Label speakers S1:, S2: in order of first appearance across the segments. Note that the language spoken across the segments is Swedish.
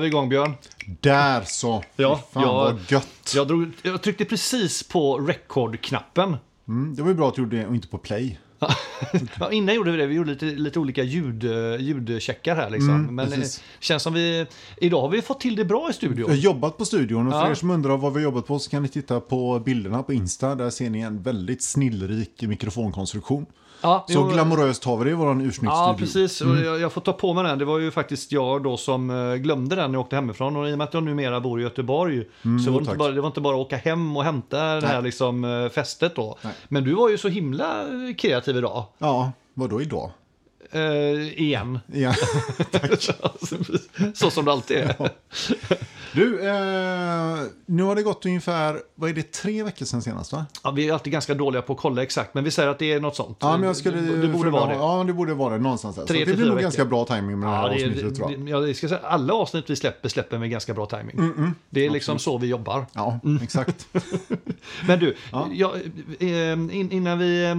S1: vi igång Björn.
S2: Där så!
S1: Ja,
S2: Fy Fan
S1: jag-
S2: vad gött!
S1: Jag, drog, jag tryckte precis på record-knappen.
S2: Mm, det var ju bra att du gjorde det och inte på play.
S1: Ja, innan gjorde vi det, vi gjorde lite, lite olika ljud, eh, ljudcheckar här liksom.
S2: Mm,
S1: Men det
S2: precis.
S1: känns som vi, idag har vi fått till det bra i studion.
S2: Jag har jobbat på studion och för
S1: Ja.
S2: er som undrar vad vi har jobbat på så kan ni titta på bilderna på Insta. Där ser ni en väldigt snillrik mikrofonkonstruktion.
S1: Ja,
S2: Så
S1: jo,
S2: glamoröst har vi det i Mm. vår
S1: Ja,
S2: ursnittsstudio.
S1: precis. Och jag, jag får ta på mig den. Det var ju faktiskt jag då som eh, glömde den när jag åkte hemifrån. Och i och med att jag numera bor i Göteborg så var det, inte
S2: Mm, tack.
S1: bara, det var inte bara att åka hem och hämta det här
S2: Nej.
S1: liksom, eh, fästet då.
S2: Nej.
S1: Men du var ju så himla eh, kreativ idag.
S2: ja, vadå idag?
S1: Eh, igen.
S2: Ja.
S1: så som det alltid är.
S2: Du, eh, nu har det gått ungefär, vad är det, tre veckor sedan senast va?
S1: Ja, vi är alltid ganska dåliga på att kolla exakt, men vi säger att det är något sånt.
S2: Ja, men jag skulle...
S1: det, det borde vara det. Ja,
S2: Ja, det borde vara det någonstans där.
S1: Tre
S2: så
S1: till
S2: det blir
S1: fyra
S2: nog
S1: veckor.
S2: ganska bra timing med det här
S1: det,
S2: avsnittet tror jag. Mm,
S1: det- ja, det ska jag säga, alla avsnitt vi släpper, släpper med ganska bra timing. det är liksom så vi jobbar.
S2: Ja,
S1: Mm.
S2: exakt.
S1: Men du, jag, eh, in, innan vi... eh,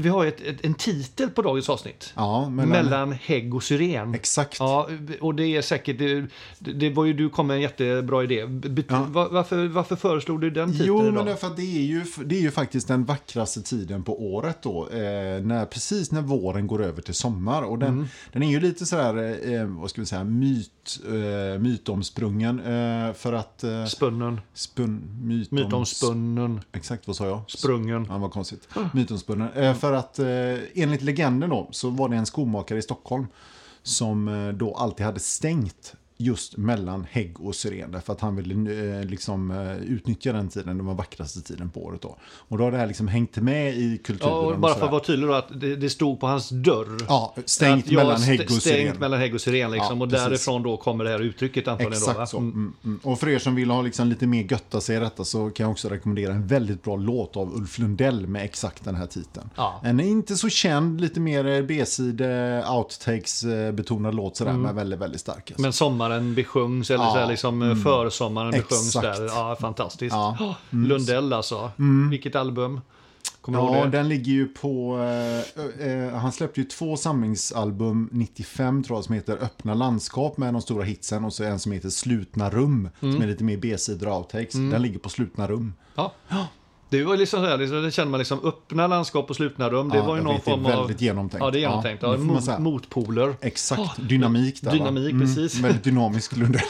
S1: Vi har ju ett, ett, en titel på dagens avsnitt.
S2: Ja, mellan...
S1: mellan... hägg och syren.
S2: Exakt.
S1: Ja, och det är säkert... Det, det var ju du kom med en jättebra idé. Bet-
S2: Ja.
S1: va- varför, varför föreslog du den titeln
S2: Jo,
S1: idag?
S2: men därför att det är, ju, det är ju faktiskt den vackraste tiden på året då. Eh, när, precis när våren går över till sommar. Och den, den är ju lite sådär, eh, vad ska vi säga, myt, eh, mytomsprungen. Eh, för att... Eh,
S1: Spunnen.
S2: spun, mytoms,
S1: Mytomspunnen.
S2: Exakt, vad sa jag?
S1: Sprungen.
S2: Ja, vad konstigt.
S1: Mm.
S2: Mytomspunnen. Eh, för att eh, enligt legenden då, så var det en skomakare i Stockholm som eh, då alltid hade stängt just mellan hägg och syren. Därför att han ville eh, liksom eh, utnyttja den tiden, den var vackraste tiden på året då. Och då har det här liksom hängt med i kulturen.
S1: Ja, och
S2: och
S1: bara för
S2: sådär.
S1: att vara tydlig då, att det, det stod på hans dörr.
S2: Ja, stängt
S1: Att jag
S2: mellan hägg och
S1: st-
S2: syren.
S1: Stängt mellan hägg och syren liksom.
S2: Ja,
S1: och
S2: precis.
S1: därifrån då kommer det här uttrycket antagligen
S2: Exakt
S1: då, va?
S2: så.
S1: Mm.
S2: Mm, mm. Och för er som vill ha liksom lite mer götta sig i detta så kan jag också rekommendera en väldigt bra låt av Ulf Lundell med exakt den här titeln.
S1: Ja.
S2: En inte så känd, lite mer B-side outtakes-betonad låt sådär, men väldigt, väldigt stark. Alltså.
S1: Mm. Men sommaren besjungs, eller
S2: Ja, mm.
S1: så här liksom eh, försommaren besjungs
S2: Exakt.
S1: där. Ja, fantastiskt.
S2: Ja, Mm.
S1: Oh, Lundell alltså. Vilket album? Kommer du
S2: Ja,
S1: ihåg det?
S2: den ligger ju på... Eh, eh, han släppte ju två samlingsalbum 95 tror jag som heter Öppna landskap med de stora hitsen och så en som heter Slutna rum
S1: Mm.
S2: som är lite mer B-sidor outtakes. Den ligger på Slutna rum.
S1: Ja. Det var liksom så här, liksom, det känner man liksom öppna landskap och slutna rum. Det
S2: Ja,
S1: var ju
S2: jag
S1: någon
S2: vet, det är
S1: form
S2: väldigt
S1: av...
S2: genomtänkt.
S1: Ja, det är genomtänkt.
S2: Ja,
S1: Ja,
S2: det får man säga.
S1: mot, motpoler.
S2: Exakt, dynamik där va?
S1: Ah,
S2: Mm,
S1: Dynamik, precis.
S2: Väldigt dynamisk Lundell.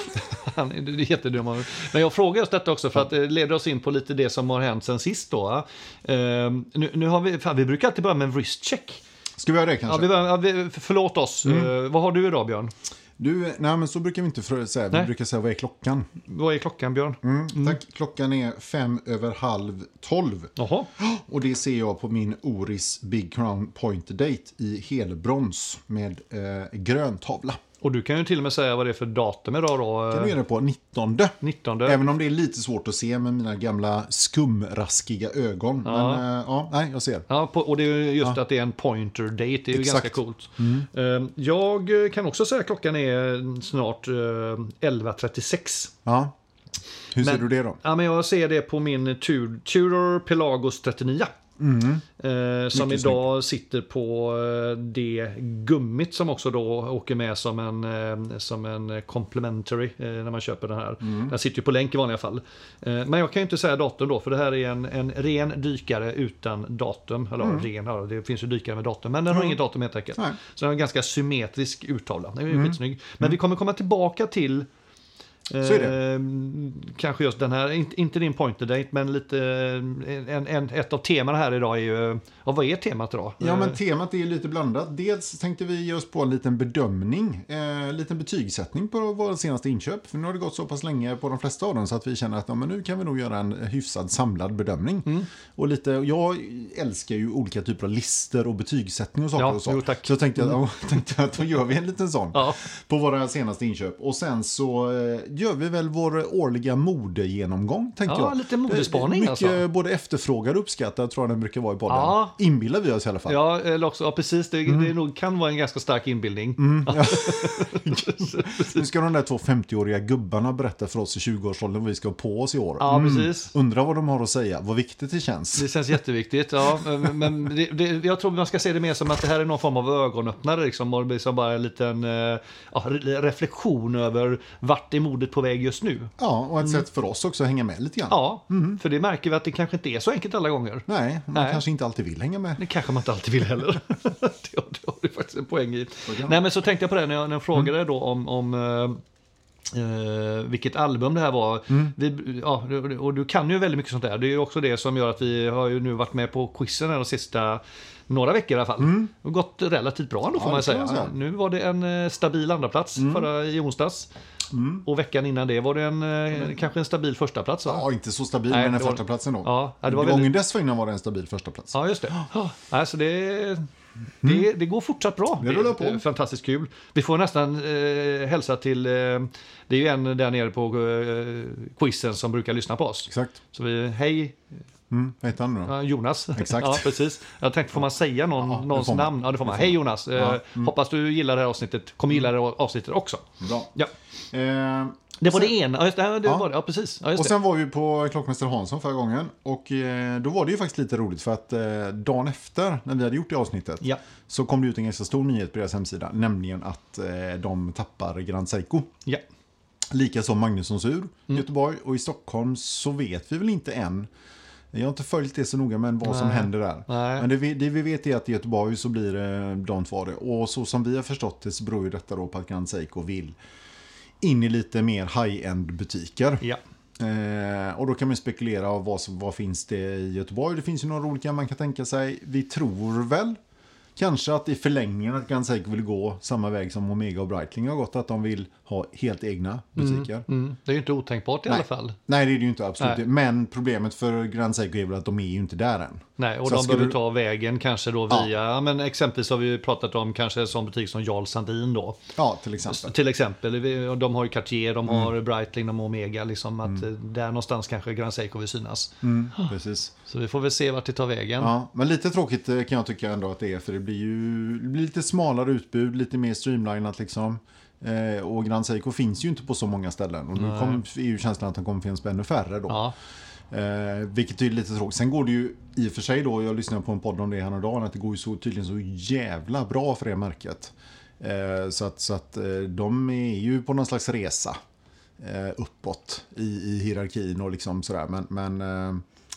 S1: Han, det är jättedum av mig. Men jag frågar just detta också för att det leder oss in på lite det som har hänt sen sist då. va? Ehm, nu, nu har vi, fan, vi brukar alltid börja med en wristcheck.
S2: Ska vi göra det
S1: Ja,
S2: kanske?
S1: vi börjar, ja, vi, förlåt oss.
S2: Mm.
S1: Eh, vad har du idag Björn?
S2: Du, nej men så brukar vi inte frö- säga. Vi
S1: Nej.
S2: brukar säga vad är klockan?
S1: Vad är klockan Björn?
S2: Mm, Tack. Klockan är fem över halv tolv.
S1: Jaha.
S2: Och det ser jag på min Oris Big Crown Pointer Date i helbrons med eh, grön tavla.
S1: Och du kan ju till och med säga vad det är för datum idag då.
S2: Nu
S1: eh,
S2: är det på 19.
S1: 19.
S2: Även om det är lite svårt att se med mina gamla skumraskiga ögon.
S1: Ja.
S2: Men eh, ja, nej, jag ser.
S1: Ja, på, och det är ju just att det är en pointer date, det är ju ganska
S2: Exakt. Mm.
S1: coolt. Ehm, Jag eh, kan också säga att klockan är snart eh, 11.36.
S2: Ja. Hur ser
S1: Men-
S2: du det då?
S1: Ja, men jag ser det på min Tud- Tudor Pelagos 39. Eh, som
S2: Mm. Mycket
S1: idag sitter på eh, det gummit som också då åker med som en, eh, som en complementary eh, när man köper den här.
S2: Mm.
S1: Den sitter ju på länk i vanliga fall. Eh, men jag kan ju inte säga datum då för det här är en, en ren dykare utan datum. Eller ja, ren, ja, det finns ju dykare med datum men den har inget datum helt enkelt.
S2: Mm. Nej. Mm.
S1: Så den har en ganska symmetrisk urtavla. Den är ju skitsnygg. Men vi kommer komma tillbaka till
S2: Så är det.
S1: Eh, kanske just den här, inte, inte din pointer date, men lite, eh, en, en, ett av temana här idag är ju, ja, vad är temat idag?
S2: Ja,
S1: Eh,
S2: men temat är lite blandat. Dels tänkte vi ge oss på en liten bedömning, eh, en liten betygssättning på våra senaste inköp. För nu har det gått så pass länge på de flesta av dem så att vi känner att ja, men nu kan vi nog göra en hyfsad samlad bedömning.
S1: Mm.
S2: Och lite, jag älskar ju olika typer av listor och betygssättning och saker.
S1: Ja,
S2: och så.
S1: jo, tack. Mm.
S2: så jag tänkte, jag, tänkte jag att då gör vi en liten sån
S1: Ja.
S2: på våra senaste inköp. Och sen så eh, gör vi väl vår årliga modegenomgång, tänker
S1: Ja,
S2: jag. Eh,
S1: lite modespaning,
S2: Mycket
S1: alltså.
S2: både efterfrågad och uppskattad tror jag den brukar vara i podden.
S1: Ja.
S2: Inbillar vi oss i alla fall.
S1: Eh, Ja, eller också, ja precis, det,
S2: Mm.
S1: det nog kan vara en ganska stark inbildning.
S2: Nu ska de där två 50-åriga gubbarna berätta för oss i 20-årsåldern vad vi ska ha på oss i år. Mm.
S1: Ja, precis.
S2: Undrar vad de har att säga, vad viktigt det känns.
S1: Det känns jätteviktigt. Ja, men- men det, det, jag tror man ska se det mer som att det här är någon form av ögonöppnare. Liksom, och liksom bara en liten eh, ja, re- reflektion över vart är modet på väg just nu.
S2: Ja, och ett sätt för oss också att hänga med lite grann.
S1: Mm. Ja,
S2: Mm.
S1: för det märker vi att det kanske inte är så enkelt alla gånger.
S2: Nej, man
S1: Nej.
S2: kanske inte alltid vill hänga med.
S1: Det kanske man inte alltid vill heller. det, har, det har du faktiskt en poäng i. Nej, men så tänkte jag på det när jag, när jag frågade
S2: Mm.
S1: då om, om eh, eh, vilket album det här var.
S2: Mm.
S1: Vi, ja, du- och du kan ju väldigt mycket sånt där. Det är ju också det som gör att vi har ju nu varit med på quizen här de sista några veckor i alla fall. Det har gått relativt bra ändå får
S2: Mm. Ja,
S1: man
S2: det kan
S1: säga.
S2: man säga. Mm.
S1: Nu var det en eh, stabil andraplats förra i onsdags. Och veckan innan det var det en, eh, kanske en stabil förstaplats. Va?
S2: Ja, inte så stabil,
S1: Nej,
S2: men den
S1: det var-
S2: första platsen då.
S1: Ja, ja, det var
S2: Gången
S1: väldigt-
S2: dessförinnan var det en stabil första plats.
S1: Ja, just det. Alltså det, det, det går fortsatt bra.
S2: Mm. Det rullar på.
S1: är Fantastiskt kul. Vi får nästan eh, hälsa till... Eh, det är ju en där nere på eh, quizen som brukar lyssna på oss.
S2: Exakt.
S1: Så vi, hej
S2: Mm, vad heter han nu då?
S1: ja, Jonas.
S2: Exakt.
S1: Ja, precis. Jag tänkte, får man säga någon,
S2: Ja, det
S1: någons
S2: får man. Mm.
S1: namn? Ja, det får man. Hej Jonas, eh, hoppas du gillar det här avsnittet. Kommer gilla det här avsnittet också.
S2: Bra.
S1: Ja.
S2: Eh,
S1: Det var
S2: sen-
S1: det ena. Ja, just det, ja, det
S2: Ja.
S1: var det. Ja, precis. Ja, just
S2: Och
S1: det.
S2: sen var vi på Klockmästare Hansson förra gången och eh, då var det ju faktiskt lite roligt för att eh, dagen efter när vi hade gjort det avsnittet
S1: Ja.
S2: så kom det ut en ganska stor nyhet på deras hemsida, nämligen att eh, de tappar Grand Seiko.
S1: Ja.
S2: Likaså Magnussons
S1: Mm.
S2: ur, Göteborg och i Stockholm så vet vi väl inte än. Jag har inte följt det så noga men vad som
S1: Nej.
S2: händer där.
S1: Nej.
S2: Men det vi, det vi vet är att i Göteborg så blir det de två av det. Och så som vi har förstått det så beror ju detta då på att Grand Seiko vill in i lite mer high-end butiker.
S1: Ja.
S2: Eh, och då kan man ju spekulera av vad, som- vad finns det i Göteborg. Det finns ju några olika man kan tänka sig. Vi tror väl kanske att i förlängningen att Grand Seiko vill gå samma väg som Omega och Breitling har gått. Att de vill ha helt egna butiker.
S1: Mm. Det är ju inte otänkbart i alla fall.
S2: Nej, det är det ju inte absolut.
S1: Nej.
S2: Men problemet för Grand Seiko är väl att de är ju inte där än.
S1: Nej, och
S2: Så
S1: de
S2: skulle
S1: behöver
S2: du-
S1: ta vägen kanske då via, ja. men exempelvis har vi ju pratat om kanske en sån butik som Jarl Sandin då.
S2: Ja, till exempel.
S1: Till exempel, vi- och de har ju Cartier, de
S2: Mm.
S1: har Breitling, de har Omega, liksom att eh, där någonstans kanske Grand Seiko vill synas.
S2: Mm, precis.
S1: Så vi får väl se vart det tar vägen.
S2: Ja, men lite tråkigt eh, kan jag tycka ändå att det är. För det blir ju det blir lite smalare utbud, lite mer streamlinat liksom. Eh, och Grand Seiko finns ju inte på så många ställen. Och nu kom, är ju känslan att de kommer finnas på ännu färre då.
S1: Ja.
S2: Eh, vilket är lite tråkigt. Sen går det ju i och för sig då, jag lyssnade på en podd om det häromdagen, att det går ju så, tydligen så jävla bra för det märket. Eh, så att, så att eh, de är ju på någon slags resa eh, uppåt i, i hierarkin och liksom sådär. Men, men eh,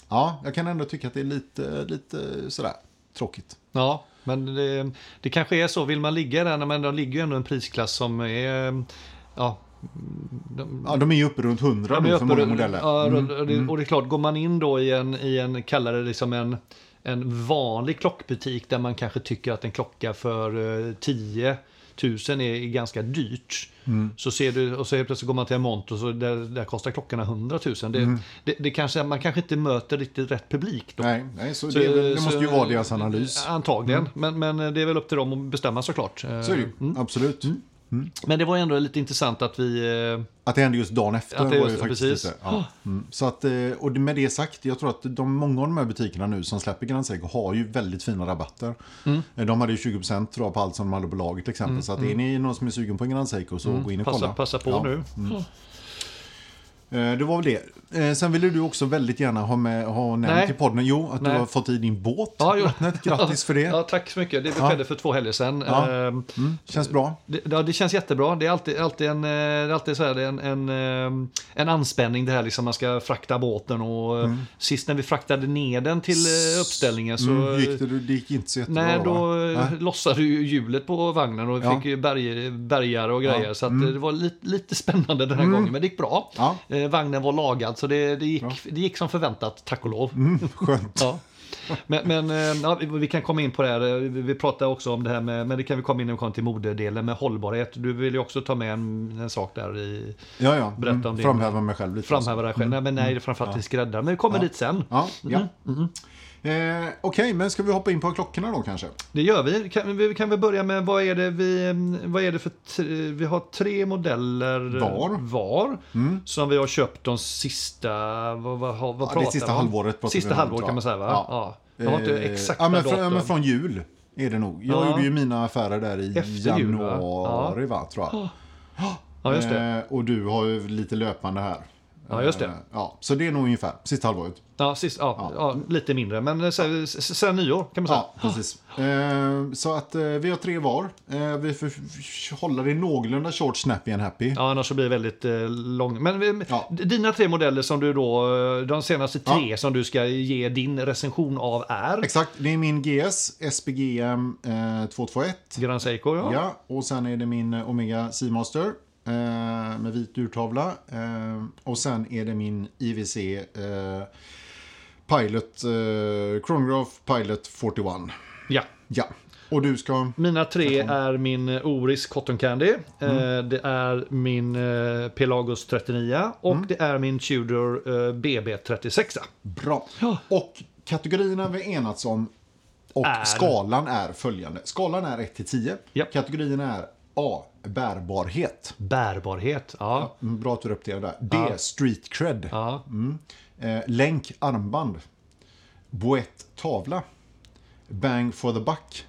S2: ja, jag kan ändå tycka att det är lite, lite sådär tråkigt.
S1: Ja, men det, det kanske är så. Vill man ligga där, men de ligger ju ändå i en prisklass som är... Ja, de,
S2: Ja, de är ju uppe runt 100 nu för
S1: uppe
S2: många
S1: ru-
S2: modeller. Mm,
S1: Ja, och, det, och det är klart, går man in då i en, i en kallar det liksom en, en vanlig klockbutik där man kanske tycker att en klocka för eh, 10 000 är, är ganska dyrt.
S2: Mm.
S1: Så ser du, och så helt plötsligt går man till en monter och så där, där kostar klockorna 100 000. Det,
S2: Mm.
S1: det, det kanske, man kanske inte möter riktigt rätt publik då.
S2: Nej, nej så, det, är väl- det
S1: Så-
S2: måste ju vara deras analys. Mm.
S1: Antagligen, men, men det är väl upp till dem att bestämma såklart. Eh,
S2: Så är det ju, absolut.
S1: Men det var ändå lite intressant att vi... eh,
S2: Att det hände just dagen efter
S1: Att det
S2: var ju
S1: just-
S2: faktiskt
S1: precis.
S2: lite... Ja. Mm. Så att, eh, och det- med det sagt, jag tror att de, många av de här butikerna nu som släpper Grand Seiko har ju väldigt fina rabatter.
S1: Mm.
S2: Eh, De hade ju 20% tror jag på allt som de hade på lager till exempel. Så att är ni någon som är sugen på en Grand Seiko så gå in och
S1: Mm. Passa,
S2: kolla.
S1: passa på
S2: Ja. Mm.
S1: nu.
S2: Eh, Det var väl det. Eh, Sen ville du också väldigt gärna ha, med, ha nämnt
S1: Nej.
S2: i podden, jo, att du
S1: Nej.
S2: har fått i din båt.
S1: Ja,
S2: Ja,
S1: jo.
S2: vattnet. Grattis för det.
S1: Ja, tack så mycket. Det skedde för två helger sedan.
S2: Ja.
S1: Ehm,
S2: Mm. Känns bra.
S1: Det, ja, det känns jättebra. Det är alltid, alltid, en, eh, det är alltid så här, det är en, en, ehm, en anspänning det här liksom man ska frakta båten. Och,
S2: Mm.
S1: eh, Sist när vi fraktade ner den till eh, uppställningen så...
S2: Mm, gick det, det gick inte så jättebra.
S1: Nej,
S2: va?
S1: då
S2: Nej.
S1: Nej. lossade ju hjulet på vagnen och
S2: Ja.
S1: fick ju berg, bergare och grejer.
S2: Ja. Mm.
S1: Så att eh, det var lite, lite spännande den här gången, men det gick bra.
S2: Ja.
S1: Eh, Vagnen var lagad, så det, det, gick, det gick som förväntat, tack och lov.
S2: Mm, skönt.
S1: Ja. Men, men eh, ja, vi- vi kan komma in på det här. Vi- Vi pratar också om det här med, men det kan vi komma in när vi kommer till modedelen med hållbarhet. Du vill ju också ta med en, en sak där i
S2: Ja, ja. Mm,
S1: Berätta om din-
S2: Framhäva mig själv lite. Mm.
S1: framhäva dig själv. Nej, men nej, det är framförallt till skräddaren. Men vi kommer dit sen.
S2: Ja, ja. Eh, Okej, men ska vi hoppa in på klockorna då kanske?
S1: Det gör vi. Kan vi, kan vi börja med vad är det vi, vad är det för, tre- vi har tre modeller
S2: Var. Mm.
S1: var som vi har köpt de sista, vad, vad, vad pratar
S2: det sista
S1: vi om?
S2: halvåret pratar
S1: Sista
S2: vi om,
S1: halvåret kan
S2: tror jag.
S1: man säga va?
S2: Ja.
S1: Ja. Jag har inte
S2: Eh,
S1: exakta
S2: ja, men från,
S1: datum.
S2: ja, men från jul är det nog. Jag
S1: Ja.
S2: gjorde ju mina affärer där i
S1: Efter jul, va?
S2: januari, va? tror jag.
S1: ja, just det.
S2: Eh, och du har ju lite löpande här.
S1: Ja, just det.
S2: Eh, ja, så det är nog ungefär sista halvåret.
S1: Ja, sist, ja, ja. lite mindre, men eh, sen, s- sen nyår kan man säga.
S2: Ja, precis. Eh, så att eh, vi har tre var. Eh, vi får f- hålla det någorlunda short, snappy and happy.
S1: Ja, annars så blir det väldigt eh, lång. Men vi-
S2: Ja.
S1: d- dina tre modeller som du då, eh, de senaste
S2: Ja.
S1: tre som du ska ge din recension av är
S2: Exakt, det är min GS SPGM eh, 221.
S1: Grand Seiko. Ja.
S2: Ja, och sen är det min eh, Omega Seamaster eh, med vit urtavla. Eh, och sen är det min IWC eh, Pilot, eh, Chronograph Pilot 41.
S1: ja.
S2: Ja, och du ska...
S1: Mina tre är min eh, Oris Cotton Candy, eh,
S2: Mm.
S1: det är min eh, Pelagos 39 och
S2: Mm.
S1: det är min Tudor eh, BB 36.
S2: Bra.
S1: Ja.
S2: Och kategorierna vi enats om och
S1: Är?
S2: skalan är följande. Skalan är 1 till 10.
S1: Ja.
S2: Kategorierna är A. Bärbarhet.
S1: Bärbarhet, ja.
S2: Mm, Bra att du uppdaterar där. D. Street cred.
S1: ja.
S2: Eh, länk armband. Boett tavla. Bang for the buck.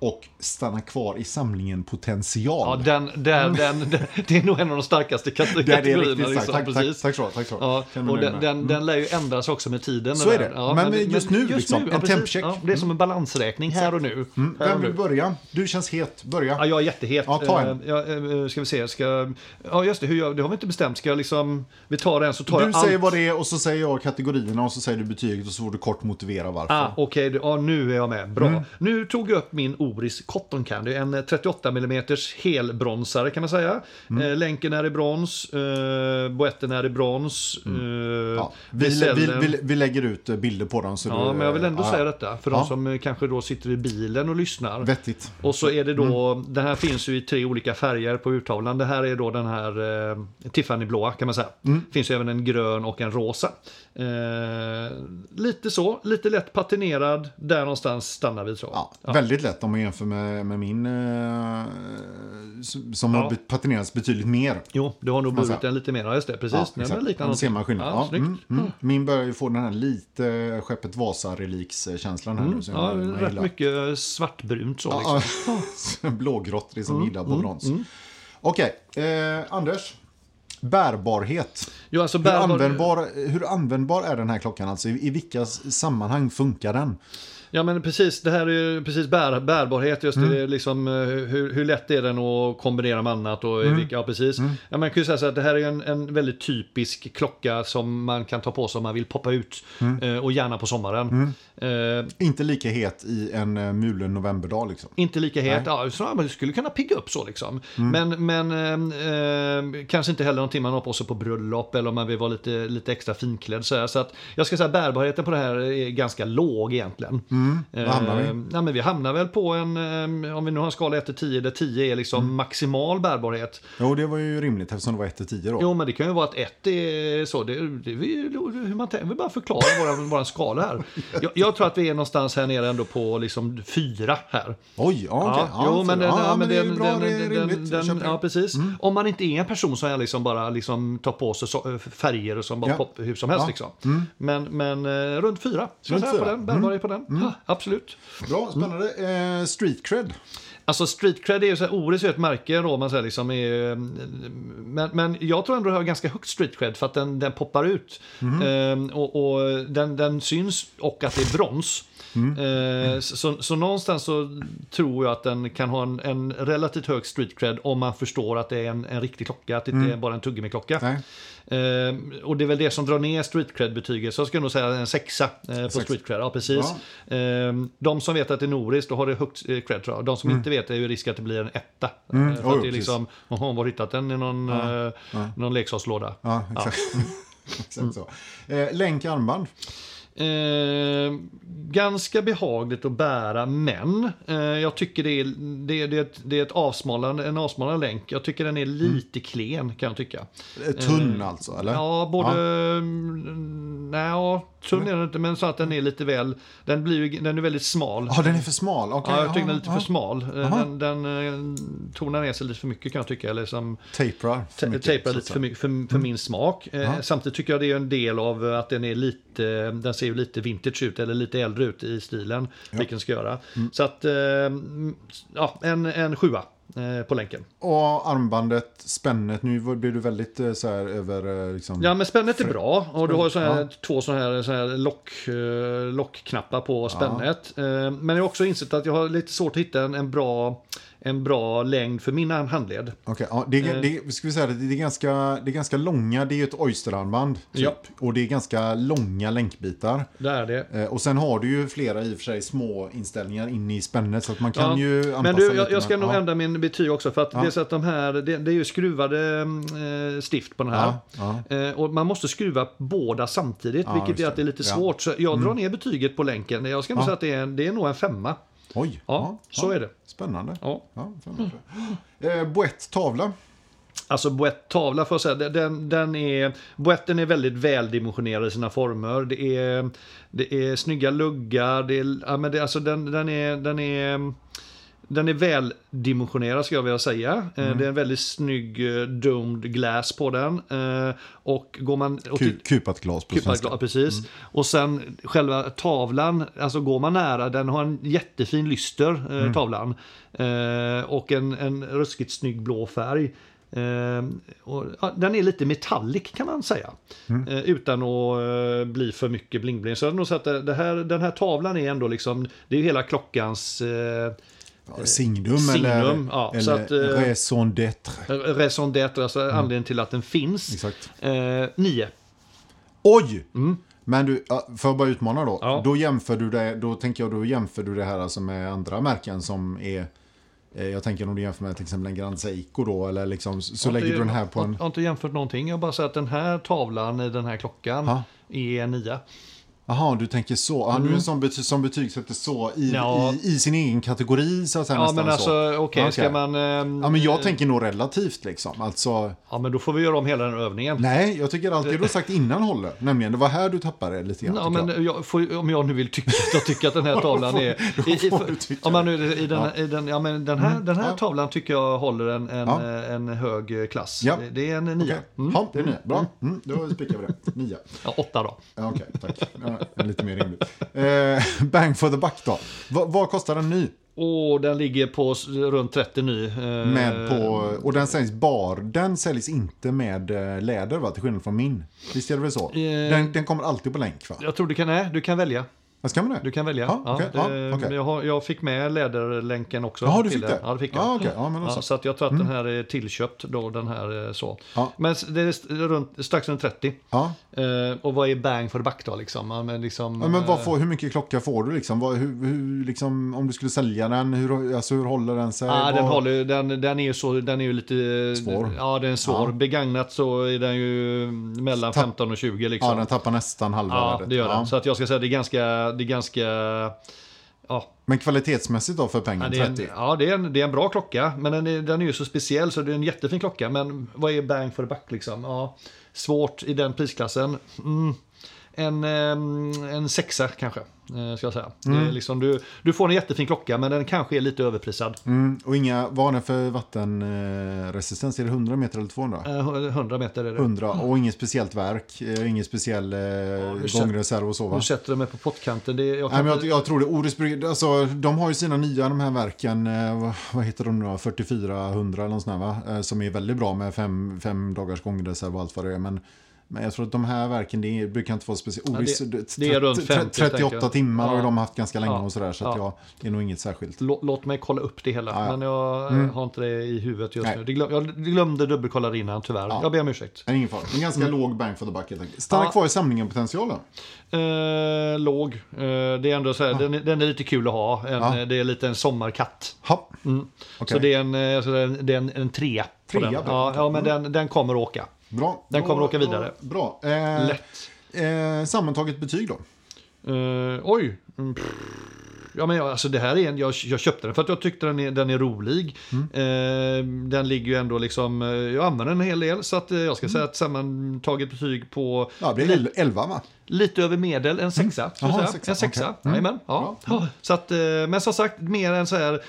S2: Och stanna kvar i samlingen
S1: Ja,
S2: potential.
S1: den, den, den, den, det är nog en av de starkaste kate-
S2: Mm. det är
S1: kategorierna.
S2: riktigt starkt.
S1: liksom,
S2: Tack, tack,
S1: precis.
S2: tack så, tack så.
S1: Ja,
S2: Känner mig
S1: och
S2: nöjd
S1: den,
S2: med. Mm.
S1: den, den lär ju ändras också med tiden.
S2: Så är
S1: den.
S2: det. Men just nu liksom, en
S1: precis.
S2: tempcheck. Mm.
S1: Ja, det är som en balansräkning här och nu. Här och
S2: Vem vill
S1: nu.
S2: börja? Du känns het. Börja.
S1: Ja, jag är jättehet.
S2: Mm. Ja, ta en.
S1: Eh, Ja, eh, ska vi se, ska... Ja, just det, hur jag... det har vi inte bestämt. Ska jag liksom... Vi tar en så tar
S2: Du
S1: jag allt.
S2: säger vad det är och så säger jag kategorierna och så säger du betyget och så får du kort motivera varför.
S1: Ah, Okej, du- ja, nu är jag med. Bra.
S2: Mm.
S1: Nu tog jag upp min Oris Cotton Candy, en eh, 38 mm helbronsare kan man säga.
S2: Mm.
S1: Eh, länken är i brons, eh, boetten är i brons. Eh,
S2: Mm. Ja. Vi,
S1: beställer-
S2: vi, vi, vi lägger ut eh, bilder på dem. Så
S1: Ja,
S2: du,
S1: men jag vill ändå
S2: Eh, ja,
S1: säga detta för
S2: Ja.
S1: de som eh, kanske då sitter i bilen och lyssnar.
S2: Vettigt.
S1: Och så är det då,
S2: Mm.
S1: den här finns ju i tre olika färger på urtavlan. Det här är då den här eh, Tiffany-blåa kan man säga.
S2: Mm.
S1: finns ju även en grön och en rosa. Eh, lite så, lite lätt patinerad. Där någonstans stannar vi tror jag.
S2: Ja, Väldigt lätt om man jämför med, med min eh, s- som har
S1: Ja.
S2: be- patinerats betydligt mer.
S1: Jo, du har nog
S2: Man
S1: burit
S2: säger.
S1: den lite mer. Ja, just det.
S2: Ja,
S1: Precis.
S2: exakt.
S1: den liknar
S2: Då ser
S1: någonting.
S2: man skillnad.
S1: Ja,
S2: Ja,
S1: snyggt.
S2: mm, mm. Min börjar ju få den här lite Skeppet Vasa-relikskänslan här nu. Som
S1: Mm. Ja,
S2: jag, jag
S1: rätt
S2: gillar.
S1: mycket eh, svartbrunt så. Liksom. Mm,
S2: Ja, Blågrått, det är som middag på brons. Okej, eh, Anders. Bärbarhet.
S1: Jo, alltså,
S2: Hur
S1: bärbar-
S2: användbar, hur användbar är den här klockan? Alltså, I i vilka s- sammanhang funkar den?
S1: Ja men precis, det här är ju precis bär, bärbarhet, just det, liksom, eh, hur, hur lätt är den att kombinera med annat och i vilka, ja precis. Ja, man kan ju säga så att det här är ju en, en väldigt typisk klocka som man kan ta på sig om man vill poppa ut eh, och gärna på sommaren. Eh,
S2: Inte lika het i en eh, mulen novemberdag. Liksom.
S1: inte lika het, ja, så man skulle kunna pigga upp så liksom.
S2: Mm.
S1: Men, men eh, eh, kanske inte heller någonting man har på sig på bröllop eller om man vill vara lite, lite extra finklädd. Så, här. så att jag ska säga att bärbarheten på det här är ganska låg egentligen.
S2: Vad Mm. hamnar vi?
S1: Eh, nej, men vi hamnar väl på en, eh, om vi nu har en skala 1-10 där 10 är liksom
S2: Mm.
S1: maximal bärbarhet.
S2: Jo, det var ju rimligt eftersom det var 1 till 10 då.
S1: Jo men det kan ju vara att 1 är så, det, det, är ju hur man tänker, vi bara förklarar våran, våran skala här. Jag, jag tror att vi är någonstans här nere ändå på liksom 4 här.
S2: Oj, ja, okej.
S1: Ja, jo,
S2: så-
S1: men, den,
S2: ja,
S1: ja,
S2: men det är ju bra,
S1: den,
S2: det är
S1: den,
S2: rimligt.
S1: Den,
S2: Jag köper
S1: den,
S2: det. Mm.
S1: ja, precis. Om man inte är en person som jag liksom bara liksom tar på sig så, färger och som bara
S2: Ja.
S1: poppar hur som helst.
S2: Ja. Mm.
S1: Liksom. Men, men eh, runt fyra, ska
S2: Runt
S1: jag säga, på
S2: fyra. Mm.
S1: den. Bärbar är på den. Ja, absolut.
S2: Bra, spännande.
S1: Mm.
S2: Eh, street cred.
S1: Alltså street cred är ju så här, Oris är ju ett märke då, om man säger liksom är, men, men jag tror ändå det har ganska högt street cred för att den, den poppar ut. Ehm, och och den, den syns och att det är brons. Ehm, så, så någonstans så tror jag att den kan ha en, en relativt hög street cred om man förstår att det är en, en riktig klocka, att det inte är bara en tuggummiklocka.
S2: Nej.
S1: Ehm, och det är väl det som drar ner street cred-betyget. Så jag skulle nog säga en sexa eh, på
S2: Sexa.
S1: street cred. Ja, precis. Ehm, de som vet att det är Noris, då har det högt eh, cred tror jag. De som inte vet är ju risk att det blir en etta. Eh, för
S2: Mm. jo,
S1: att det är
S2: precis.
S1: liksom, jaha, var har du hittat den i någon, eh, någon leksakslåda?
S2: Ja, exakt. Mm.
S1: Mm.
S2: exakt så. Eh, länk armband.
S1: Ehm, ganska behagligt att bära, men eh, jag tycker det är, det, det, är ett- det är ett avsmalande, en avsmalande länk. Jag tycker den är
S2: Mm.
S1: lite klen kan jag tycka.
S2: Eh, Tunn alltså, eller?
S1: Ja, både Nej, tunn är den inte, men mm, så att den är lite väl... Den, blir, ju- den är väldigt smal.
S2: Ja, den är för smal. Okej,
S1: Ja, jag tycker den är lite
S2: ja,
S1: för smal. Eh,
S2: Aha.
S1: Den, den eh, tonar ner sig lite för mycket kan jag tycka. Eller som
S2: Taprar för mycket.
S1: tejpar
S2: så
S1: lite
S2: att
S1: för,
S2: Mm.
S1: mycket, för, för min smak. Eh,
S2: Ja.
S1: Samtidigt tycker jag det är en del av eh, att den är lite, eh, den ser ju lite vintage ut eller lite äldre ut i stilen. Vilken den ska göra. Så att, eh, mm, ja, en, en sjua eh, på länken.
S2: Och armbandet, spännet, nu blir du väldigt eh, så här över... eh, Liksom...
S1: Ja men spännet är bra och du har ju såna här,
S2: Ja.
S1: två sådana här, såna här lock, eh, lockknappar på spännet. Eh, Men jag har också insett att jag har lite svårt att hitta en, en, bra, en bra längd för min handled.
S2: Okej, ja, det,
S1: Eh.
S2: är, det, ska vi säga, det, det, är ganska, det är ganska långa, det är ju ett oysterarmband. Typ,
S1: Ja.
S2: Och det är ganska långa länkbitar.
S1: Det är det.
S2: Eh, Och sen har du ju flera i och för sig små inställningar inne i spännet så att man kan
S1: Ja,
S2: ju anpassa
S1: Men du, jag,
S2: lite,
S1: jag ska nog
S2: ja.
S1: ändra min betyg också för att det är så att de här, det, det är ju skruvade mm, eh, stift på den här.
S2: Ja,
S1: Eh, Och man måste skruva båda samtidigt,
S2: Ja,
S1: vilket
S2: just
S1: gör att det är lite
S2: det. Ja. Mm.
S1: svårt. Så jag drar ner betyget på länken. Jag ska nog säga att det är, en- det är nog en femma.
S2: Oj,
S1: Ja, så är det.
S2: Spännande.
S1: Ja.
S2: Ja, spännande. Eh, Boett tavla.
S1: Alltså Boett tavla får jag säga, den, den är, Boetten är väldigt väldimensionerad i sina former. Det är, det är snygga luggar, det är, ja, men det, alltså den, den är, den är den är väldimensionerad ska jag vilja säga. Eh, Det är en väldigt snygg eh, domed glass på den. Eh, Och går man... Och typ
S2: Ku- Kupat glas på
S1: Kupat
S2: svenska. Mm.
S1: glas, precis. Och sen själva tavlan, alltså går man nära, den har en jättefin lyster, eh,
S2: Mm.
S1: tavlan. Eh, och en, en ruskigt snygg blå färg. Eh, och, ja, den är lite metallic kan man säga.
S2: Mm.
S1: Eh, utan att eh, bli för mycket bling-bling. Så jag hade nog sagt att det här, den här tavlan är ändå liksom, det är ju hela klockans eh,
S2: Ja, Signum,
S1: Signum,
S2: eller,
S1: ja,
S2: eller
S1: så att, eh,
S2: raison d'être.
S1: raison d'être, alltså anledningen till att den finns.
S2: Mm. Exakt.
S1: Eh, nio.
S2: Oj! Mm. Men du, ja, får jag bara utmana då?
S1: Ja.
S2: Då jämför du det, då tänker jag, då jämför du det här alltså med andra märken som är... eh, Jag tänker om du jämför med till exempel en Grand Seiko då, eller liksom, så så
S1: Jag har
S2: lägger
S1: inte-
S2: du den här på en...
S1: Jag har inte jämfört någonting. Jag bara säger att den här tavlan i den här klockan
S2: Ja.
S1: är en nia.
S2: Jaha, du tänker så. Ja, Du är en sån bety- som betygsätter så i,
S1: Mm. Ja.
S2: i, i sin egen kategori så att säga.
S1: Ja
S2: nästan
S1: men
S2: så.
S1: alltså okej,
S2: Ja,
S1: ska man... ehm,
S2: Ja, men jag tänker nog relativt liksom. Alltså,
S1: ja men då får vi göra om hela den här övningen.
S2: nej, jag tycker allt det du har sagt innan håller. Nämligen, det var här du tappade det lite grann.
S1: Ja,
S2: tycker jag.
S1: men jag får, om jag nu vill tycka, då tycker jag att den här tavlan är...
S2: då får du tycka Mm,
S1: om man nu, i den, i den, ja, men den här, den här
S2: ja.
S1: tavlan tycker jag håller en, en,
S2: Ja.
S1: eh, en hög eh, klass.
S2: Ja.
S1: Det- Det är en nia.
S2: Okej.
S1: Mm.
S2: Ja, det är nia. Bra, mm, då spikar vi det. Nia.
S1: Ja, åtta då.
S2: Ja, Okej, tack. Ja, lite mer rimligt. Eh, bang for the buck då. Va, vad kostar en ny?
S1: Och den ligger på s- runt 30 ny. eh,
S2: Med på, och den säljs bar. Den säljs inte med eh, läder va? Till skillnad från min. Visst är det väl så?
S1: Eh.
S2: Den, den kommer alltid på länk va?
S1: Jag tror du kan, nej, du kan välja.
S2: Ja, Ska man det?
S1: Du kan välja.
S2: Ja, okej,
S1: Ja,
S2: ja,
S1: det-
S2: okej.
S1: jag, har, jag fick med läderlänken också.
S2: Jaha, du
S1: till
S2: fick
S1: den.
S2: det?
S1: Ja, det fick jag.
S2: Ja, okej. Ja, men då
S1: Ja,
S2: så. Mm.
S1: så att jag tror att den här är tillköpt då, den här eh, så.
S2: Ja.
S1: Men s- det är st- runt, strax under 30.
S2: Ja.
S1: Eh, och vad är bang för back då liksom? Ja, men liksom
S2: Ja, men
S1: eh,
S2: vad får, hur mycket klocka får du liksom? Vad, hur, hur, liksom om du skulle sälja den, hur, alltså, hur håller den sig?
S1: Ja, den,
S2: Vad-
S1: håller, ju- den, den är ju så, den är ju lite... eh,
S2: Svår.
S1: Ja, den är svår.
S2: Ja.
S1: Begagnat så är den ju mellan 15 och 20 liksom.
S2: Ja, den tappar nästan halva
S1: Ja,
S2: värdet.
S1: det gör den.
S2: Ja.
S1: Så att jag ska säga det är ganska... Det är ganska ja,
S2: Men kvalitetsmässigt då för pengen?
S1: Ja, det är en,
S2: 30?
S1: ja, det är, en, det är en bra klocka. Men den är, den är ju så speciell så det är en jättefin klocka. Men vad är bang for the buck liksom? Ja, svårt i den prisklassen. Mm. En, eh, en sexa kanske, eh, ska jag säga.
S2: Mm.
S1: Det är liksom, du, du får en jättefin klocka men den kanske är lite överprisad.
S2: Mm, och inga, vad har den för vattenresistens? Är det 100 meter eller 200?
S1: Eh, mm. 100 meter är det.
S2: 100 och inget speciellt verk, eh, ingen speciell eh,
S1: sätt-
S2: gångreserv och så va?
S1: Nu sätter de mig på pottkanten. Det, jag
S2: Nej,
S1: kan
S2: men jag,
S1: inte-
S2: jag tror det. Orust brygg- alltså, de har ju sina nya, de här verken, eh, vad- vad heter de nu då? 4400 eller något sånt där, va? Eh, Som är väldigt bra med fem, fem dagars gångreserv och allt vad det är. Men, men jag tror att de här verken, det är- brukar inte vara speciellt. Orust,
S1: det- det är runt 50, tänker
S2: 38
S1: jag.
S2: timmar har
S1: Ja.
S2: ju de haft ganska länge
S1: Ja.
S2: och sådär. Så att
S1: Ja.
S2: jag, det är nog inget särskilt.
S1: Lå- Låt mig kolla upp det hela,
S2: Ja, ja. Mm.
S1: men jag eh, har inte det i huvudet just
S2: Nej.
S1: nu. Det glöm, jag glömde dubbelkolla det innan tyvärr. Jag ber om ursäkt.
S2: Men ingen fara. En ganska låg bang for the buck helt enkelt. Stanna
S1: Mm. Ja.
S2: kvar i samlingen potentialen.
S1: Eh, låg. Eh, det är ändå så här, den, är- den är lite kul att ha. En,
S2: Ja.
S1: eh, Det är lite en sommarkatt. Mm.
S2: Hopp.
S1: Så det är en, eh, så det är en, det är en, en trea. på
S2: Trea
S1: den.
S2: på den,
S1: Ja, ja, men den, den kommer att åka.
S2: Bra.
S1: Den kommer
S2: Då-
S1: åka vidare.
S2: då- Bra. Eh,
S1: Lätt.
S2: Eh, sammantaget betyg då?
S1: Eh, oj. Mm, pff. Ja, men jag, alltså det här är en, jag, jag köpte den för att jag tyckte den är, den är rolig. Eh, den ligger ju ändå liksom, eh, jag använder den en hel del så att eh, jag ska säga att sammantaget betyg på
S2: Ja, det blir 11 va?
S1: Lite över medel, en sexa. skulle jag
S2: Mm. Jaha,
S1: säga.
S2: sexa,
S1: En sexa,
S2: okej. Mm.
S1: jajamän, ja. Så att, eh, men som sagt, mer en så här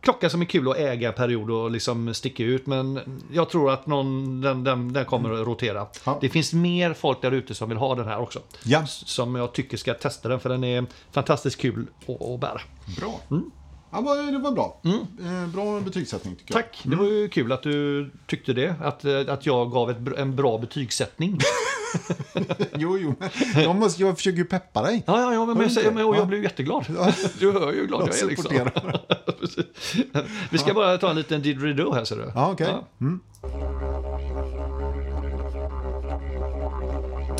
S1: klocka som är kul att äga period och liksom sticka ut. Men jag tror att någon, den, den, den kommer att rotera.
S2: Mm. Ja. Mm.
S1: Det finns mer folk där ute som vill ha den här också.
S2: Ja.
S1: Som jag tycker ska testa den för den är fantastiskt kul att, att bära.
S2: Bra.
S1: Mm.
S2: Ja, men det var bra. Eh, Bra betygssättning tycker jag.
S1: Tack, det var
S2: Mm.
S1: ju kul att du tyckte det. Att, eh, att jag gav ett, br- en bra betygssättning.
S2: Jo, jo. men Jag, måste, jag försöker ju peppa dig.
S1: Ja, ja, ja men, men,
S2: inte?
S1: jag, men, och
S2: Ja.
S1: jag blev jätteglad. Du hör ju hur glad
S2: Jag
S1: jag är. Liksom.
S2: supporterar.
S1: Precis. Vi ska bara ta en liten didgeridoo här ser du.
S2: Ja, okej. Mm.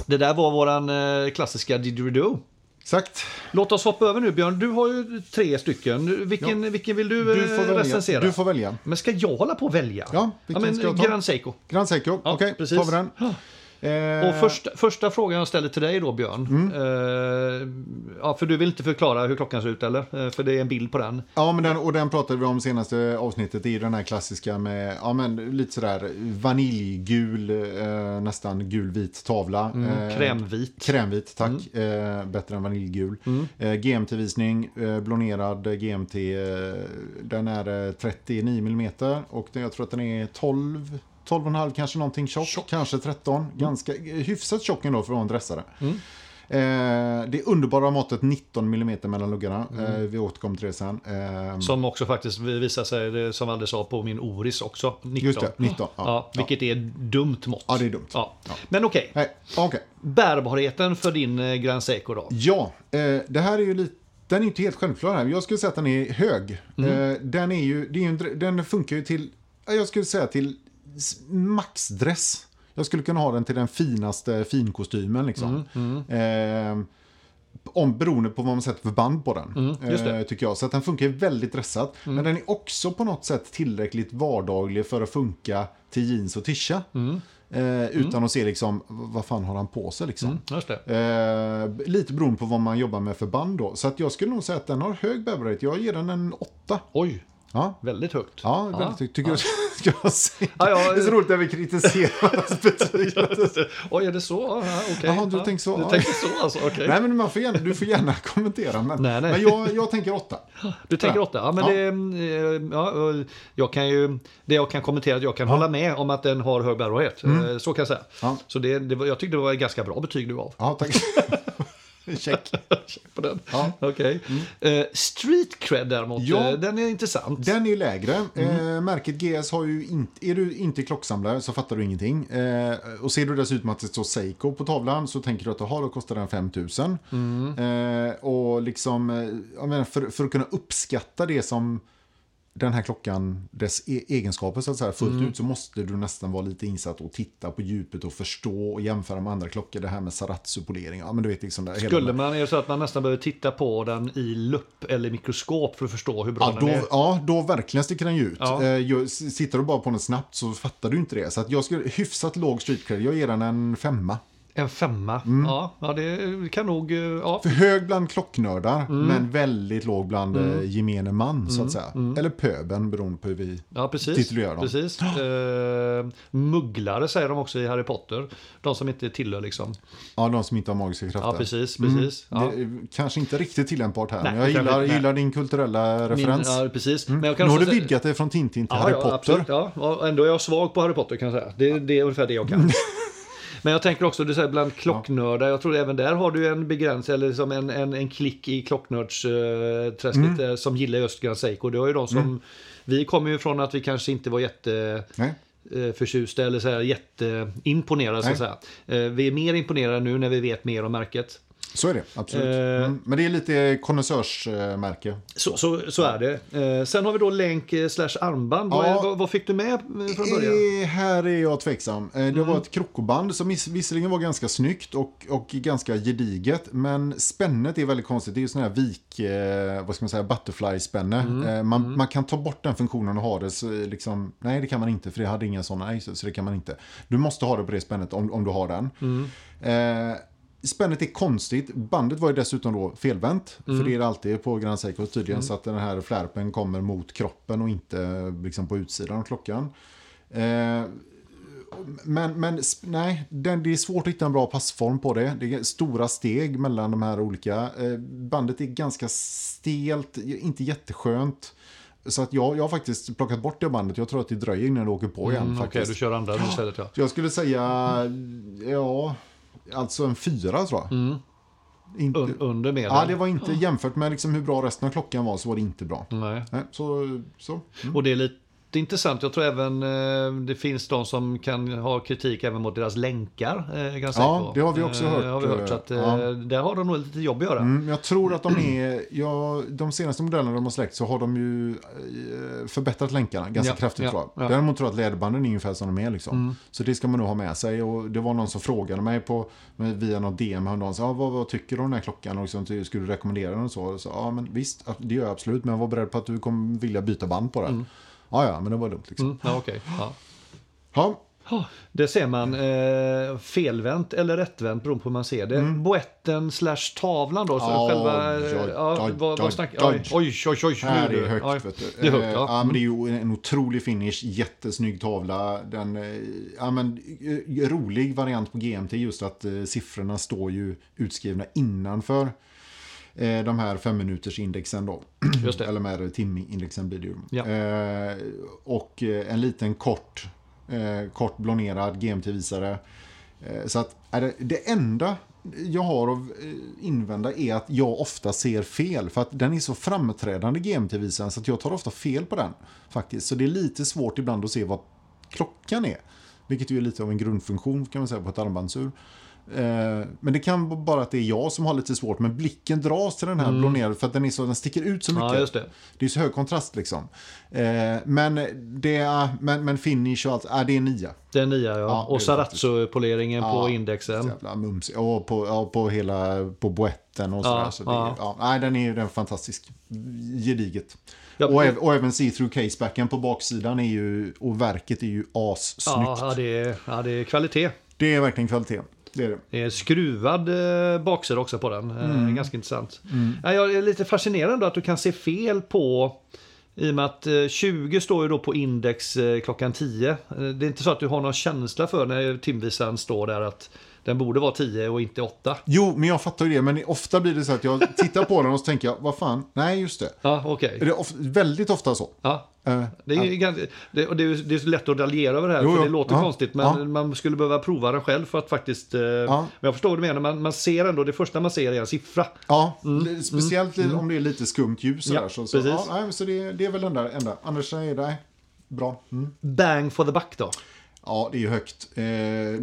S1: Det där var våran eh, klassiska didgeridoo.
S2: Exakt.
S1: Låt oss hoppa över nu Björn. Du har ju tre stycken. Vilken, vilken vill du,
S2: Du får
S1: eh,
S2: välja.
S1: recensera?
S2: Du får välja.
S1: Men ska jag hålla på och välja?
S2: Ja, vilken
S1: men,
S2: ska jag ta?
S1: Grand Seiko.
S2: Grand Seiko.
S1: Ja,
S2: Okej,
S1: precis.
S2: tar vi den. Eh, Mm.
S1: Och första, första frågan jag ställer till dig då Björn. Eh, ja, för du vill inte förklara hur klockan ser ut eller? Eh, för det är en bild på den.
S2: Ja, men den, och den pratade vi om senaste avsnittet i den här klassiska med ja, men, lite sådär vaniljgul, eh, nästan gulvit tavla.
S1: Mm,
S2: eh,
S1: Krämvit.
S2: Krämvit, tack. Eh, bättre än vaniljgul. Eh, GMT-visning, eh, blonerad GMT. Eh, den är eh, 39 mm och den, jag tror att den är 12, 12,5 kanske någonting tjock. Mm. Kanske 13. Ganska, eh, hyfsat tjock ändå för att vara en dressare. Eh, det underbara måttet 19 mm mellan luggarna. Eh, vi återkommer till det sen. Eh,
S1: Som också faktiskt visar sig, det som Anders sa, på min Oris också. 19.
S2: Just det, 19, ja.
S1: Ja, vilket är ett dumt mått.
S2: Ja, det är dumt.
S1: Ja. Men okej,
S2: nej, okej.
S1: bärbarheten för din eh, Grand Seiko då?
S2: Ja, eh, det här är ju lite... Den är inte helt självklar här. Jag skulle säga att den är hög.
S1: Mm.
S2: Eh, den, är ju, det är ju en, dr- den funkar ju till, ja, jag skulle säga till s- maxdress. Jag skulle kunna ha den till den finaste finkostymen liksom.
S1: Mm,
S2: Eh, om, beroende på vad man sätter för band på den.
S1: Mm, just det. Mm.
S2: eh, tycker jag. Så att den funkar ju väldigt dressat. Men den är också på något sätt tillräckligt vardaglig för att funka till jeans och tisha.
S1: Mm.
S2: Eh, utan att se liksom, vad fan har han på sig liksom.
S1: Just det.
S2: Eh, lite beroende på vad man jobbar med för band då. Så att jag skulle nog säga att den har hög bäverhet. Jag ger den en åtta.
S1: Oj,
S2: Ja.
S1: väldigt högt.
S2: Ja, väldigt högt. tycker jag ska jag säga.
S1: Ja, ja.
S2: Det är så roligt när vi kritiserar hans betyg.
S1: Oj, är det så? Ja, okej.
S2: Jaha, du
S1: Ja,
S2: tänkte så.
S1: Du
S2: Ja.
S1: tänkte så alltså, okej.
S2: Nej, men man får gärna, du får gärna kommentera. Men,
S1: Nej, nej.
S2: men jag, jag tänker åtta.
S1: Du tänker åtta? Ja, men
S2: Ja.
S1: Det, eh, ja, eh, jag kan ju, det jag kan kommentera är att jag kan hålla med om att den har hög bärbarhet. Eh, Så kan jag säga.
S2: Mm. Ja.
S1: Så det, det, var- jag tyckte det var ett ganska bra betyg du gav
S2: Ja, tack. Check.
S1: på den.
S2: Ja. Mm.
S1: Okej. Eh, street cred däremot,
S2: Ja.
S1: eh, den är intressant.
S2: Den är ju lägre. Eh, märket GS har ju inte... Är du inte klocksamlare så fattar du ingenting. Eh, och ser du dessutom att det står Seiko på tavlan så tänker du att jaha, då kostar den 5000. Eh, och liksom... eh, Jag menar, för, för att kunna uppskatta det som den här klockan, dess e- egenskaper så att säga, fullt ut så måste du nästan vara lite insatt och titta på djupet och förstå och jämföra med andra klockor. Det här med Saratsu-polering, ja men du vet liksom... Det, hela
S1: Skulle man, är det så att man nästan behöver titta på den i lupp eller mikroskop för att förstå hur bra
S2: Ja
S1: den
S2: då,
S1: är?
S2: ja, då verkligen sticker den ju ut.
S1: Ja.
S2: Eh, ju- s- sitter du bara på den snabbt så fattar du inte det. Så att jag skulle hyfsat låg street cred. Jag ger den en femma.
S1: En femma? Ja, ja, det kan nog... eh, Ja.
S2: Mm. För hög bland klocknördar,
S1: Mm.
S2: men väldigt låg bland eh, gemene man, så att säga.
S1: Mm.
S2: Eller pöben, beroende på hur vi...
S1: Ja, precis.
S2: Titulerar dem.
S1: precis. Eh, mugglare säger de också i Harry Potter. De som inte tillhör liksom.
S2: Ja, de som inte har magiska krafter.
S1: Ja, precis. precis. Ja.
S2: Mm. Det är kanske inte riktigt tillämpbart här,
S1: Nej,
S2: men jag
S1: kanske
S2: gillar,
S1: inte.
S2: gillar din kulturella
S1: Min-
S2: referens. Mm.
S1: ja, precis. Men jag kan
S2: nu har
S1: också
S2: du
S1: säga-
S2: vidgat dig från Tintin till
S1: Ja,
S2: Harry
S1: ja,
S2: Potter.
S1: absolut, ja. Och Ändå är jag svag på Harry Potter kan jag säga. Det, det är ungefär det jag kan. Men jag tänker också, du säger bland klocknördar, jag tror även där har du en begräns eller liksom en, en, en klick i klocknördsträsket
S2: Mm.
S1: eh, som gillar just Grand Seiko. Det var ju de som, vi kommer ju från att vi kanske inte var jätte
S2: Nej.
S1: eh, förtjusta eller så här, jätteimponerade. Så att säga. Eh, Vi är mer imponerade nu när vi vet mer om märket.
S2: Så är det, absolut.
S1: Eh.
S2: Mm. Men det är lite konnässörsmärke.
S1: Så, så, så är det. Eh, Sen har vi då länk eh, slash armband. Vad,
S2: Ja.
S1: är, vad, vad fick du med eh, från början? Mm.
S2: Eh, Här är jag tveksam. Eh, Det var ett krokoband som miss- visserligen var ganska snyggt och, och ganska gediget. Men spännet är väldigt konstigt. Det är ju sån här vik, eh, vad ska man säga, butterfly-spänne.
S1: Mm,
S2: Eh, Man, man kan ta bort den funktionen och ha det. Så eh, liksom, nej, det kan man inte för det hade inga sådana. Nej, så, så det kan man inte. Du måste ha det på det spännet om, om du har den.
S1: Mm.
S2: Eh, Spännet är konstigt. Bandet var ju dessutom då felvänt.
S1: Mm.
S2: För det är det alltid på Grand Seiko tydligen. Så att den här flärpen kommer mot kroppen och inte liksom på utsidan av klockan. Eh, men, men sp- nej, den, det är svårt att hitta en bra passform på det. Det är stora steg mellan de här olika. Eh, Bandet är ganska stelt, inte jätteskönt. Så att jag, jag har faktiskt plockat bort det bandet. Jag tror att det dröjer innan det åker på igen.
S1: Mm, Okej,
S2: faktiskt.
S1: du kör andra istället ja.
S2: Så jag skulle säga, ja, alltså en fyra tror jag. Inte,
S1: Mm. Un, under medel.
S2: ja, det var inte jämfört med liksom hur bra resten av klockan var så var det inte bra.
S1: Nej.
S2: Nej, så, så.
S1: Och det är lite intressant. Jag tror även eh, det finns de som kan ha kritik även mot deras länkar. eh, är jag ganska
S2: Ja,
S1: säker på.
S2: det har vi också
S1: Eh,
S2: hört,
S1: Har vi hört så att, eh,
S2: ja.
S1: Där har de nog lite jobb att göra.
S2: Mm, jag tror att de är, ja, de senaste modellerna de har släckt så har de ju eh, förbättrat länkarna ganska
S1: Ja,
S2: kraftigt
S1: ja,
S2: tror jag.
S1: ja. Mm.
S2: Däremot tror jag att ledbanden är ungefär som de är liksom. Så det ska man nog ha med sig. Och det var någon som frågade mig på, via något DM häromdagen, så, ah, vad, vad tycker du om den här klockan? Och liksom, ty- skulle du rekommendera den? Och så, och så ja men visst, att- det gör jag absolut, men var beredd på att du kommer vilja byta band på den. Ja, ja, men det var lugnt liksom.
S1: Mm, ja, okej. ja.
S2: Ja,
S1: Ja, Det ser man. Eh, felvänt eller rättvänt beroende på hur man ser det. Boetten slash tavlan då. Så
S2: Mm. Ja,
S1: själva...
S2: oj,
S1: eh, ja,
S2: oj,
S1: vad,
S2: oj,
S1: vad snackar... Oj,
S2: oj.
S1: oj, oj, oj.
S2: Här
S1: nu
S2: är högt.
S1: Oj,
S2: vet du.
S1: Det är högt,
S2: Eh,
S1: ja. Mm.
S2: men det är ju en otrolig finish, jättesnygg tavla. Den, eh, ja, men, eh, rolig variant på GMT just att eh, siffrorna står ju utskrivna innanför eh, de här femminutersindexen då.
S1: Just det.
S2: Eller med timindexen blir det ju.
S1: Ja.
S2: Eh, och eh, en liten kort, eh, kort blonerad GMT-visare. Eh, så att är det, det enda jag har att eh, invända är att jag ofta ser fel. För att den är så framträdande GMT-visaren så att jag tar ofta fel på den. faktiskt. Så det är lite svårt ibland att se vad klockan är. Vilket ju är lite av en grundfunktion kan man säga på ett armbandsur. Eh, Men det kan vara bara att det är jag som har lite svårt, men blicken dras till den här blonerade för att den, är så, den sticker ut så mycket.
S1: Mm. Ja, just det.
S2: Det är så hög kontrast liksom. Eh, men, det är, men, men finish och allt, äh, det är nia.
S1: Den nia ja.
S2: Ja, det är
S1: och
S2: det
S1: Sarazzo-poleringen på indexen.
S2: Jävla mums. Och på, ja, på hela, på boetten och sådär.
S1: Ja,
S2: så det,
S1: ja.
S2: ja. nej, den är den är fantastisk. Gediget.
S1: Ja,
S2: och,
S1: men-
S2: äv, och även see-through casebacken på baksidan är ju, och verket är ju assnyggt.
S1: Ja, ja, det är, ja, det är kvalitet.
S2: Det är verkligen kvalitet. Det är det.
S1: Det är skruvad eh, baksida också på den. Eh,
S2: Mm.
S1: Ganska intressant. Ja, jag är lite fascinerad ändå att du kan se fel på i och med att eh, 20 står ju då på index eh, klockan 10. Eh, Det är inte så att du har någon känsla för när timvisaren står där att den borde vara 10 och inte 8.
S2: Jo, men jag fattar ju det. Men ofta blir det så att jag tittar på den och så tänker jag, vad fan, nej just det.
S1: Ja, okej.
S2: Är det of- väldigt ofta så.
S1: Ja.
S2: Eh,
S1: Det är, ju ganska, det, och det, är, ju- det är så lätt att raljera över det här
S2: Jo,
S1: för
S2: jo.
S1: det låter
S2: Ja.
S1: konstigt men
S2: Ja.
S1: man skulle behöva prova det själv för att faktiskt... Eh, Men jag förstår vad du menar, man, man ser ändå, det första man ser är en siffra.
S2: Ja, li- speciellt li- om det är lite skumt ljus.
S1: Mm. Ja,
S2: sådär, så, så,
S1: precis.
S2: ja, nej, men så det, det är väl den där enda. Annars är det nej, bra. Mm.
S1: Bang for the buck då.
S2: Ja, det är ju högt. Eh,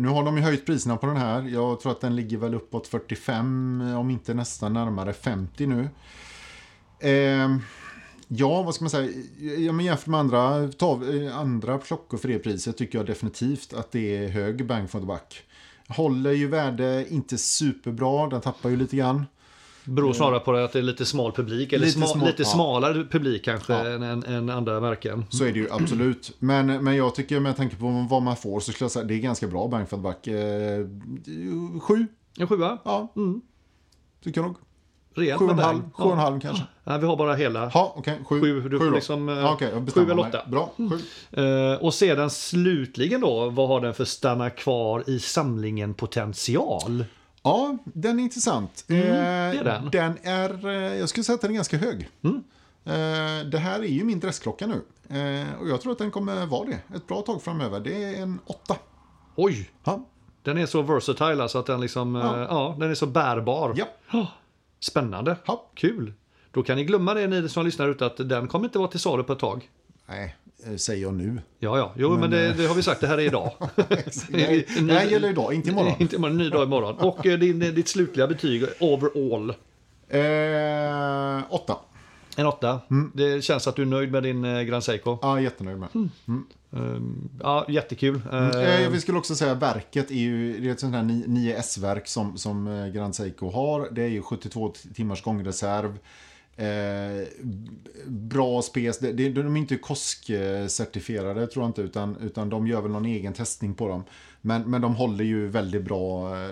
S2: nu har de ju höjt priserna på den här. Jag tror att den ligger väl uppåt 45, om inte nästan närmare 50 nu. Eh, ja, vad ska man säga? Ja, men jämfört med andra, tav, eh, andra klockor för det priset tycker jag definitivt att det är hög bang for the buck. Håller ju värde inte superbra, den tappar ju lite grann.
S1: Beror snarare på det att det är lite smal publik, eller
S2: Lite
S1: Mm. lite,
S2: smal-
S1: lite
S2: ja.
S1: smalare publik kanske
S2: Ja.
S1: än, än, än andra märken.
S2: Så är det ju absolut. Men, men jag tycker med tanke på vad man får så skulle jag säga det är ganska bra bang for the buck. Eh, sju,
S1: En sjua,
S2: ja. Tycker jag nog.
S1: rejält
S2: Sju och
S1: med
S2: en halv,
S1: bang.
S2: sju och en halv kanske.
S1: Ja, vi har bara hela.
S2: Ja, okej. Sju,
S1: Sju, du får
S2: då.
S1: liksom, eh,
S2: ja, okej, jag
S1: sju
S2: bestämmer
S1: eller
S2: mig.
S1: åtta.
S2: Bra, sju.
S1: Eh, och sedan slutligen då, vad har den för stanna kvar i samlingen potential?
S2: Ja, den är intressant.
S1: Mm,
S2: Eh,
S1: det är den. Mm.
S2: den är, eh, jag skulle säga att den är ganska hög. Eh, Det här är ju min dressklocka nu. Eh, Och jag tror att den kommer vara det ett bra tag framöver. Det är en åtta.
S1: Oj!
S2: Ja,
S1: Den är så versatile alltså att den liksom, eh, ja.
S2: Ja.
S1: den är så bärbar.
S2: ja.
S1: Ja, Spännande!
S2: Ja.
S1: Kul! Då kan ni glömma det ni som lyssnar ute att den kommer inte vara till salu på ett tag.
S2: Nej, eh, säger jag nu.
S1: Ja, ja, jo men, det,
S2: eh,
S1: det har vi sagt, det här är idag. Ny-
S2: Nej, det här gäller idag, inte imorgon.
S1: inte imorgon, ny dag imorgon. Och eh, din, ditt slutliga betyg overall.
S2: Eh, åtta.
S1: En åtta. Det känns att du är nöjd med din eh, Grand Seiko.
S2: Mm. Ja, jättenöjd
S1: Mm.
S2: med.
S1: Ehm, Ja, jättekul. Eh,
S2: Eh, vi skulle också säga verket är ju det är ett sånt här 9S-verk som, som eh, Grand Seiko har. Det är ju 72 timmars gångreserv. Eh, b- bra spec. Det, det, de är inte KOSK-certifierade tror jag inte, utan, utan de gör väl någon egen testning på dem. Men, men de håller ju väldigt bra, eh,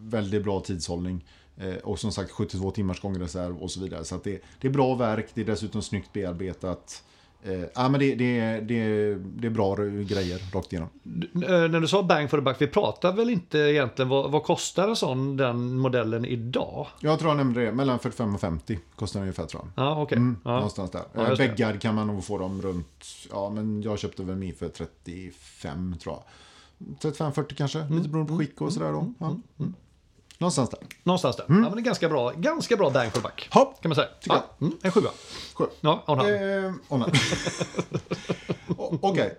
S2: väldigt bra tidshållning. Eh, och som sagt 72 timmars gångreserv och så vidare. Så att det, det är bra verk, det är dessutom snyggt bearbetat. Eh, Eh, ja, men det, det, det, det är bra grejer rakt igenom.
S1: D- eh, När du sa bang for the buck, vi pratar väl inte egentligen vad, vad kostar en sån, den modellen idag?
S2: Jag tror jag nämnde det, mellan 45 och 50 kostar den ungefär tror jag.
S1: Ja, okej. ja.
S2: Någonstans där.
S1: Ja,
S2: Eh,
S1: just det.
S2: Väggar kan man nog få dem runt, ja men jag köpte väl min för 35 tror jag. 35-40 kanske,
S1: Mm,
S2: lite beroende på skick och sådär då. Ja. Mm. Någonstans där.
S1: Någonstans där. Ja, men det är ganska bra, ganska bra bang for the buck.
S2: Hopp.
S1: Kan man säga.
S2: Tycker
S1: ja, mm, en sjua.
S2: Skönt.
S1: Ja, on hand.
S2: Eh, oh, nej. O- Okej,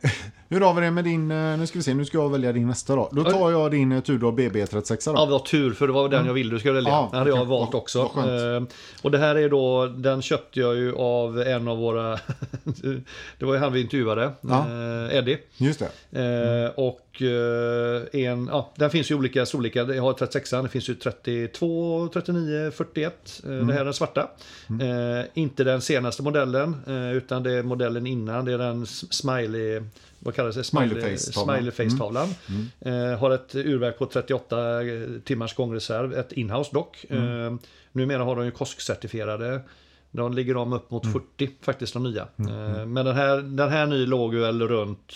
S2: hur har vi det med din, eh, nu ska vi se, nu ska jag välja din nästa då. Då tar jag din eh, Tudor BB36 då.
S1: Ja, vi har tur för det var den jag ville du skulle välja.
S2: Mm. Ja,
S1: den hade jag
S2: okej.
S1: valt
S2: Vad-
S1: också.
S2: vad skönt.
S1: Eh, och det här är då, den köpte jag ju av en av våra, det var ju han vi intervjuade,
S2: Ja.
S1: eh, Eddie.
S2: Just det.
S1: Eh, Och eh, en, ja, den finns ju olika storlekar. Jag har 36 det finns ju 32, 39, 41. Eh,
S2: Mm.
S1: Det här är den svarta. Eh, inte den senaste modellen, eh, utan det är modellen innan. Det är den s- smiley... Vad kallas det?
S2: Smiley face-tavlan.
S1: smiley
S2: Mm.
S1: face-tavlan. Eh, har ett urverk på 38 timmars gångreserv. Ett inhouse dock.
S2: Mm.
S1: Eh, numera har de ju KOSK-certifierade. De ligger de upp
S2: Mm.
S1: mot 40 faktiskt, de nya. Eh, men den här, den här ny låg ju väl runt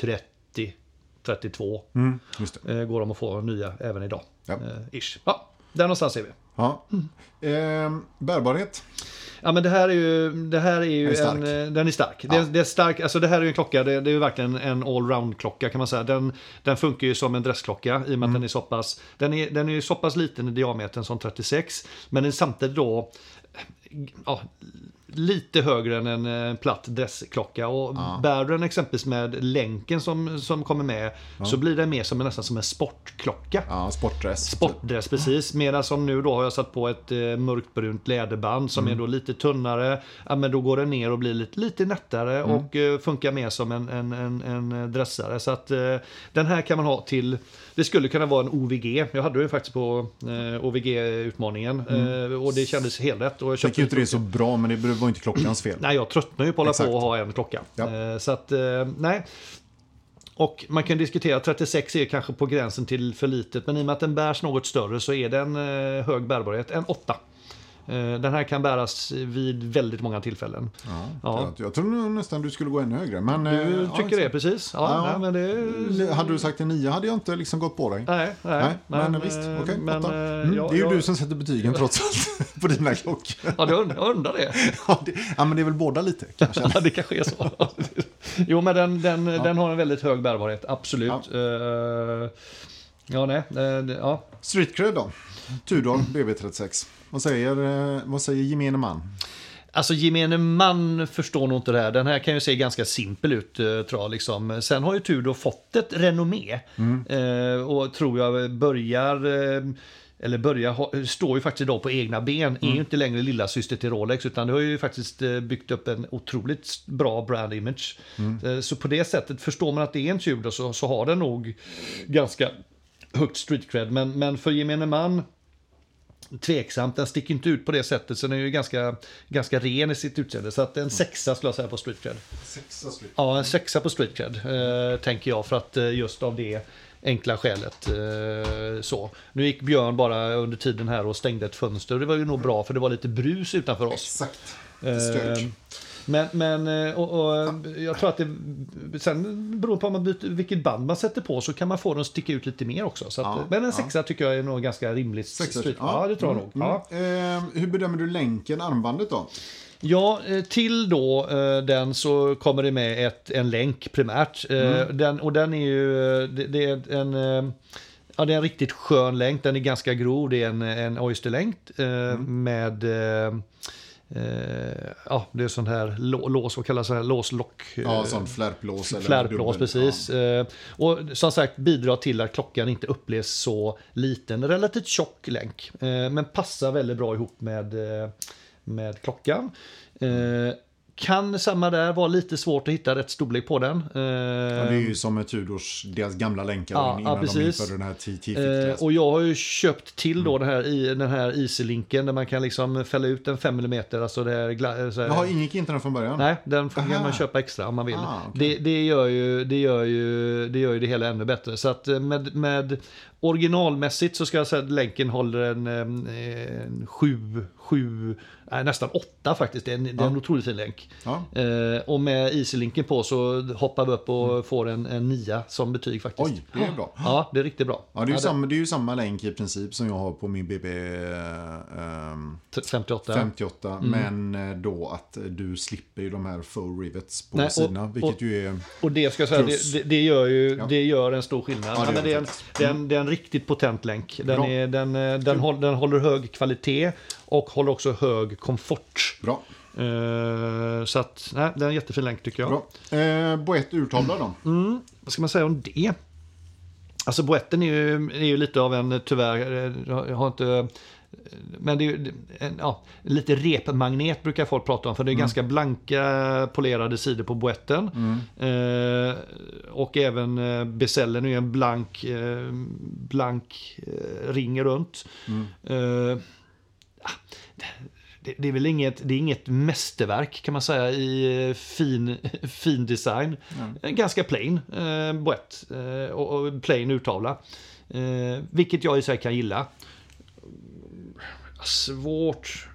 S1: 30, 32
S2: Mm, just det.
S1: eh, går de att få nya även idag.
S2: Ja.
S1: Eh, ish. Ja, där någonstans är vi.
S2: Ja.
S1: Mm.
S2: Ehm, bärbarhet.
S1: Ja men det här är ju, det här är ju
S2: Den är
S1: en,
S2: stark.
S1: eh, den är stark. Det, är- det är stark, alltså det här är ju en klocka, det, det är ju verkligen en allround klocka kan man säga. Den, den funkar ju som en dressklocka i och med
S2: Mm.
S1: att den är så pass, den är, den är ju så pass liten i diametern som 36, men den är samtidigt då eh, ja, lite högre än en eh, platt dressklocka. Och bär du den exempelvis med länken som, som kommer med så blir den mer som, en- nästan som en sportklocka.
S2: Ja, sportdress.
S1: Typ. Sportdress precis, medan som nu då har jag satt på ett eh, mörkbrunt läderband som
S2: Mm.
S1: är då lite tunnare. Ja, men då går den ner och blir lite, lite nättare
S2: Mm.
S1: och eh, funkar mer som en, en, en, en dressare. Så att eh, den här kan man ha till, det skulle kunna vara en OVG. Jag hade ju faktiskt på eh, OVG-utmaningen eh, och det kändes helt rätt. Och jag
S2: Tycker
S1: köpte
S2: Mm. ju inte det är så bra, men det var ju inte klockans fel.
S1: Nej, jag tröttnar ju på att hålla
S2: Exakt.
S1: på och ha en klocka.
S2: Ja.
S1: Eh, Så att, eh, nej. Och man kan diskutera, 36 är kanske på gränsen till för litet, men i och med att den bärs något större så är den eh, hög bärbarhet, en 8. Den här kan bäras vid väldigt många tillfällen.
S2: Ja,
S1: Ja.
S2: Jag, jag tror nog nästan du skulle gå ännu högre. Men,
S1: Du tycker det, precis? Ja,
S2: Ja.
S1: Nej, men det är...
S2: Hade du sagt en nia hade jag inte liksom gått på dig.
S1: Nej, nej,
S2: Nej, men,
S1: eh,
S2: visst. Okej,
S1: men,
S2: åtta.
S1: eh,
S2: mm,
S1: jag-
S2: Det är ju
S1: jag-
S2: du som sätter betygen trots allt på dina klockor.
S1: Ja, det und- jag undrar det.
S2: Ja, det, ja, men det är väl båda lite kanske.
S1: Ja, det kanske är så. Jo, men den, den, den har en väldigt hög bärbarhet, absolut. Ja, ja nej. eh, det- Ja.
S2: Street cred då. Tudor BB36. Vad säger, eh, vad säger gemene man?
S1: Alltså gemene man förstår nog inte det här. Den här kan ju se ganska simpel ut eh, tror jag. Liksom. Sen har ju Tudor fått ett renommé. Eh, och tror jag börjar, eh, eller börjar, ha, står ju faktiskt idag på egna ben. Är ju inte längre lilla syster till Rolex utan det har ju faktiskt eh, byggt upp en otroligt bra brand image. Eh, så på det sättet, förstår man att det är en Tudor så, så har den nog ganska högt street cred. Men, men för gemene man tveksamt. Den sticker inte ut på det sättet, så den är ju ganska, ganska ren i sitt utseende. Så att en sexa skulle jag säga på street cred.
S2: Sexa street.
S1: Ja, en sexa på street cred, eh, tänker jag, för att eh, just av det enkla skälet. Eh, så. Nu gick Björn bara under tiden här och stängde ett fönster. Det var ju nog bra, för det var lite brus utanför oss.
S2: Exakt.
S1: Eh,
S2: Stök.
S1: Men, men eh, och, och, jag tror att det... Sen beror på om man byter, vilket band man sätter på så kan man få den att sticka ut lite mer också. Så att,
S2: Ja,
S1: men en
S2: ja.
S1: sexa tycker jag är nog ganska rimligt.
S2: Sexa
S1: street-
S2: street.
S1: Ja, det tror jag nog.
S2: Mm,
S1: Ja.
S2: mm. Eh, hur bedömer du länken, armbandet då?
S1: Ja, eh, till då eh, den så kommer det med ett, en länk primärt. Eh, Den, och den är ju, eh, det, det är en... eh, Ja, det är en riktigt skön länk. Den är ganska grov. Det är en, en oysterlänk eh, med... Eh, eh, ja, det är sån här lå- lås, vad kallas det? Här, låslock. eh,
S2: Ja, sån flärplås. eller
S1: Flärplås,
S2: dubbel.
S1: precis. Eh, Och som sagt, bidrar till att klockan inte upplevs så liten. Relativt tjock länk, eh, men passar väldigt bra ihop med, eh, med klockan. Eh, Kan samma där vara lite svårt att hitta rätt storlek på den. Eh,
S2: Ja. Och det är ju som med Tudors, deras gamla länkar
S1: Ja,
S2: innan
S1: ja,
S2: de
S1: precis.
S2: införde den här
S1: Eh,
S2: 10-fit-klassen.
S1: och jag har ju köpt till då
S2: Mm.
S1: den här, i- den här Easy-linken där man kan liksom fälla ut en 5 mm. Alltså det här, gla- så här,
S2: Jaha, ingick inte den från början?
S1: Nej, den får- kan
S2: Aha.
S1: man köpa extra om man vill.
S2: Ah, okej.
S1: det, det, gör ju, det, gör ju, det gör ju det hela ännu bättre. Så att eh, med, med originalmässigt så ska jag säga att länken håller en, eh, en sju, sju, nej, nästan åtta faktiskt. Det är en, det är en otroligt fin länk. Easy-link.
S2: Ja.
S1: Eh, och med Easy-linken på så hoppar vi upp och får en, en nia som betyg faktiskt.
S2: Mm. Oj, det är bra.
S1: Ja, det är riktigt bra.
S2: Ja, det är, ju
S1: Ja,
S2: samma, det är ju samma länk i princip som jag har på min BB eh, ehm,
S1: det- 58.
S2: 58.
S1: Mm.
S2: Men eh, då att du slipper ju de här faux rivets på
S1: Nej, och-
S2: sidorna. vilket
S1: och-
S2: ju är...
S1: Och det ska jag säga,
S2: Plus.
S1: det, det, det, gör ju,
S2: Ja.
S1: det gör en stor skillnad.
S2: Ja,
S1: Ja,
S2: det
S1: men
S2: gör
S1: det,
S2: det
S1: är en, det, är en, det är en riktigt potent länk. Den,
S2: Bra.
S1: är, den, eh, den, håll, den håller hög kvalitet och håller också hög komfort.
S2: Bra.
S1: Eh, så att, nej, det är en jättefin länk tycker jag.
S2: bra. Eh, Boett urtavla då?
S1: Mm. Vad ska man säga om det? Alltså boetten är ju, är ju lite av en, tyvärr, eh, jag har inte... Men det är ju en, ja, lite repmagnet brukar folk prata om för det är ganska blanka polerade sidor på boetten. Eh, och även eh, besällen är ju en blank, eh, blank eh, ring runt. Eh, det, det är väl inget, det är inget mästerverk kan man säga i eh, fin, fin design. En Ganska plain eh, boett eh, och, och plain urtavla. Eh, vilket jag i sig kan gilla. Eh, Svårt...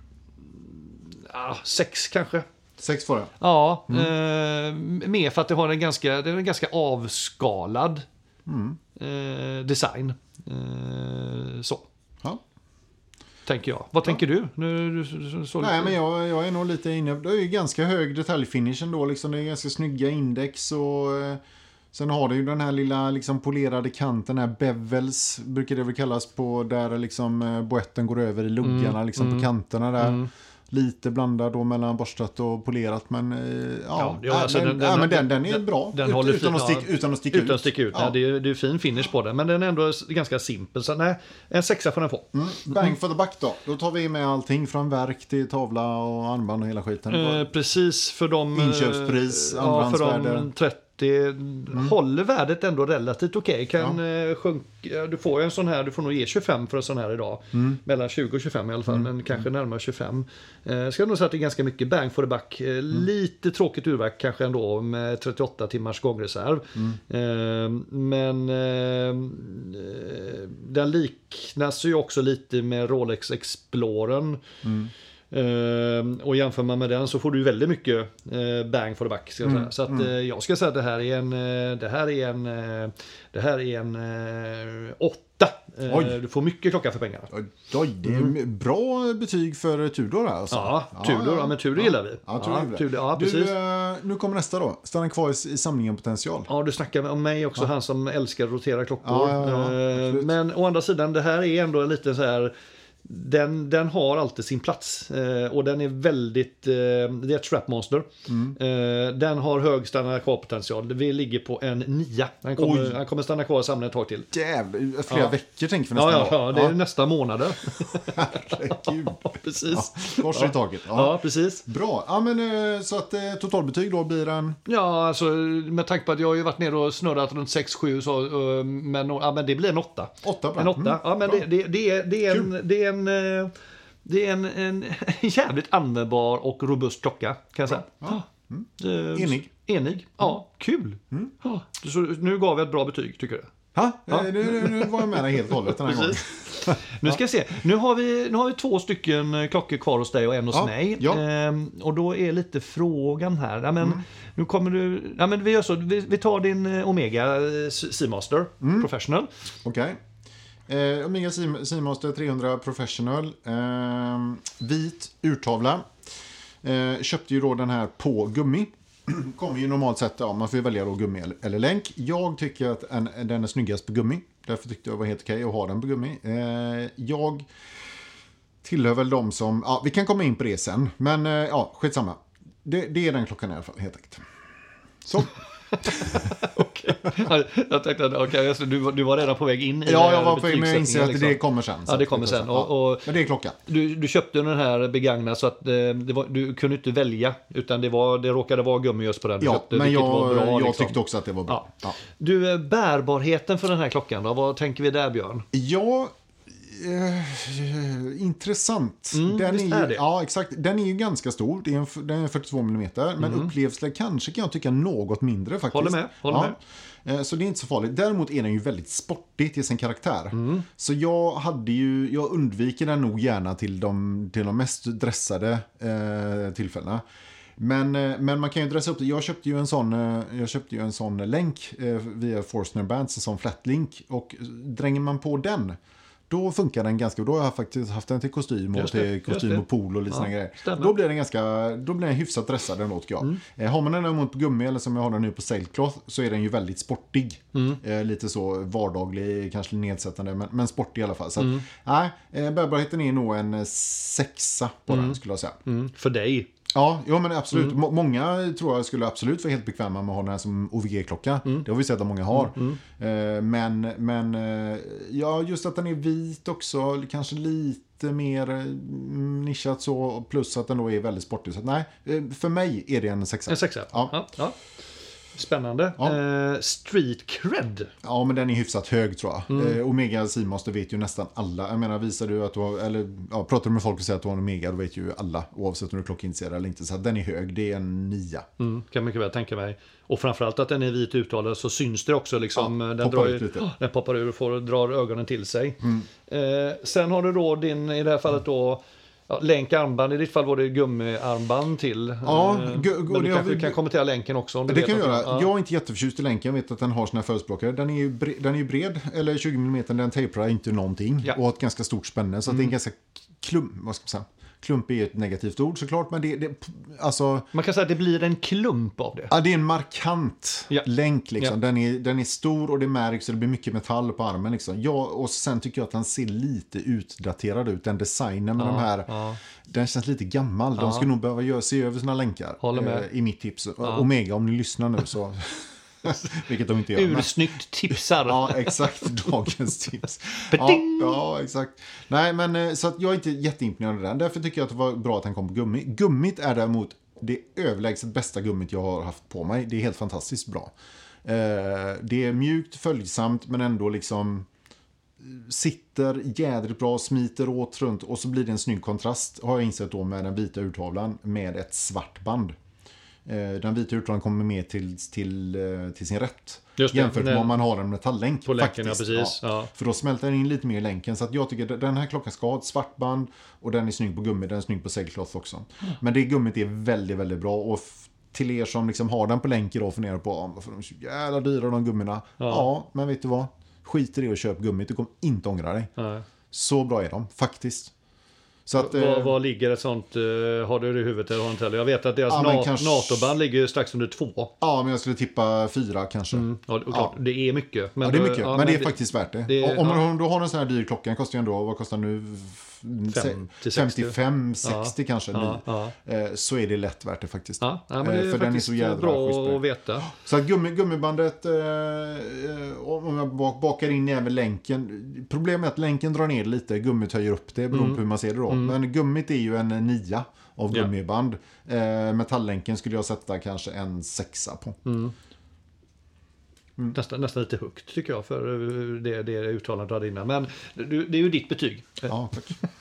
S1: Ah, sex kanske.
S2: Sex får jag.
S1: Ja, eh, mer för att det har en ganska, det är en ganska avskalad eh, design. Eh, så,
S2: Ja.
S1: tänker jag. Vad tänker du? Nu, du, du såg
S2: Nej, men jag, jag är nog lite inne... Det är ju ganska hög detaljfinish ändå. Liksom. Det är ganska snygga index och... Eh, sen har det ju den här lilla liksom, polerade kanten, här bevels brukar det väl kallas på. Där liksom eh, boetten går över i luggarna,
S1: Mm,
S2: liksom på kanterna där. Lite blandad då mellan borstat och polerat, men eh, ja,
S1: Ja,
S2: ja,
S1: det- alltså,
S2: den,
S1: den-
S2: ja,
S1: den-
S2: men den, den är bra.
S1: den
S2: Ut-
S1: håller
S2: utan,
S1: fin-
S2: att sticka,
S1: ja.
S2: utan att sticka ut.
S1: Utan att sticka ut.
S2: Ja.
S1: Ja. Det, är, det är fin finish på den, men den är ändå s- ganska simpel. Så nej, en sexa får den få.
S2: Mm. Bang for the buck då. Då tar vi med allting från verk till tavla och armband och hela skiten.
S1: Eh, precis för de... eh,
S2: Inköpspris,
S1: ja, för
S2: andrahandsvärde. Mm.
S1: de 30. Håller värdet ändå relativt okej. Kan eh, sjunka- Du får ju en sån här, du får nog ge 25 för en sån här idag.
S2: Mm.
S1: Mellan 20 och 25 i alla fall, men kanske närmare 25. Eh, ska jag nog säga att det är ganska mycket bang for the buck. Eh,
S2: Mm.
S1: Lite tråkigt urverk kanske ändå med 38 timmars gångreserv.
S2: Mm.
S1: Eh, men eh, eh, den liknas ju också lite med Rolex Explorern. Ehm, och jämför man med den så får du ju väldigt mycket eh, bang for the buck. Ska jag säga.
S2: Mm,
S1: Så att, eh, jag ska säga att det här är en, eh, det här är en, eh, det här är en eh, åtta. Eh,
S2: Oj.
S1: Du får mycket klocka för pengarna.
S2: Oj, Oj, det är bra betyg för Tudor här alltså.
S1: Mm. Ja, Tudor, ja, men Tudor gillar vi.
S2: Ja, Tudor, gillar vi.
S1: Tudor, ja, precis.
S2: Du, eh, nu kommer nästa då. Stanna kvar i, i samlingen potential.
S1: Ja, du snackar om mig också, han som älskar att rotera klockor.
S2: Ja, ja, ja,
S1: Eh,
S2: absolut.
S1: Men å andra sidan, det här är ändå en liten så här... Den, den har alltid sin plats eh, och den är väldigt, eh, det är ett trapmonster.
S2: Mm.
S1: Eh, den har hög stanna kvar-potential. Vi ligger på en nia. Han
S2: Oj.
S1: kommer, han kommer stanna kvar och samla ett tag till.
S2: Jävlar, flera
S1: Ja.
S2: veckor tänker vi
S1: Ja,
S2: nästan
S1: ja, ja, det är
S2: då.
S1: nästa månader.
S2: Ja, herregud.
S1: precis.
S2: Ja, Kors i taget.
S1: Ja.
S2: Ja.
S1: precis.
S2: Bra, ja, men, eh, så att eh, totalbetyg då blir en...
S1: Ja, alltså med tanke på att jag har ju varit nere och snurrat runt 6-7 så, eh, men, ja, men det blir en åtta.
S2: Åtta bra.
S1: En åtta.
S2: Mm,
S1: ja, men
S2: bra.
S1: det, det, det, är, det är en... Det är en eh, det är en, en jävligt användbar och robust klocka kan jag säga. Ja. Eh,
S2: Mm. Enig. Mm.
S1: Enig. Ja, kul. Ja, så nu gav jag ett bra betyg tycker jag.
S2: Ha? Eh, Nu, nu var jag med dig helt och hållet den här gången.
S1: Nu ska jag se. Nu har, vi, nu har vi två stycken eh, klockor kvar hos dig och en hos
S2: Ja,
S1: mig.
S2: ja. Mm.
S1: Ehm, och då är lite frågan här. Ja, men, Nu kommer du... Ja, men vi gör så. Vi, vi tar din eh, Omega eh, Seamaster
S2: Mm.
S1: Professional.
S2: Okej. Eh, Omega Seam- Seamaster 300 Professional. Eh, vit urtavla. Eh, köpte ju då den här på gummi. Kommer ju normalt sett, ja man får ju välja då gummi eller, eller länk. Jag tycker att en, den är snyggast på gummi. Därför tyckte jag det var helt okej att ha den på gummi. Eh, jag tillhör väl de som, ja vi kan komma in på det sen. Men eh, ja, skitsamma. Det, det är den klockan i alla fall, helt enkelt. Så.
S1: Okej. Ja, Jag tänkte att okej, just det, du, var- du var redan på väg in i det
S2: Ja,
S1: här
S2: jag var på men jag inser
S1: betygssättningen,
S2: att det
S1: eh, liksom.
S2: kommer sen. så
S1: Ja, det
S2: att
S1: kommer sen.
S2: ja.
S1: Och- och-
S2: Men det är klockan.
S1: Du, du köpte den här begagnad så att eh, det var, du kunde inte välja utan det, var, det råkade vara gummi just på den du
S2: Ja,
S1: köpte.
S2: men
S1: vilket
S2: jag,
S1: var bra,
S2: jag
S1: liksom.
S2: tyckte också att det var bra.
S1: Ja.
S2: Ja,
S1: Du, eh, bärbarheten för den här klockan då? Vad tänker vi där Björn?
S2: ja. eh, intressant. den
S1: Mm, visst
S2: ju,
S1: är det.
S2: Ja, exakt. Den är ju ganska stor. Det är en, f- den är 42 mm, men upplevs det kanske kan jag tycka något mindre faktiskt.
S1: Håller med, håller
S2: med. Eh, Så det är inte så farligt. Däremot är den ju väldigt sportig till sin karaktär.
S1: Mm.
S2: Så jag hade ju, jag undviker den nog gärna till de, till de mest dressade eh, tillfällena. Men, eh, men man kan ju dressa upp det. Jag köpte ju en sån, eh, jag köpte ju en sån länk eh, via Forstner Bands, en sån flat link. Och dränger man på den, då funkar den ganska bra. Då har jag faktiskt haft den till kostym och
S1: Just det,
S2: till
S1: just
S2: kostym
S1: det.
S2: och pool och lite
S1: Ja,
S2: såna grejer.
S1: stämmer. Mm.
S2: Då blir den ganska, då blir den hyfsat dressad ändå tycker jag. Eh, har man den däremot på gummi eller som jag har den nu på sailcloth så är den ju väldigt sportig.
S1: Mm.
S2: Eh, lite så vardaglig, kanske nedsättande, men, men sportig i alla fall. Så
S1: Mm.
S2: att, nej, eh, bärbarheten är nog en eh, sexa på den skulle jag säga.
S1: Mm, för dig.
S2: Ja, jo, men absolut. Må- Många tror jag skulle absolut vara helt bekväma med att ha den här som OVG-klocka. Det har vi sett att många har. Eh, Men, men eh, ja, just att den är vit också, kanske lite mer eh, nischat så, plus att den då är väldigt sportig. Så att, nej, eh, för mig är det en sexa.
S1: En sexa?
S2: Ja.
S1: ja, ja. Spännande.
S2: Ja.
S1: Eh, street cred.
S2: Ja, men den är hyfsat hög tror jag. Eh, Omega Simons, det vet ju nästan alla. Jag menar, visar du att du har, eller ja, pratar du med folk och säger att du har en Omega, då vet ju alla, oavsett om du är klockintresserad eller inte. Så att den är hög, det är en nia.
S1: Mm, kan jag mycket väl tänka mig. Och framförallt att den är vit uttalad så syns det också. Liksom,
S2: Ja,
S1: den,
S2: poppar
S1: drar,
S2: ut lite. Mm.
S1: ju- den poppar ur och får, drar ögonen till sig. Eh, sen har du då din, i det här fallet då, ja, länk armband. I ditt fall var det gummiarmband till.
S2: Ja,
S1: eh,
S2: gu- gu-
S1: men
S2: det
S1: du
S2: har
S1: kanske
S2: vi-
S1: kan kommentera länken också. Om du
S2: Det
S1: vet
S2: kan jag
S1: något.
S2: göra.
S1: Ja.
S2: Jag är inte jätteförtjust i länken. Jag vet att den har sina förespråkare. Den är ju bred, den är ju bred eller 20 mm. Den tejpar inte någonting.
S1: Ja. Mm.
S2: Och har ett ganska stort spänne. Så att det är en ganska klump... Vad ska man säga? Klump är ju ett negativt ord såklart. Men det, det alltså...
S1: Man kan säga att det blir en klump av det.
S2: Ja, det är en markant
S1: Ja.
S2: länk. Liksom.
S1: Ja.
S2: Den, är, den är stor och det märks och det blir mycket metall på armen. Liksom. Ja, och sen tycker jag att den ser lite utdaterad ut. Den designen med de här.
S1: ja.
S2: Den känns lite gammal. De skulle nog behöva göra, se över sina länkar.
S1: Håller med.
S2: eh, I mitt tips. Omega, om ni lyssnar nu så. Vilket de inte gör. men-
S1: Ursnyggt tipsar.
S2: Ja, exakt. Dagens tips. Ja,
S1: Peting!
S2: ja, exakt. Nej, men eh, så att jag är inte jätteimponerad av den. Därför tycker jag att det var bra att den kom på gummi. Gummit är däremot det överlägset bästa gummit jag har haft på mig. Det är helt fantastiskt bra. Eh, Det är mjukt, följsamt, men ändå liksom sitter jädrigt bra, smiter åt runt och så blir det en snygg kontrast har jag insett då med den vita urtavlan med ett svart band. Eh, Den vita urtavlan kommer med till, till, eh, till sin rätt.
S1: Just det,
S2: jämfört med
S1: när-
S2: om man har en metalllänk.
S1: På länken,
S2: faktiskt.
S1: ja, precis. Ja.
S2: För då smälter den in lite mer i länken. Så att jag tycker att den här klockan ska ha ett svart band och den är snygg på gummi, den är snygg på sailcloth också.
S1: Mm.
S2: Men det gummit är väldigt, väldigt bra. Och f- till er som liksom har den på länk idag och funderar på "Ah, varför de är så jävla dyra de gummorna. Ja. men vet du vad? Skit i det och köp gummit, du kommer inte ångra dig.
S1: Nej.
S2: Så bra är de, faktiskt. Så att... eh,
S1: Var, var ligger ett sånt? eh, har du det i huvudet eller har du inte heller? Jag vet att deras
S2: Ja, men
S1: na-
S2: kanske-
S1: NATO-band ligger ju strax under två. Mm,
S2: Ja, men jag skulle tippa fyra kanske.
S1: Ja, det, och klart, det är mycket. Men
S2: Ja, det är
S1: då-
S2: mycket,
S1: ja,
S2: men, det är faktiskt värt det.
S1: det-
S2: Och om
S1: ja.
S2: man då har en sån här dyr klocka, den kostar ju ändå, vad kostar den nu? F-
S1: Fem till
S2: se-
S1: 60.
S2: 55, 60 kanske,
S1: ja,
S2: ny. Eh, Så är det lätt värt det faktiskt.
S1: Ja, ja, men
S2: Eh,
S1: det är
S2: För den är
S1: faktiskt
S2: så jävla schysst
S1: bra
S2: bra.
S1: att veta.
S2: Så att gummi, gummibandet, eh, eh, om jag bak- bakar in även länken. Problemet är att länken drar ner lite, gummit höjer upp det beroende på hur man ser det då. Men gummit är ju en nia av
S1: Mm. Ja.
S2: gummiband. Eh, Metalllänken skulle jag sätta kanske en sexa på.
S1: Mm.
S2: Mm.
S1: Nästan, nästan lite högt tycker jag för eh, det, det uttalandet du hade innan. Men du, det är ju ditt betyg.
S2: Ja, tack.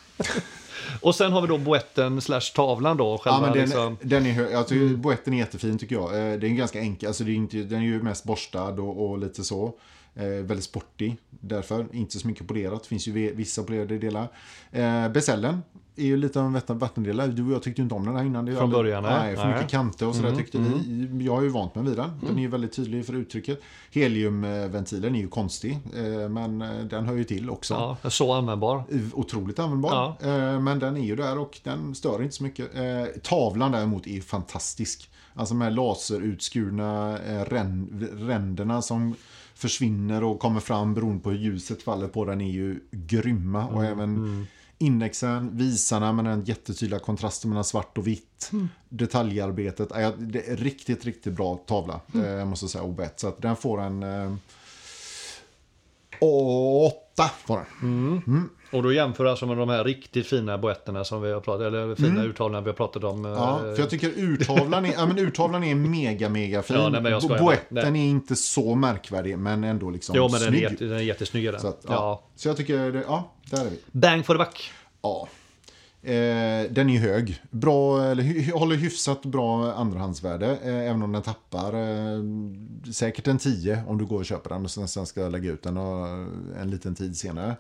S1: Och sen har vi då boetten slash tavlan då. Själva
S2: Ja, men den,
S1: liksom, Mm.
S2: den är hög. Jag tycker boetten är jättefin tycker jag. Eh, Den är ganska enkel. Alltså, det är inte, den är ju mest borstad och, och lite så. Eh, väldigt sportig därför. Inte så mycket polerat. finns ju ve- vissa polerade delar. Eh, Besällen är ju lite av en vatten- vattendelare. Du och jag tyckte ju inte om den här innan. Det är ju
S1: Från
S2: aldrig-
S1: början, nej.
S2: Nej, för
S1: Nej. Mm,
S2: mycket kanter och sådär tyckte vi. Jag är ju vant mig vid den. Den är ju väldigt tydlig för uttrycket. Heliumventilen är ju konstig. Eh, men eh, den hör ju till också
S1: ja, så användbar.
S2: otroligt användbar. Eh, Men den är ju där och den stör inte så mycket. Eh, Tavlan däremot är fantastisk. Alltså de här laserutskurna eh, rän- ränderna som försvinner och kommer fram beroende på hur ljuset faller på den är ju grymma. Och även indexen, visarna med den jättetydliga kontrasten mellan svart och vitt. Detaljarbetet. Eh, Det är riktigt, riktigt bra tavla eh, måste jag säga. Och bett. Så att den får en... Eh, åtta får den.
S1: Och då jämför alltså med de här riktigt fina boetterna som vi har pratat eller fina uttalandena vi har pratat om. eh,
S2: Mm. Ja, för jag tycker urtavlan är, ja, men urtavlan är mega, mega fin.
S1: Ja, nej, men jag skojar.
S2: Boetten är inte så märkvärdig, men ändå liksom
S1: jo, men den är,
S2: snygg.
S1: jätte, den är jättesnygg är den.
S2: Så, att, ja.
S1: ja.
S2: så jag tycker, det, ja, där är vi.
S1: Bang for the buck.
S2: Ja. Eh, den är ju hög. Bra, eller, hy- håller hyfsat bra andrahandsvärde, eh, även om den tappar eh, säkert en 10 om du går och köper den och sen, sen ska jag lägga ut den eh, en liten tid senare.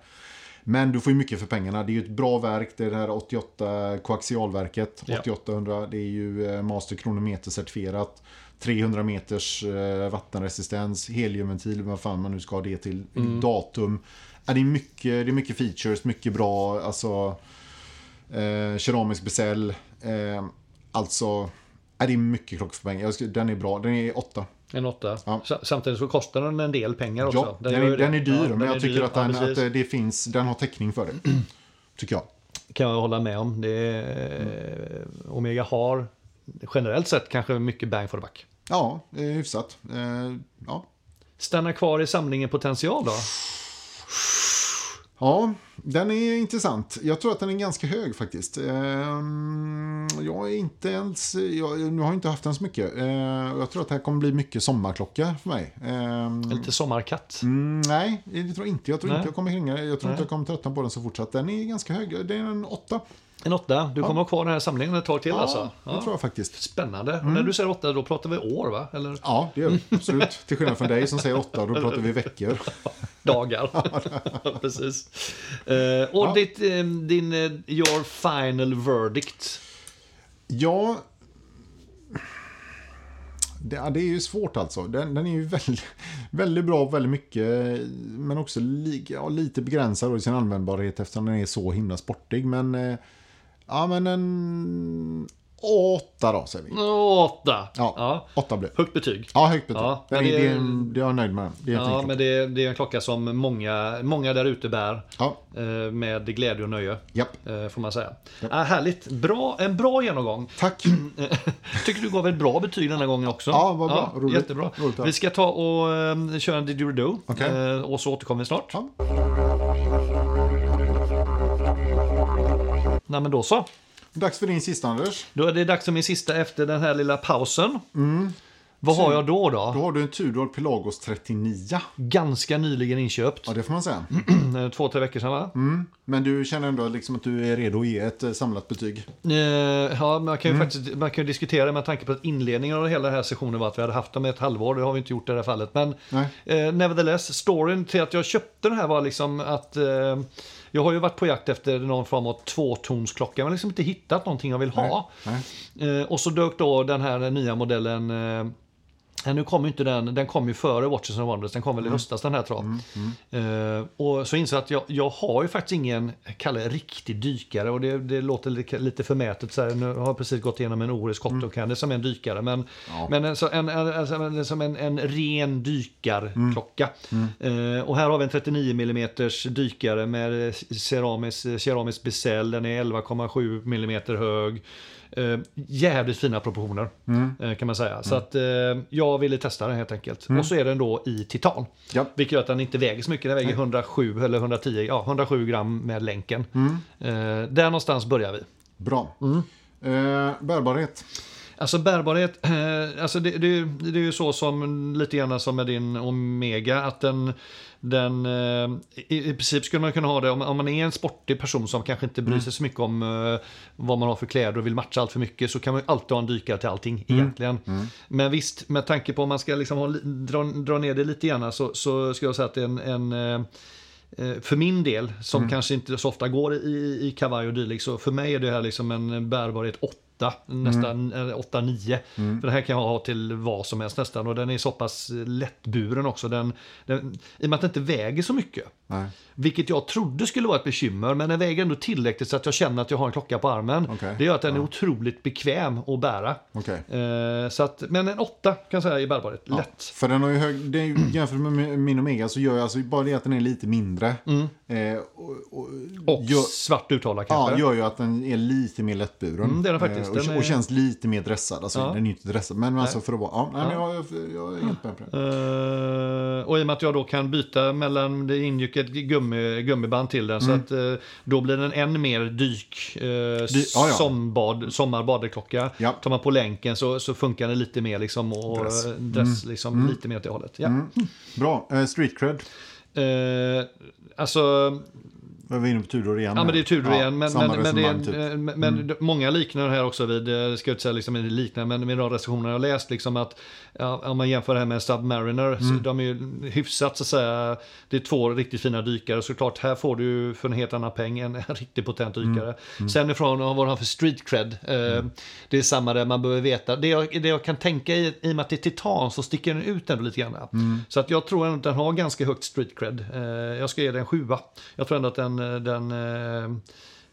S2: Men du får ju mycket för pengarna. Det är ju ett bra verk. Det är det här 88 koaxialverket.
S1: Ja.
S2: 8800. Det är ju eh, Master Kronometer certifierat. 300 meters eh, vattenresistens. Heliumventil. Vad fan man nu ska ha det till. Datum. Ja, det, är mycket, det är mycket features. Mycket bra. Alltså eh, keramisk besäll. Eh, alltså, ja, det är mycket klock för pengar. Jag skulle- Den är bra. Den är 8.
S1: En åtta.
S2: Ja.
S1: Sa- Samtidigt så kostar den en del pengar också.
S2: Ja, den,
S1: gör ju
S2: är,
S1: det.
S2: den är dyr,
S1: Ja,
S2: men
S1: den
S2: jag
S1: är
S2: tycker
S1: dyr.
S2: att, den,
S1: Ja,
S2: att
S1: precis.
S2: eh, det finns, den har täckning för det. tycker jag.
S1: kan jag hålla med om. Det är,
S2: Mm.
S1: Omega har generellt sett kanske mycket bang for the buck.
S2: Ja, det är hyfsat. Eh, ja.
S1: Stanna kvar i samlingen potential då?
S2: ja, den är intressant. Jag tror att den är ganska hög faktiskt. Ehm, jag är inte ens... Jag, nu har jag inte haft den så mycket. Eh, och jag tror att det här kommer bli mycket sommarklocka för mig. Ehm,
S1: Lite sommarkatt.
S2: Mm, nej, det tror jag inte. Jag tror
S1: Nej.
S2: inte jag kommer hänga. Jag tror
S1: Nej.
S2: inte jag kommer tröttna på den så fort. Så att den är ganska hög. Det är en åtta.
S1: En åtta. Du kommer ha kvar den här samlingen ett tag till alltså?
S2: det tror jag faktiskt.
S1: Spännande. Och När du säger åtta, då pratar vi år va? Eller
S2: Ja, det gör vi. Absolut. Till skillnad från dig som säger åtta, då pratar vi veckor.
S1: dagar. Precis. Eh, och
S2: Ja.
S1: ditt, eh, din, eh, your final verdict.
S2: Ja... Det, ja, det är ju svårt alltså. Den, den är ju väldigt, väldigt bra på väldigt mycket. Men också li, ja, lite begränsad då i sin användbarhet eftersom den är så himla sportig. Men... eh, Ja, men en... Åtta då, säger vi.
S1: Åtta.
S2: Ja,
S1: Mm. Ja.
S2: åtta blir det.
S1: Högt betyg.
S2: Ja, högt betyg.
S1: Ja,
S2: den är,
S1: men
S2: det,
S1: det-
S2: är en- det är jag nöjd med. Det är en fin
S1: Ja,
S2: klocka.
S1: men det, det är en klocka som många, många där ute bär.
S2: Ja,
S1: eh, Med glädje och nöje.
S2: japp.
S1: eh, Får man säga. Ah, härligt. Bra, en bra genomgång. Eh,
S2: Tack.
S1: Tycker du gav ett bra betyg den här gången också.
S2: Ja, vad bra. Roligt.
S1: Jättebra.
S2: Roligt, ja.
S1: vi ska ta och eh, köra en didgeridoo.
S2: Okej.
S1: Eh, och så återkommer vi snart.
S2: Ja.
S1: Nej men då så.
S2: Dags för din sista Anders.
S1: Då är det dags för min sista efter den här lilla pausen. Vad har jag då då?
S2: Mm. Då har du en Tudor Pelagos 39.
S1: Ganska nyligen inköpt.
S2: Ja, Mm. det får man säga.
S1: Eh, Två, tre veckor sedan va?
S2: Men du känner ändå liksom att du är redo att ge ett eh, samlat betyg.
S1: Eh, Ja, man kan ju
S2: Mm.
S1: faktiskt man kan ju diskutera med tanke på att inledningen av hela den här sessionen var att vi hade haft dem i ett halvår. Det har vi inte gjort i det här fallet. Men
S2: Nej.
S1: eh, nevertheless, storyn till att jag köpte den här var liksom att eh, jag har ju varit på jakt efter någon form av tvåtonsklocka men liksom inte hittat någonting jag vill ha.
S2: Nej.
S1: Eh, och så dök då den här nya modellen eh, Nej, nu kom ju inte den, den kom ju före Watches and Wonders, den kom
S2: Mm.
S1: väl i höstas den här tror jag. Eh, och så insåg jag att jag, jag har ju faktiskt ingen, kalla det riktig dykare och det, det låter lite, lite förmätet så här, nu har jag precis gått igenom en Oris Cotto Candy som är en dykare. Men,
S2: Mm. Ja.
S1: men en, så en, en, alltså en, som en, en ren dykarklocka. Eh, och här har vi en 39 mm dykare med eh, ceramisk, ceramisk besäll, den är 11,7 mm hög. Eh, jävligt fina proportioner eh, kan man säga. Så att eh, jag ville testa den helt enkelt. Och så är den då i titan.
S2: Ja.
S1: Vilket gör att den inte väger så mycket. Den väger 107 eller 110, ja 107 gram med länken. Eh, där någonstans börjar vi.
S2: Bra.
S1: Mm.
S2: Eh, bärbarhet.
S1: Alltså bärbarhet, eh, alltså det, det, det är ju så som lite grann som med din Omega att den, den eh, i, i princip skulle man kunna ha det om, om man är en sportig person som kanske inte bryr sig så mycket om eh, vad man har för kläder och vill matcha allt för mycket så kan man ju alltid ha en dykare till allting egentligen. Men visst, med tanke på om man ska liksom ha, li- dra, dra ner det lite grann så, så skulle jag säga att det är en, en eh, Eh, för min del, som
S2: Mm.
S1: kanske inte så ofta går i, i kavaj och dylikt, så för mig är det här liksom en bärbarhet 8,
S2: Mm.
S1: nästan eh, 8-9. För det här kan jag ha till vad som helst nästan och den är så pass eh, lättburen också. Den, den, I och med att den inte väger så mycket.
S2: Nej.
S1: Vilket jag trodde skulle vara ett bekymmer, men den väger ändå tillräckligt så att jag känner att jag har en klocka på armen.
S2: Okej.
S1: Det gör att den är otroligt bekväm att bära.
S2: Okej.
S1: Eh, så att, men en 8 kan jag säga i bärbarhet, lätt.
S2: För den har ju hög, det är, ju- jämfört med min Omega så gör jag alltså bara det att den är lite mindre.
S1: Mm.
S2: Eh, och, och,
S1: Och
S2: gör,
S1: svart uttalar kanske.
S2: ja, gör ju att den är lite mer lättburen.
S1: Mm, det är den faktiskt.
S2: Eh, och,
S1: Den
S2: och
S1: är-
S2: känns lite mer dressad. Alltså,
S1: Ja.
S2: Den är ju inte dressad, men alltså för att vara... Ja, nej, men jag, jag, jag är helt med på det.
S1: Eh, och i och med att jag då kan byta mellan, det ingick ett gummi, gummiband till den
S2: Mm.
S1: så att eh, då blir den än mer dyk, eh,
S2: ja, ja.
S1: sombad, sommarbadeklocka.
S2: Ja.
S1: Tar man på länken så, så funkar den lite mer liksom och
S2: Dress.
S1: dress, dress
S2: Mm.
S1: liksom, lite mer åt det hållet. Ja.
S2: Bra. Eh, street cred.
S1: Eh, alltså,
S2: Var vi inne på Tudor igen?
S1: Ja,
S2: här?
S1: men det är Tudor
S2: Ja,
S1: igen. Men,
S2: samma
S1: men, men, det är,
S2: resonemang, typ.
S1: eh, men men många liknar det här också vid, eh, ska jag inte säga liksom liknar, men med de recensioner jag läst, liksom att ja, om man jämför det här med Submariner, så de är ju hyfsat så att säga, det är två riktigt fina dykare. Såklart, här får du ju för en helt annan peng en, en riktigt potent dykare. Sen ifrån, vad har han för street cred? Eh, Det är samma där, man behöver veta. Det jag, det jag kan tänka i, i och med att det är titan så sticker den ut ändå lite grann. Så att jag tror ändå att den har ganska högt street cred. Eh, Jag ska ge den en sjua. Jag tror ändå att den, eh, den eh,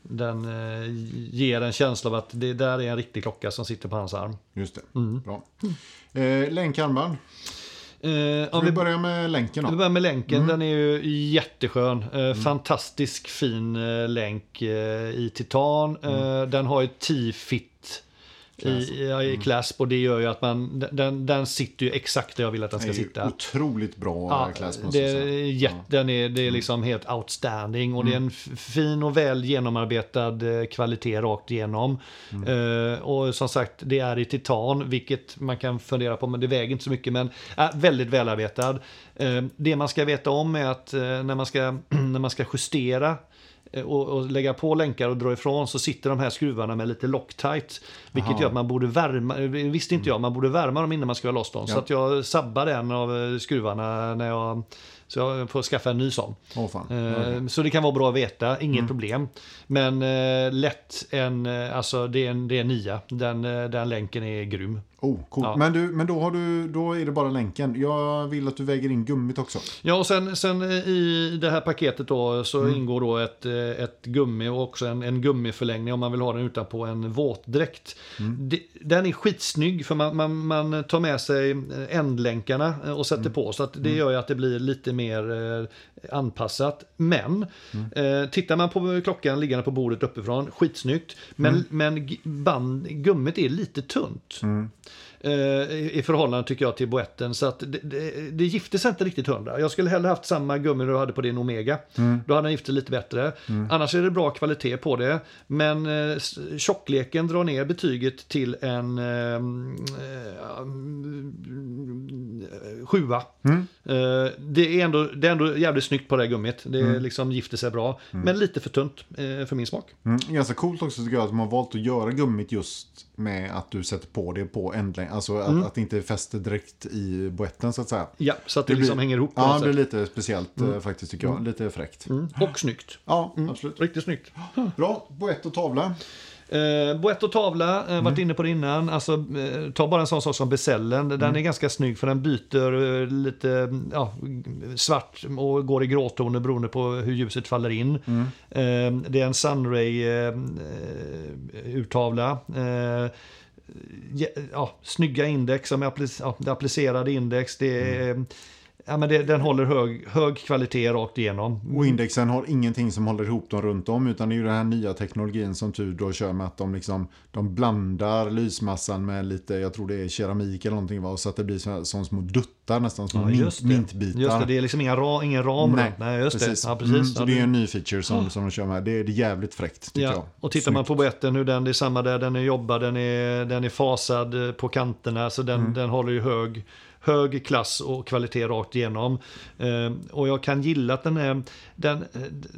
S1: den eh, ger en känsla av att det där är en riktig klocka som sitter på hans arm.
S2: Just det.
S1: Mm.
S2: Bra. Eh, länkarmband.
S1: Eh, om
S2: Om
S1: vi,
S2: vi börjar med länken
S1: vi
S2: då.
S1: börjar med länken,
S2: Mm.
S1: den är ju jätteskön. Eh, Fantastisk fin eh, länk eh, i titan. Eh,
S2: Mm.
S1: den har ju 10 fit i,
S2: Clasp.
S1: i, ja, i clasp och det gör ju att man, den, den sitter ju exakt där jag vill att den
S2: Den
S1: ska
S2: är ju
S1: sitta.
S2: otroligt bra eh, class, måste
S1: det
S2: jag säga.
S1: är jätt, den är, det är liksom helt outstanding och det är en f- fin och väl genomarbetad eh, kvalitet rakt igenom. Eh, och som sagt, det är i titan, vilket man kan fundera på, men det väger inte så mycket. Men är väldigt välarbetad. Eh, det man ska veta om är att eh, när, man ska, när man ska justera eh, och, och lägga på länkar och dra ifrån så sitter de här skruvarna med lite Loctite. Vilket
S2: Aha.
S1: gör att man borde värma, eh, det visste inte jag, man borde värma dem innan man skruvar loss dem.
S2: Mm. Ja.
S1: Så att jag sabbade en av eh, skruvarna när jag, så jag får skaffa en ny sån.
S2: Åh fan.
S1: Eh,
S2: Okej. Mm.
S1: Så det kan vara bra att veta, inget problem. Men eh, lätt en, eh, alltså det är en, det är en nia. Den, eh, den länken är grym.
S2: Oh, coolt.
S1: ja.
S2: Men, du, men då, har du, då är det bara länken. Jag vill att du väger in gummit också.
S1: Ja, och sen, sen i det här paketet då så ingår då ett, eh, ett gummi och också en, en gummiförlängning om man vill ha den utanpå en våtdräkt. Det- Den är skitsnygg för man, man, man tar med sig eh, ändlänkarna eh, och sätter på så att det gör ju att det blir lite mer eh, anpassat. Men eh, tittar man på klockan liggande på bordet uppifrån, skitsnyggt. Men, men g- band, gummit är lite tunt eh, i i förhållande tycker jag till boetten. Så att det, det, det gifte sig inte riktigt hundra. Jag skulle hellre haft samma gummi du hade på din Omega.
S2: Mm.
S1: Då hade den gift sig lite bättre. Annars är det bra kvalitet på det. Men eh, s- tjockleken drar ner betyget till en eh, eh, sjua.
S2: Mm.
S1: Eh, det, är ändå, det är ändå jävligt snyggt på det här gummit. Det liksom gifter sig bra. Men lite för tunt eh, för min smak.
S2: Mm. Ganska coolt också tycker jag att de har valt att göra gummit just med att du sätter på det på ändlängd. Alltså att, att det inte fäster direkt i boetten så att säga.
S1: Ja, så Mm. att det, liksom hänger ihop på
S2: Ja,
S1: något
S2: det blir
S1: sätt.
S2: lite speciellt eh, faktiskt tycker jag. Lite fräckt.
S1: Mm. Och snyggt.
S2: Ja, absolut.
S1: Riktigt snyggt.
S2: Bra, boett och tavla.
S1: Eh, Boett och tavla, eh,
S2: Mm.
S1: varit inne på det innan. Alltså, eh, ta bara en sån sak som besällen.
S2: Mm.
S1: Den är ganska snygg för den byter eh, lite mm, ja, svart och går i gråtoner beroende på hur ljuset faller in.
S2: Mm.
S1: Eh, det är en Sunray-urtavla. Eh, ja, ja, snygga index, som är applic- ja, det är applicerade index. Det
S2: Mm.
S1: är, ja, men det, den håller hög, hög kvalitet rakt igenom.
S2: Och indexen har ingenting som håller ihop dem runt om utan det är ju den här nya teknologin som Tudor kör med att de, liksom, de blandar lysmassan med lite, jag tror det är keramik eller någonting va, och så att det blir så, som små duttar nästan, som mint, mintbitar.
S1: Just det, det är liksom inga ra, ingen ram
S2: Nej,
S1: runt. Nej, just
S2: precis.
S1: det. Ja, precis.
S2: Mm,
S1: Ja,
S2: så det är ju en ny feature som, som de kör med. Det är, det är jävligt fräckt tycker jag.
S1: Ja, och tittar man på boetten hur den, det är samma där, den är jobbad, den är, den är fasad eh, på kanterna så
S2: Mm.
S1: den, den håller ju hög, hög klass och kvalitet rakt igenom. Eh, och jag kan gilla att den är, den, eh, d-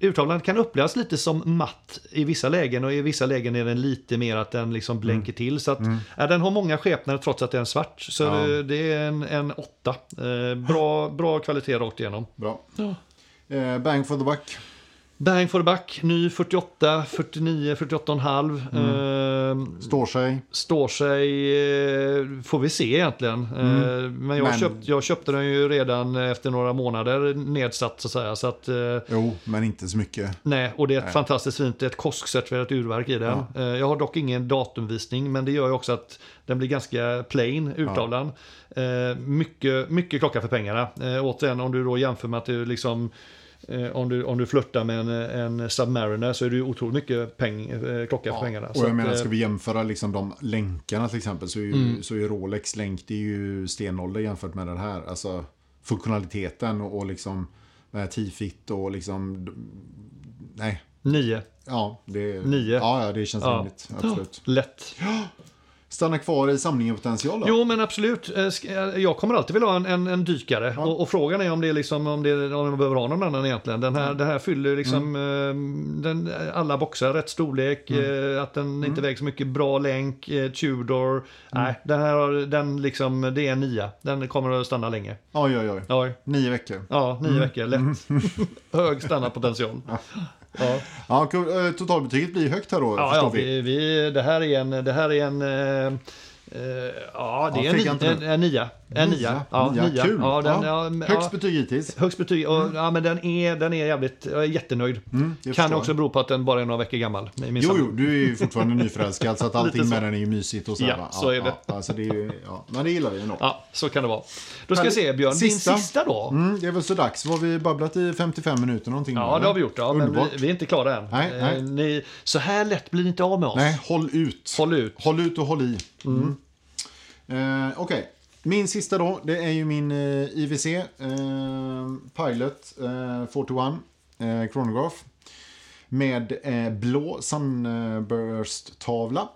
S1: urtavlan kan upplevas lite som matt i vissa lägen och i vissa lägen är den lite mer att den
S2: Mm.
S1: liksom blänker till. Så att, ja, den har många skepnader trots att den är svart. Så
S2: Ja.
S1: eh, det är en, en åtta. Eh, bra, bra kvalitet rakt igenom.
S2: Bra. Eh, bang for the buck.
S1: Bang for the buck, ny 48, 49, 48,5. Ehm,
S2: Står sig.
S1: står sig, eh, får vi se egentligen. Eh, men jag,
S2: Men-
S1: Köpt, jag köpte den ju redan efter några månader nedsatt så att säga. Så att, eh,
S2: Jo, men inte så mycket.
S1: Nej, och det är ett fantastiskt fint, det är ett KOSK-certifierat urverk i den. Eh, Jag har dock ingen datumvisning, men det gör ju också att den blir ganska plain, urtavlan. Eh, Mycket, mycket klocka för pengarna. Eh, Återigen, om du då jämför med att du liksom eh, om du, om du flörtar med en, en Submariner så är det ju otroligt mycket peng, eh, klocka för pengarna.
S2: Och
S1: Så
S2: jag
S1: att,
S2: menar,
S1: eh, Mm.
S2: ska vi jämföra liksom de länkarna till exempel så är ju, så är ju Rolex länk det är ju stenålder jämfört med den här. Alltså funktionaliteten och, och liksom den här T-fit och liksom... Nej,
S1: eh, Nio,
S2: ja. Det,
S1: Nio.
S2: Ja, ja, det känns
S1: Ja.
S2: rimligt. Absolut.
S1: lätt.
S2: stanna kvar i samlingen potential då?
S1: Jo, men absolut. Eh, sk- eh, Jag kommer alltid vilja ha en, en, en dykare. Och, och frågan är om det är liksom, om, det, är- om man behöver ha någon annan egentligen. Den här, Det här fyller ju liksom eh, den, alla boxar. Rätt storlek, eh, att den inte väger så mycket, bra länk, eh, Tudor. Nej, den här har- den liksom, det är en nia. Den kommer att stanna länge.
S2: Oj, oj, oj.
S1: Ja,
S2: Nio veckor.
S1: ja nio veckor, lätt. Hög stannarpotential. Ja.
S2: Ja, kul. Eh, totalbetyget blir högt här då,
S1: Ja,
S2: förstår
S1: ja
S2: vi.
S1: vi, vi, det här är en... Det här är en eh, eh, ja, det
S2: Ja,
S1: är en,
S2: fick
S1: ni-
S2: jag inte
S1: en, en nia. En nia. Ja,
S2: nia. Kul.
S1: Ja, den, ja,
S2: Ja,
S1: m-
S2: högst
S1: ja,
S2: betyg hittills.
S1: högst betyg. Och, ja, men den är, den är jävligt... Jag är jättenöjd.
S2: Mm, jag
S1: kan
S2: förstår.
S1: också bero på att den bara är några veckor gammal. i min
S2: Jo,
S1: samling.
S2: jo, du är ju fortfarande nyförälskad så att allting
S1: Lite så.
S2: med den är ju mysigt och så. här,
S1: Ja,
S2: va?
S1: så är det.
S2: Ja, alltså det är ju, ja. Men det gillar vi ändå.
S1: Ja, så kan det vara. Då ska vi
S2: Härligt.
S1: se, Björn.
S2: Sista.
S1: Din sista då?
S2: Mm, det är väl så dags. Var vi babblat i 55 minuter någonting? nu,
S1: Ja, det
S2: eller?
S1: har vi gjort. Ja, men vi,
S2: Underbart.
S1: vi är inte klara än.
S2: Nej,
S1: Eh,
S2: nej.
S1: Ni, så här lätt blir ni inte av med oss.
S2: Nej, håll ut.
S1: Håll ut.
S2: Håll ut och håll i. Mm. Eh, Okej, min sista då. Det är ju min eh, IVC eh, Pilot eh, 41 eh, Chronograph. Med eh, blå Sunburst-tavla.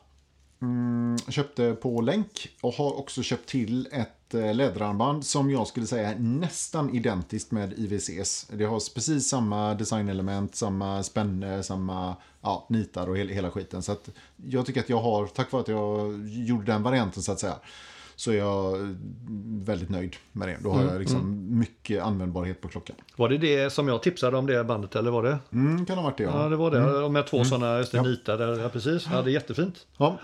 S2: Mm, köpte på länk och har också köpt till ett eh, läderarmband som jag skulle säga är nästan identiskt med IVCs. Det har precis samma designelement, samma spänne, samma ja, nitar och hel- hela skiten. Så att jag tycker att jag har, tack vare att jag gjorde den varianten så att säga, så är jag eh, väldigt nöjd med det. Då har jag liksom mycket användbarhet på klockan.
S1: Var det det som jag tipsade om det bandet, eller var det?
S2: Mm, kan ha varit det ja.
S1: Ja, det var det. Med två sådana just det, nitar där. Ja, precis. Ja, det är jättefint.
S2: ja.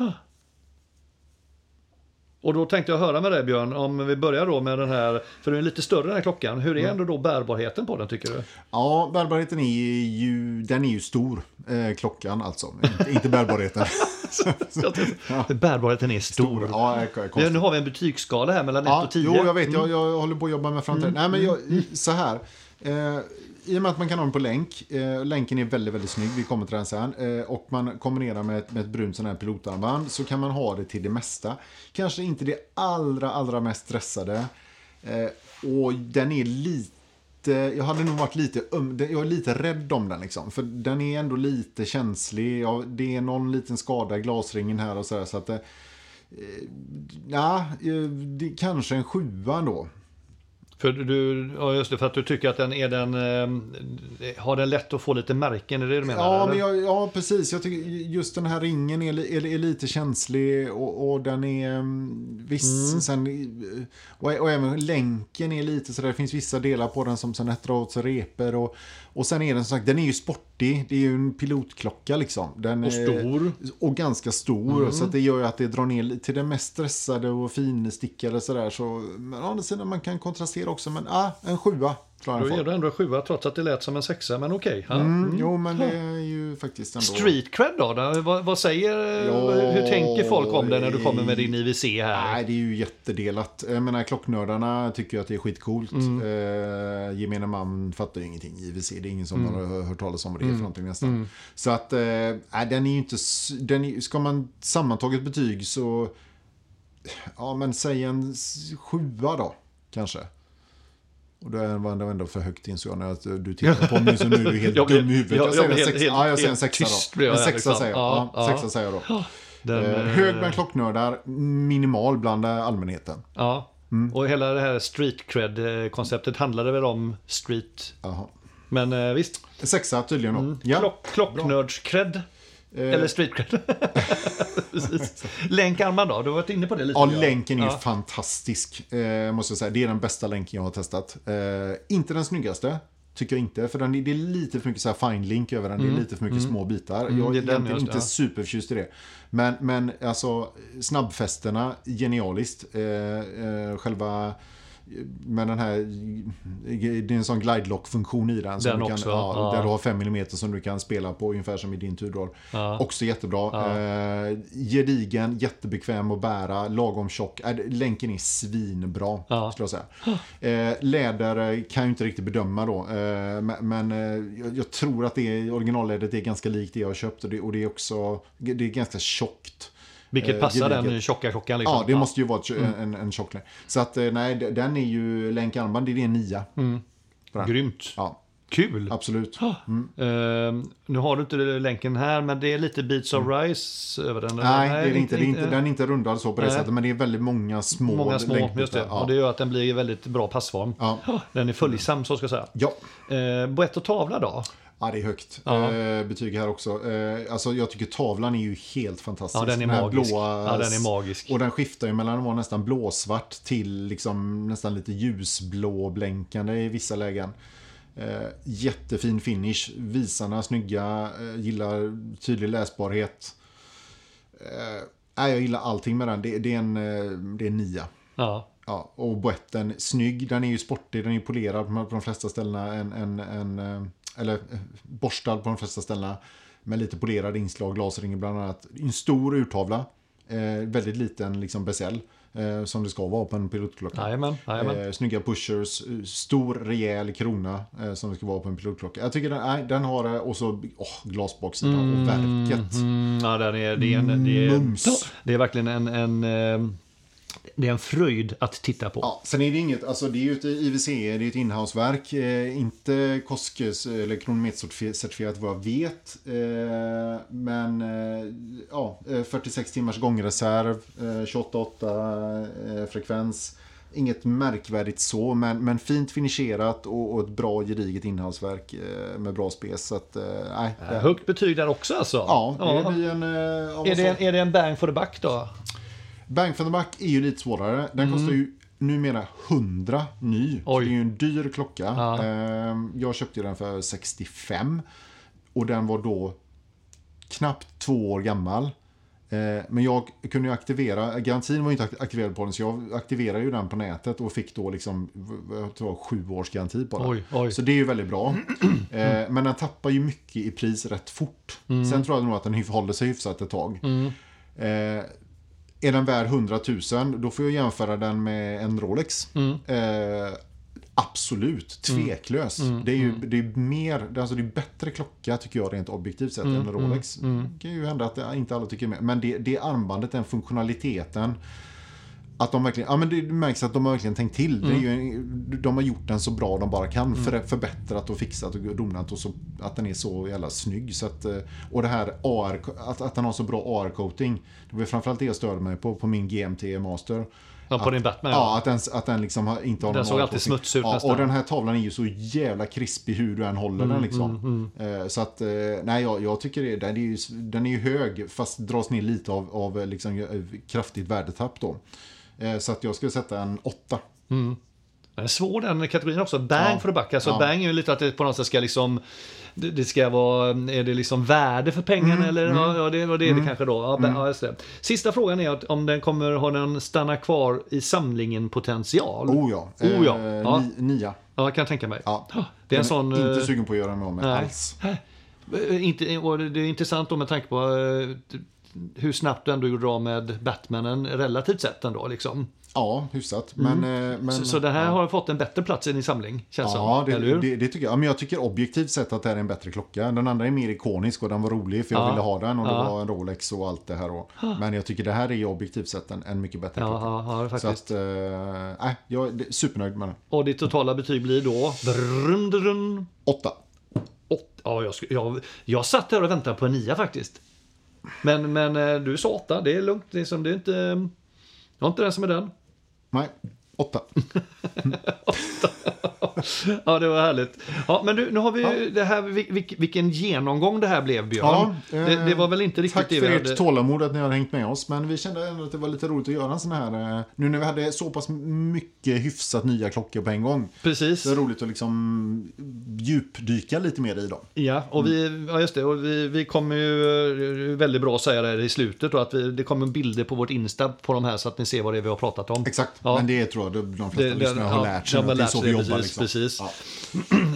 S1: Och då tänkte jag höra med dig Björn, om vi börjar då med den här, för den är lite större den här klockan. Hur är
S2: Mm.
S1: ändå då bärbarheten på den tycker du?
S2: Ja, bärbarheten är ju, den är ju stor, eh, klockan alltså. Inte, inte bärbarheten.
S1: Så att- Bärbarheten är stor.
S2: stor. Ja, är konstigt.
S1: Vi- Nu har vi en betygsskala här mellan 1
S2: ja,
S1: och Mm. 10.
S2: Jo, jag vet. Jag, jag håller på att jobba med framtiden. Nej, men jag, så här. Eh, I och med att man kan ha den på länk. Eh, länken är väldigt, väldigt snygg. Vi kommer till den sen. Eh, och man kombinerar med ett, med ett brunt sån här pilotarmband så kan man ha det till det mesta. Kanske inte det allra, allra mest stressade. Eh, och den är lite... Jag hade nog varit lite öm, jag är lite rädd om den liksom. För den är ändå lite känslig. Ja, det är någon liten skada i glasringen här och sådär. Så att det, Ja, eh, det är kanske en sjua då.
S1: För du, ja, just det, för att du tycker att den är den, eh, har den lätt att få lite märken, är det det du menar?
S2: Ja,
S1: eller?
S2: men jag, ja precis. Jag tycker just den här ringen är, li- är, är lite känslig och, och den är mm, viss. Sen, eh, och, och även länken är lite sådär. Det finns vissa delar på den som sen drar åt sig repor. Och, och sen är den som sagt, den är ju sportig. Det är ju en pilotklocka liksom. Den
S1: Och
S2: är-
S1: stor. Mm.
S2: Och ganska stor. Så att det gör ju att det drar ner li- till det mest stressade och finstickade sådär. Så, men å andra sidan man kan kontrastera också. Men ah, en sjua tror
S1: Då
S2: jag den
S1: ger
S2: får.
S1: du ändå en sjua trots att det lät som en sexa, men okej. Ja.
S2: Mm, jo, men det är ju faktiskt ändå...
S1: Street cred då? då? Vad, vad säger, eh,
S2: Ja,
S1: hur tänker folk om dig när du kommer med din IVC här?
S2: Nej, det är ju jättedelat. Jag menar, klocknördarna tycker ju att det är skitcoolt.
S1: Mm.
S2: Eh, gemene man fattar ju ingenting. IVC, det är ingen som
S1: Mm.
S2: har hört talas om vad det är för någonting nästan. Så att, eh, nej, den är ju inte... s- Den är, ska man sammantaget betyg så... Ja, men säg en s- sjua då, kanske. Och då var det ändå för högt insåg jag när att du tittar på mig så nu är du helt
S1: Jag blev-
S2: dum i huvudet.
S1: jag-
S2: Jag,
S1: jag
S2: säger en
S1: blev helt-
S2: sexa. Ja, jag säger en
S1: helt
S2: sexa
S1: tyst
S2: då.
S1: blev
S2: En
S1: jag
S2: sexa
S1: liksom.
S2: säger jag.
S1: Ja,
S2: Ja,
S1: ja.
S2: Sexa säger jag då.
S1: Den,
S2: Eh,
S1: eh,
S2: hög bland klocknördar, minimal bland eh, allmänheten.
S1: Ja,
S2: Mm.
S1: och hela det här street cred-konceptet handlade väl om street.
S2: Jaha.
S1: Men eh, visst,
S2: Sexa tydligen då. Ja.
S1: Mm.
S2: Eh.
S1: klock, klocknörds-cred. Eller street cred. Precis. Länkarmar då, du har varit inne på det lite.
S2: Ja,
S1: Björn.
S2: länken är ju
S1: Ja.
S2: fantastisk. Eh, måste jag säga. Det är den bästa länken jag har testat. Eh, inte den snyggaste. Tycker jag inte, för den, är- det är lite för mycket så här fine link över den. Det är lite för mycket små bitar. jag är
S1: Mm. det är den,
S2: egentligen
S1: just det,
S2: inte
S1: ja.
S2: superförtjust i det. Men, men alltså, snabbfästena, genialiskt. Eh, eh, själva... Med den här, det är en sån glide lock funktion i den. som
S1: Den
S2: du kan,
S1: också,
S2: ja,
S1: ja.
S2: Där du har 5 mm som du kan spela på, ungefär som i din Tudor.
S1: Ja.
S2: Också jättebra. Eh, gedigen, jättebekväm att bära, lagom tjock. Eh, länken är svinbra,
S1: Ja.
S2: skulle jag säga. Eh, läder eh, kan jag ju inte riktigt bedöma då. Eh, men- men eh, jag, jag tror att det är, originallädret är ganska likt det jag har köpt. Och det, och det är också det är ganska tjockt.
S1: Vilket
S2: eh,
S1: passar den
S2: gediget.
S1: tjocka klockan liksom.
S2: Ja, det måste ju vara ett, en, en tjock
S1: Mm.
S2: länk. Så att eh, nej, d- den är ju länkarmband, det är en nia.
S1: Grymt.
S2: Ja. Mm.
S1: kul!
S2: Absolut.
S1: Eh, nu har du inte länken här, men det är lite Beats of Rice över den.
S2: Mm. Nej, det är det inte. Det är inte den är inte rundad så på det
S1: Nej.
S2: sättet, men det är väldigt många små
S1: Många små,
S2: länkbitar.
S1: just det.
S2: Ja.
S1: Och det gör att den blir i väldigt bra passform.
S2: Ja.
S1: Den är följsam, så ska jag
S2: ja.
S1: säga. Eh, Boett och tavla då?
S2: Ja, det är högt
S1: Ja.
S2: eh, betyg här också. Eh, alltså, jag tycker tavlan är ju helt fantastisk.
S1: Ja, den är
S2: här
S1: magisk.
S2: blåa-
S1: Ja, den är magisk.
S2: Och den skiftar ju mellan att vara nästan blåsvart till liksom nästan lite ljusblå blänkande i vissa lägen. Eh, jättefin finish. Visarna snygga. Eh, gillar tydlig läsbarhet. Eh, nej, jag gillar allting med den. Det, det, är, en, eh, det är en nia.
S1: Ja.
S2: Ja, och boetten, snygg, den är ju sportig, den är ju polerad på på de flesta ställena. En, en, en, eh, eller eh, borstad på de flesta ställena. Med lite polerade inslag, glasringar bland annat. En stor urtavla, eh, väldigt liten liksom bezel. Eh, som det ska vara på en pilotklocka.
S1: Jajamän, jajamän.
S2: Eh, snygga pushers, eh, stor rejäl krona eh, som det ska vara på en pilotklocka. Jag tycker den, nej, den har, eh, och så åh, glasboxen och verket.
S1: Mm, ja, den är, det, är en, det, är,
S2: Mums.
S1: det är verkligen en, en, eh, det är en fröjd att titta på.
S2: Ja, sen är det inget, alltså det är ju ett IWC, det är ett inhouseverk, eh, inte Koskes eh, eller kronometercertifierat vad jag vet. Eh, men eh, ja, eh, 46 timmars gångreserv, eh, 28 eh, frekvens. Inget märkvärdigt så, men, men fint finisherat och, och ett bra gediget inhouseverk eh, med bra spes. Så att, eh, nej, det,
S1: Högt betyg där också alltså.
S2: ja, det blir en... Eh, ja, vad
S1: Äh. Är,
S2: sa
S1: det en, är det en bang for the buck då?
S2: Bang for the Buck är ju lite svårare. Den kostar ju numera 100 ny. Så
S1: Mm. Oj.
S2: det är ju en dyr klocka.
S1: Ja.
S2: Ehm, Jag köpte ju den för 65. Och den var då knappt två år gammal. Eh, Men jag kunde ju aktivera, garantin var ju inte ak- aktiverad på den så jag aktiverade ju den på nätet och fick då liksom, v- v- jag tror det var sju års garanti på den.
S1: Oj, oj.
S2: Så det är ju väldigt bra. Eh, Men den tappar ju mycket i pris rätt fort. Sen tror jag nog att den hyf- håller sig hyfsat ett tag. Eh, är den värd 100 000, då får jag jämföra den med en Rolex. Eh, absolut, tveklöst. Det är ju det är mer, det är alltså det är bättre klocka tycker jag rent objektivt sett än en Rolex. Det kan ju hända att det, inte alla tycker med. Men det, det armbandet, den funktionaliteten. Att de verkligen, ja men det märks att de har verkligen tänkt till.
S1: Mm.
S2: Det är ju, en- de har gjort den så bra de bara kan. För, förbättrat och fixat och donat och så, att den är så jävla snygg. Så att, eh, och det här AR, att, att den har så bra AR-coating. Det var framförallt det jag störde mig på, på min GMT Master.
S1: Ja, på din Batman.
S2: Ja,
S1: Ja.
S2: att den, att den liksom har- inte har
S1: Den
S2: någon
S1: såg alltid
S2: avkoppling.
S1: smutsig ut
S2: ja,
S1: nästan. Mm,
S2: Och den här tavlan är ju så jävla krispig hur du än håller den liksom. Eh, Så att, eh, nej jag, jag tycker det, den är ju, den är ju hög fast dras ner lite av, av eh, liksom, eh, kraftigt värdetapp då. Eh, Så att jag skulle sätta en åtta.
S1: Den är Eh, svår den kategorin också. Bang
S2: Ja.
S1: for the buck. Alltså
S2: Ja.
S1: bang är ju lite att det på något sätt ska liksom... Det det ska vara, är det liksom värde för pengarna
S2: Mm.
S1: eller? Ja, ja, det var det, är det kanske då. Ja, ba- ja, just det. Sista frågan är att om den kommer, har den stanna kvar i samlingen potential?
S2: Oh ja.
S1: Oh ja.
S2: Eh,
S1: Ja.
S2: Ni, nia.
S1: Ja, jag kan tänka mig.
S2: Ja.
S1: Det är en
S2: Den
S1: sån... eh,
S2: Inte sugen på att göra mig av med
S1: nej.
S2: alls.
S1: Eh, Inte, och det det är intressant då med tanke på eh, t- hur snabbt du ändå gjorde av med Batmanen relativt sett ändå. Liksom.
S2: Ja, hyfsat. Men, eh, men,
S1: Mm. Så, så det här har fått en bättre plats i din samling, känns
S2: Ja,
S1: som.
S2: det,
S1: Alltså, eller hur?
S2: det, det tycker jag. Ja, Men jag tycker objektivt sett att det här är en bättre klocka. Den andra är mer ikonisk och den var rolig för jag
S1: Ja.
S2: ville ha den och
S1: Ja. Ah.
S2: det var en Rolex och allt det här. Och, men jag tycker det här är ju objektivt sett en, en mycket bättre klocka.
S1: ja, ja, ja,
S2: Så
S1: faktiskt.
S2: att, eh, nej, jag är det- supernöjd med den.
S1: Och ditt totala betyg blir då... Brum, brum,
S2: Åtta.
S1: åt, ja, jag, sku- jag, jag satt här och väntade på en nia faktiskt. Men, men eh, du sa åtta, det är lugnt. Det är, som, det är inte... eh, Jag är inte den som är den.
S2: Nej, åtta.
S1: Ja, det var härligt. Ja, men du, nu har vi ju det här, vil- vil- vilken genomgång det här blev, Björn.
S2: Ja, eh,
S1: det, det var väl inte riktigt
S2: Tack
S1: det
S2: för
S1: vi
S2: ert
S1: hade...
S2: tålamod att ni har hängt med oss. Men vi kände ändå att det var lite roligt att göra en sån här. eh, Nu när vi hade så pass mycket hyfsat nya klockor på en gång.
S1: Precis.
S2: Så är det roligt att liksom djupdyka lite mer i dem.
S1: Ja, och vi, ja, just det. Och vi, vi kommer ju, eh, det är väldigt bra att säga det här i slutet, då, att vi, det kommer bilder på vårt Insta på de här så att ni ser vad det är vi har pratat om.
S2: Exakt,
S1: Ja.
S2: men det tror jag de flesta
S1: Det- det-
S2: lyssnare har
S1: ja,
S2: lärt sig.
S1: de har
S2: att det är
S1: lärt
S2: så
S1: sig
S2: vi
S1: det,
S2: jobbar.
S1: precis,
S2: liksom.
S1: precis.
S2: Ja.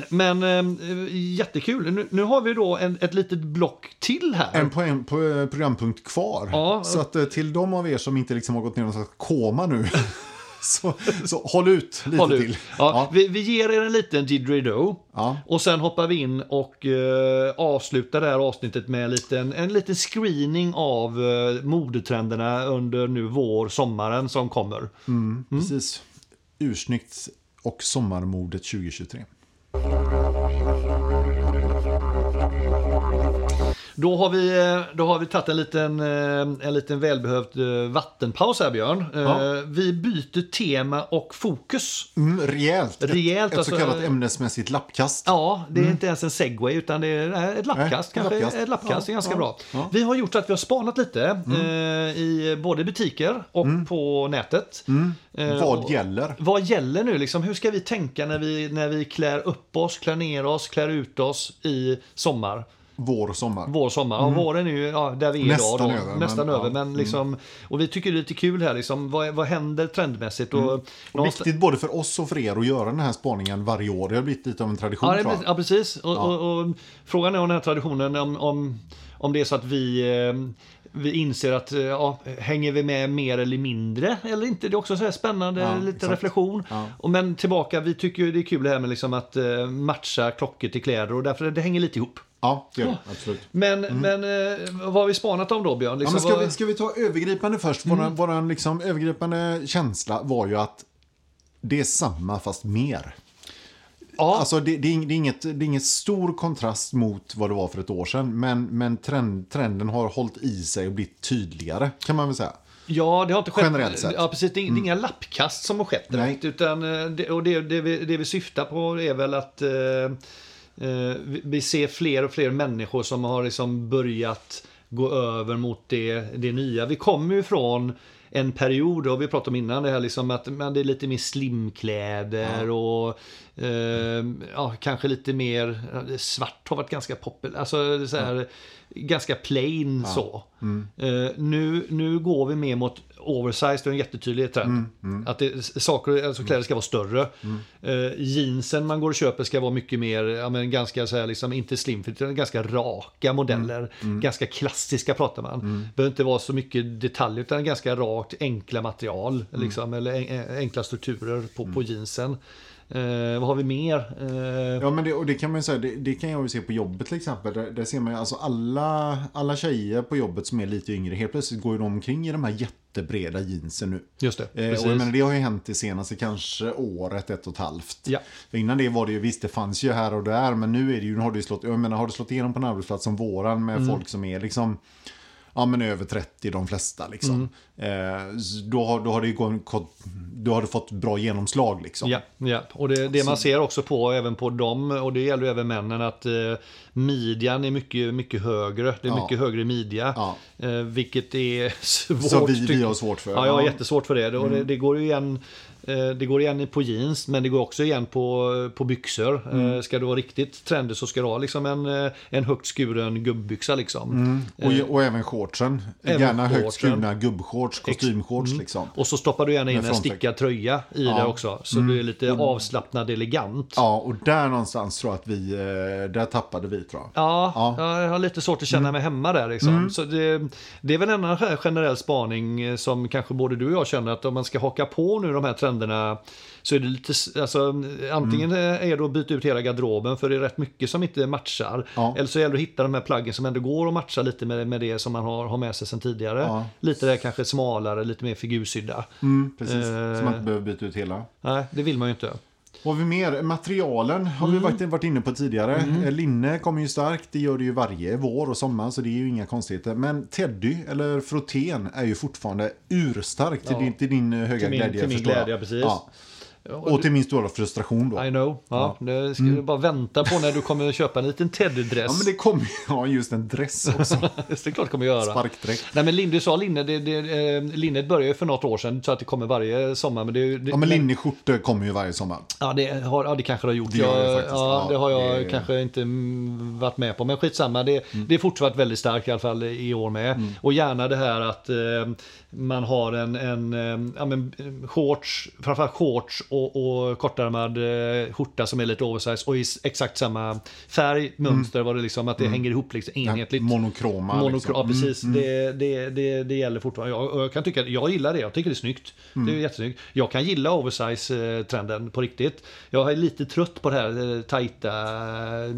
S1: Men eh, jättekul. Nu, nu har vi då en, ett litet block till här.
S2: En poäng, på, programpunkt kvar.
S1: Ja.
S2: Så att, eh, till de av er som inte liksom har gått ner i någon slags koma nu, så, så håll ut lite
S1: Håll ut.
S2: till.
S1: Ja,
S2: Ja.
S1: Vi, vi ger er en liten didgeridoo.
S2: Ja.
S1: Och sen hoppar vi in och eh, avslutar det här avsnittet med en liten, en liten screening av eh, modetrenderna under nu vår, sommaren som kommer. Mm.
S2: Precis. Ursnyggt och sommarmodet 2023.
S3: Thank
S1: Då har vi, eh, då har vi tagit en liten, eh, en liten välbehövd eh, vattenpaus här Björn. Eh,
S2: Ja.
S1: Vi byter tema och fokus.
S2: Mm, rejält. Ett-
S1: Rejält,
S2: Ett,
S1: alltså,
S2: så kallat
S1: eh,
S2: ämnesmässigt lappkast.
S1: Ja, det är inte ens en segway utan det är nej, ett lappkast.
S2: Mm. ett
S1: kanske.
S2: lappkast.
S1: Ett lappkast är
S2: Ja,
S1: ganska
S2: ja,
S1: bra.
S2: ja. Mm.
S1: Vi har gjort att vi har spanat lite eh, i både butiker och på nätet. Eh,
S2: Mm. Vad
S1: och-
S2: gäller?
S1: Vad gäller nu? Liksom, hur ska vi tänka när vi, när vi klär upp oss, klär ner oss, klär ut oss i sommar?
S2: Vår och sommar.
S1: Vår sommar. Ja, våren är ju ja, där vi är
S2: Mm.
S1: idag.
S2: Nästan
S1: Då.
S2: över, men-
S1: Nästan
S2: ja. Mm.
S1: över. Men liksom, och vi tycker det är lite kul här. Liksom, vad, vad händer trendmässigt? Och,
S2: Mm.
S1: någonstans-
S2: Viktigt både för oss och för er att göra den här spaningen varje år. Det har blivit lite av en tradition.
S1: Ja, det,
S2: tror
S1: blir-
S2: jag.
S1: ja precis. Och, Och, och, frågan är om den här traditionen, om, om, om det är så att vi, eh, vi inser att eh, ja, hänger vi med mer eller mindre eller inte? Det är också så här spännande,
S2: Ja,
S1: lite
S2: exakt.
S1: reflektion.
S2: Ja.
S1: Och, men tillbaka, vi tycker ju det är kul det här med liksom att eh, matcha klockor till kläder och därför det hänger lite ihop.
S2: Ja, det gör
S1: Oh.
S2: det. Absolut.
S1: Men, men eh, vad har vi spanat om då Björn?
S2: Mm.
S1: Liksom,
S2: Ja, men ska,
S1: vad- Mm.
S2: vi, ska vi ta övergripande först? Våran, våran liksom övergripande känsla var ju att det är samma fast mer.
S1: ja.
S2: Alltså det, det, är, ing- det, är inget, det är ingen stor kontrast mot vad det var för ett år sedan. Men, men trend, trenden har hållit i sig och blivit tydligare kan man väl säga.
S1: Ja, det har inte skett.
S2: Generellt sett. Mm.
S1: Ja, precis. Det är, det är inga lappkast som har skett direkt.
S2: Nej.
S1: Utan, eh, det, och det, det, vi, det vi syftar på är väl att eh, eh, vi- vi ser fler och fler människor som har liksom börjat gå över mot det, det nya. Vi kommer ju från en period, och vi pratade om innan det här, liksom att men det är lite mer slimkläder och eh, ja, kanske lite mer ja, svart har varit ganska populärt. Alltså så här, ganska plain så. Eh, nu, nu går vi mer mot oversized, det är en jättetydlig trend. Att det, saker, alltså kläder ska vara större. Eh, jeansen man går och köper ska vara mycket mer, ja, men ganska så här, liksom, inte slimfit, utan ganska raka modeller. Ganska klassiska pratar man. behöver inte vara så mycket detaljer, utan ganska rakt, enkla material. Liksom, eller en- enkla strukturer på, på jeansen. Eh, vad har vi mer? Eh,
S2: Ja, men det, och det kan man ju säga, det, det kan jag ju se på jobbet till exempel. Där, där ser man ju alltså alla, alla tjejer på jobbet som är lite yngre, helt plötsligt går ju de omkring i de här jättebreda jeansen nu.
S1: Just det,
S2: Eh,
S1: precis.
S2: och jag menar, det har ju hänt det senaste kanske året, ett och ett halvt.
S1: Ja.
S2: För Innan det var det ju, visst det fanns ju här och där, men nu är det ju, nu har du slått, jag menar, har du slått igenom på en arbetsplats som våran med
S1: Mm.
S2: folk som är liksom, ja men över 30 de flesta liksom.
S1: Mm.
S2: Eh, så då, har, då har det ju gått, då har det fått bra genomslag liksom.
S1: Ja, ja. och det, det man
S2: Alltså-
S1: ser också på, även på dem, och det gäller ju även männen, att eh, midjan är mycket, mycket högre. Det är
S2: Ja.
S1: mycket högre midja,
S2: Ja.
S1: eh, vilket är svårt.
S2: Så vi- vi
S1: tycker-
S2: har svårt för,
S1: Ja, jag har
S2: ja. Mm.
S1: jättesvårt för det. Och det, det går ju igen eh, det går igen på jeans, men det går också igen på, på byxor. Mm. Ska du vara riktigt trendig så ska du ha liksom en, eh, en högt skuren gubbyxa. Liksom.
S2: Mm. Och, och även shortsen.
S1: Även
S2: Gärna
S1: shortsen. mm.
S2: högt skurna gubbshorts, kostymshorts liksom.
S1: Och så stoppar du gärna in en
S2: frontvägg.
S1: stickad tröja i det också. Så du är lite avslappnad elegant.
S2: Mm. Ja, och där någonstans tror jag att vi, eh, där tappade vi tror jag.
S1: Ja,
S2: Ja. Mm.
S1: jag har lite svårt att känna mig hemma där. Liksom. Så det, det är väl en annan generell spaning eh, som kanske både du och jag känner att om man ska haka på nu de här trenderna så är det lite, s- alltså, antingen
S2: Mm.
S1: eh, är det att byta ut hela garderoben för det är rätt mycket som inte matchar.
S2: Ja.
S1: Eller så gäller det att hitta de här plaggen som ändå går att matcha lite med, med det som man har, har med sig sedan tidigare.
S2: Ja.
S1: Lite där kanske smalare, lite mer figursydda.
S2: Mm, precis, så man
S1: Eh.
S2: inte behöver byta ut hela.
S1: Nej, det vill man ju inte.
S2: Vad har vi mer? Materialen har
S1: Mm.
S2: vi varit, varit inne på tidigare. Eh, Linne kommer ju starkt, det gör det ju varje vår och sommar så det är ju inga konstigheter. Men Teddy, eller Frotén, är ju fortfarande urstark till,
S1: Ja.
S2: din, till din eh, höga
S1: Till min-
S2: glädje.
S1: till min
S2: förstår jag.
S1: glädje, precis.
S2: Ja. Och till min stora frustration då.
S1: I know. Ja, Det ska du bara vänta på när du kommer att köpa en liten
S2: Mm. Ja,
S1: teddydress.
S2: men det kommer ju ja, just en dress också.
S1: det... är klart du kommer att göra.
S2: Sparkdräkt.
S1: Nej men Linde, du sa linne, det, det, eh, linnet började ju för något år sedan så att det kommer varje sommar. Men det, är ju- det,
S2: Ja, men linneskjortor kommer ju varje sommar.
S1: ja, det, har, ja, det kanske det har gjort.
S2: Det gör det
S1: Jag-
S2: faktiskt.
S1: ja,
S2: Ja,
S1: det har jag
S2: det- Mm.
S1: kanske inte mm, varit med på. Men skitsamma, det, det är fortsatt väldigt starkt i alla fall i år med. Och gärna det här att eh, man har en, en eh, ja, men, eh, shorts, framförallt shorts och, och kortärmad eh, skjorta som är lite oversize och i s- exakt samma färg,
S2: Mm.
S1: mönster, vad det liksom, att det hänger ihop liksom, enhetligt.
S2: Monokroma. liksom.
S1: Monokro- ja, precis. Det, det, det, det gäller fortfarande. Jag, och jag kan tycka, jag gillar det. Jag tycker det är snyggt. Det är jättesnyggt. Jag kan gilla oversize-trenden på riktigt. Jag är lite trött på det här eh, tajta. eh,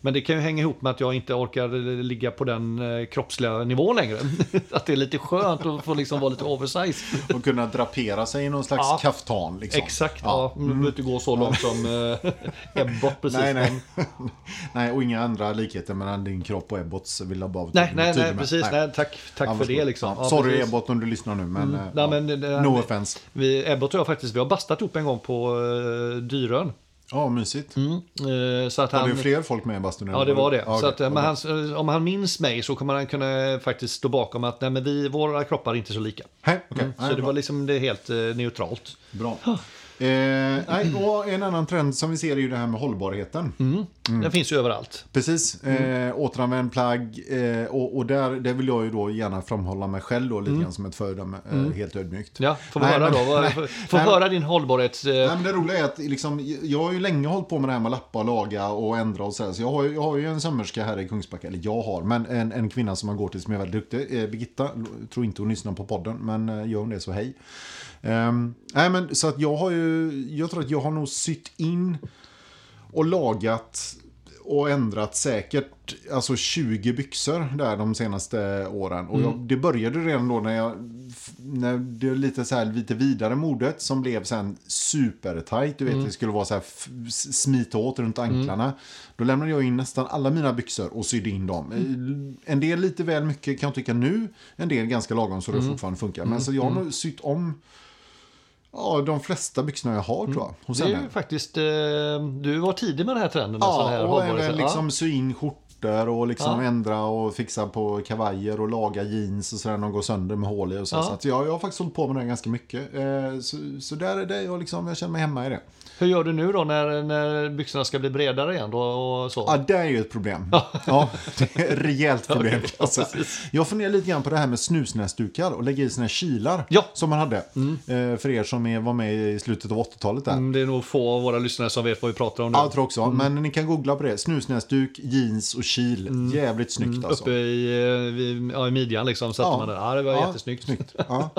S1: Men det kan ju hänga ihop med att jag inte orkar eh, ligga på den eh, kroppsliga nivån längre. att det är lite skönt att få liksom vara lite oversize.
S2: Och kunna drapera sig i någon slags
S1: Ja.
S2: kaftan. Liksom.
S1: exakt. Ja, Mm. nu behöver inte gå så långt som eh, Ebbot precis.
S2: Nej,
S1: men-
S2: nej. nej, och inga andra likheter mellan din kropp och Ebbots vill jag bara vara
S1: nej,
S2: tydlig
S1: nej, nej
S2: med.
S1: precis. Nej. Tack, tack för
S2: Ja,
S1: det
S2: varsågod.
S1: liksom.
S2: Ja,
S1: Ja,
S2: sorry
S1: precis. Mm,
S2: Ebbot om du lyssnar nu, men... eh,
S1: nej,
S2: ja.
S1: men det- det-
S2: no
S1: det-
S2: offense.
S1: Vi, Ebbot och jag faktiskt, vi har bastat ihop en gång på eh, Dyrön.
S2: Ja, mysigt.
S1: Mm, eh, så att
S2: Var
S1: han,
S2: det fler folk med i bastun?
S1: Ja, det var det.
S2: Ja,
S1: så
S2: okej.
S1: att, eh, men han, eh, om han minns mig så kommer han kunna eh, faktiskt stå bakom att nej, men vi, våra kroppar är inte så lika.
S2: Hej, okej.
S1: Mm,
S2: Nej,
S1: så det
S2: bra.
S1: var liksom det helt eh, neutralt.
S2: Bra. Eh, nej, och en annan trend som vi ser är ju det här med hållbarheten.
S1: Mm.
S2: Mm.
S1: Den finns ju överallt.
S2: Precis.
S1: Mm.
S2: Eh, återanvänd plagg. Eh, och och där, det vill jag ju då gärna framhålla mig själv då, lite grann som ett föredöme. Eh, Helt ödmjukt.
S1: Mm. Ja, får vi
S2: Nej,
S1: höra
S2: men-
S1: då? Vad-
S2: nej,
S1: Får får
S2: nej,
S1: höra din hållbarhets... eh,
S2: Nej, men det roliga är att liksom, jag har ju länge hållit på med det här med att lappa och laga och ändra och sådär. Så jag har, ju- jag har ju en sömmerska här i Kungsbacka, eller jag har, men en, en kvinna som man går till som är väldigt duktig. Eh, Birgitta, jag tror inte hon lyssnar på podden, men eh, gör hon det så hej. Ehm, nej, men så att jag har ju, jag tror att jag har nog sytt in och lagat och ändrat säkert alltså 20 byxor där de senaste åren. Och
S1: Mm.
S2: jag, det började redan då när jag när det var lite så här lite vidare modet som blev sen supertajt. Du vet
S1: Mm.
S2: det skulle vara så här f- s- smita åt runt anklarna. Då lämnade jag in nästan alla mina byxor och sydde in dem.
S1: Mm.
S2: En del lite väl mycket kan jag tycka nu. En del ganska lagom så det
S1: Mm.
S2: fortfarande funkar. Men så jag har nog sytt om ja, de flesta byxorna jag har tror jag. Hos
S1: Det är
S2: henne.
S1: ju faktiskt, eh, du var tidig med den här trenden. med sån
S2: Ja,
S1: här
S2: och
S1: hållbarhet.
S2: även
S1: Ja.
S2: liksom sy in skjortor och liksom
S1: Ja.
S2: ändra och fixa på kavajer och laga jeans och sådär när de går sönder med hål i och så.
S1: Ja.
S2: Så att jag, jag har faktiskt hållit på med det här ganska mycket. Eh, så, så där är det, jag, liksom, jag känner mig hemma i det.
S1: Hur gör du nu då när, när byxorna ska bli bredare igen då och så?
S2: Ja, det är ju ett problem. Ja, det är ett rejält problem. Alltså, jag funderar lite grann på det här med snusnäsdukar och lägga i sina kilar
S1: Ja.
S2: som man hade. Eh, för er som är, var med i slutet av 80-talet där.
S1: Mm, Det är nog få av våra lyssnare som vet vad vi pratar om nu.
S2: Ja, jag tror också. Men ni kan googla på det. Snusnäsduk, jeans och kil.
S1: Mm.
S2: Jävligt snyggt alltså.
S1: Uppe i, eh, vid- ja, i midjan liksom satte man den. Ja, det var jättesnyggt.
S2: Snyggt. Ja.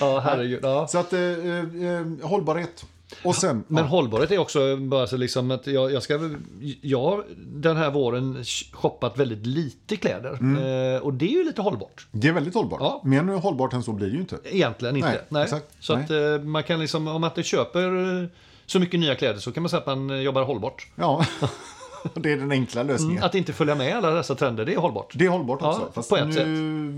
S1: Ja, herregud. Ja.
S2: Så att eh, eh, hållbarhet. Och sen...
S1: Men
S2: ja.
S1: hållbarhet är också bara så liksom att jag, jag ska väl- Jag har den här våren shoppat väldigt lite kläder.
S2: Mm.
S1: Eh, och det är ju lite hållbart.
S2: Det är väldigt hållbart.
S1: Ja.
S2: Mer nu hållbart än så blir det ju inte.
S1: Egentligen inte.
S2: Nej, exakt.
S1: Så att eh, man kan liksom, om man inte köper eh, så mycket nya kläder så kan man säga att man eh, jobbar hållbart.
S2: Ja, det är den enkla lösningen.
S1: Att inte följa med alla dessa trender, det är hållbart.
S2: Det är hållbart
S1: Mm. Ja,
S2: också. Fast
S1: på ett
S2: nu
S1: sätt.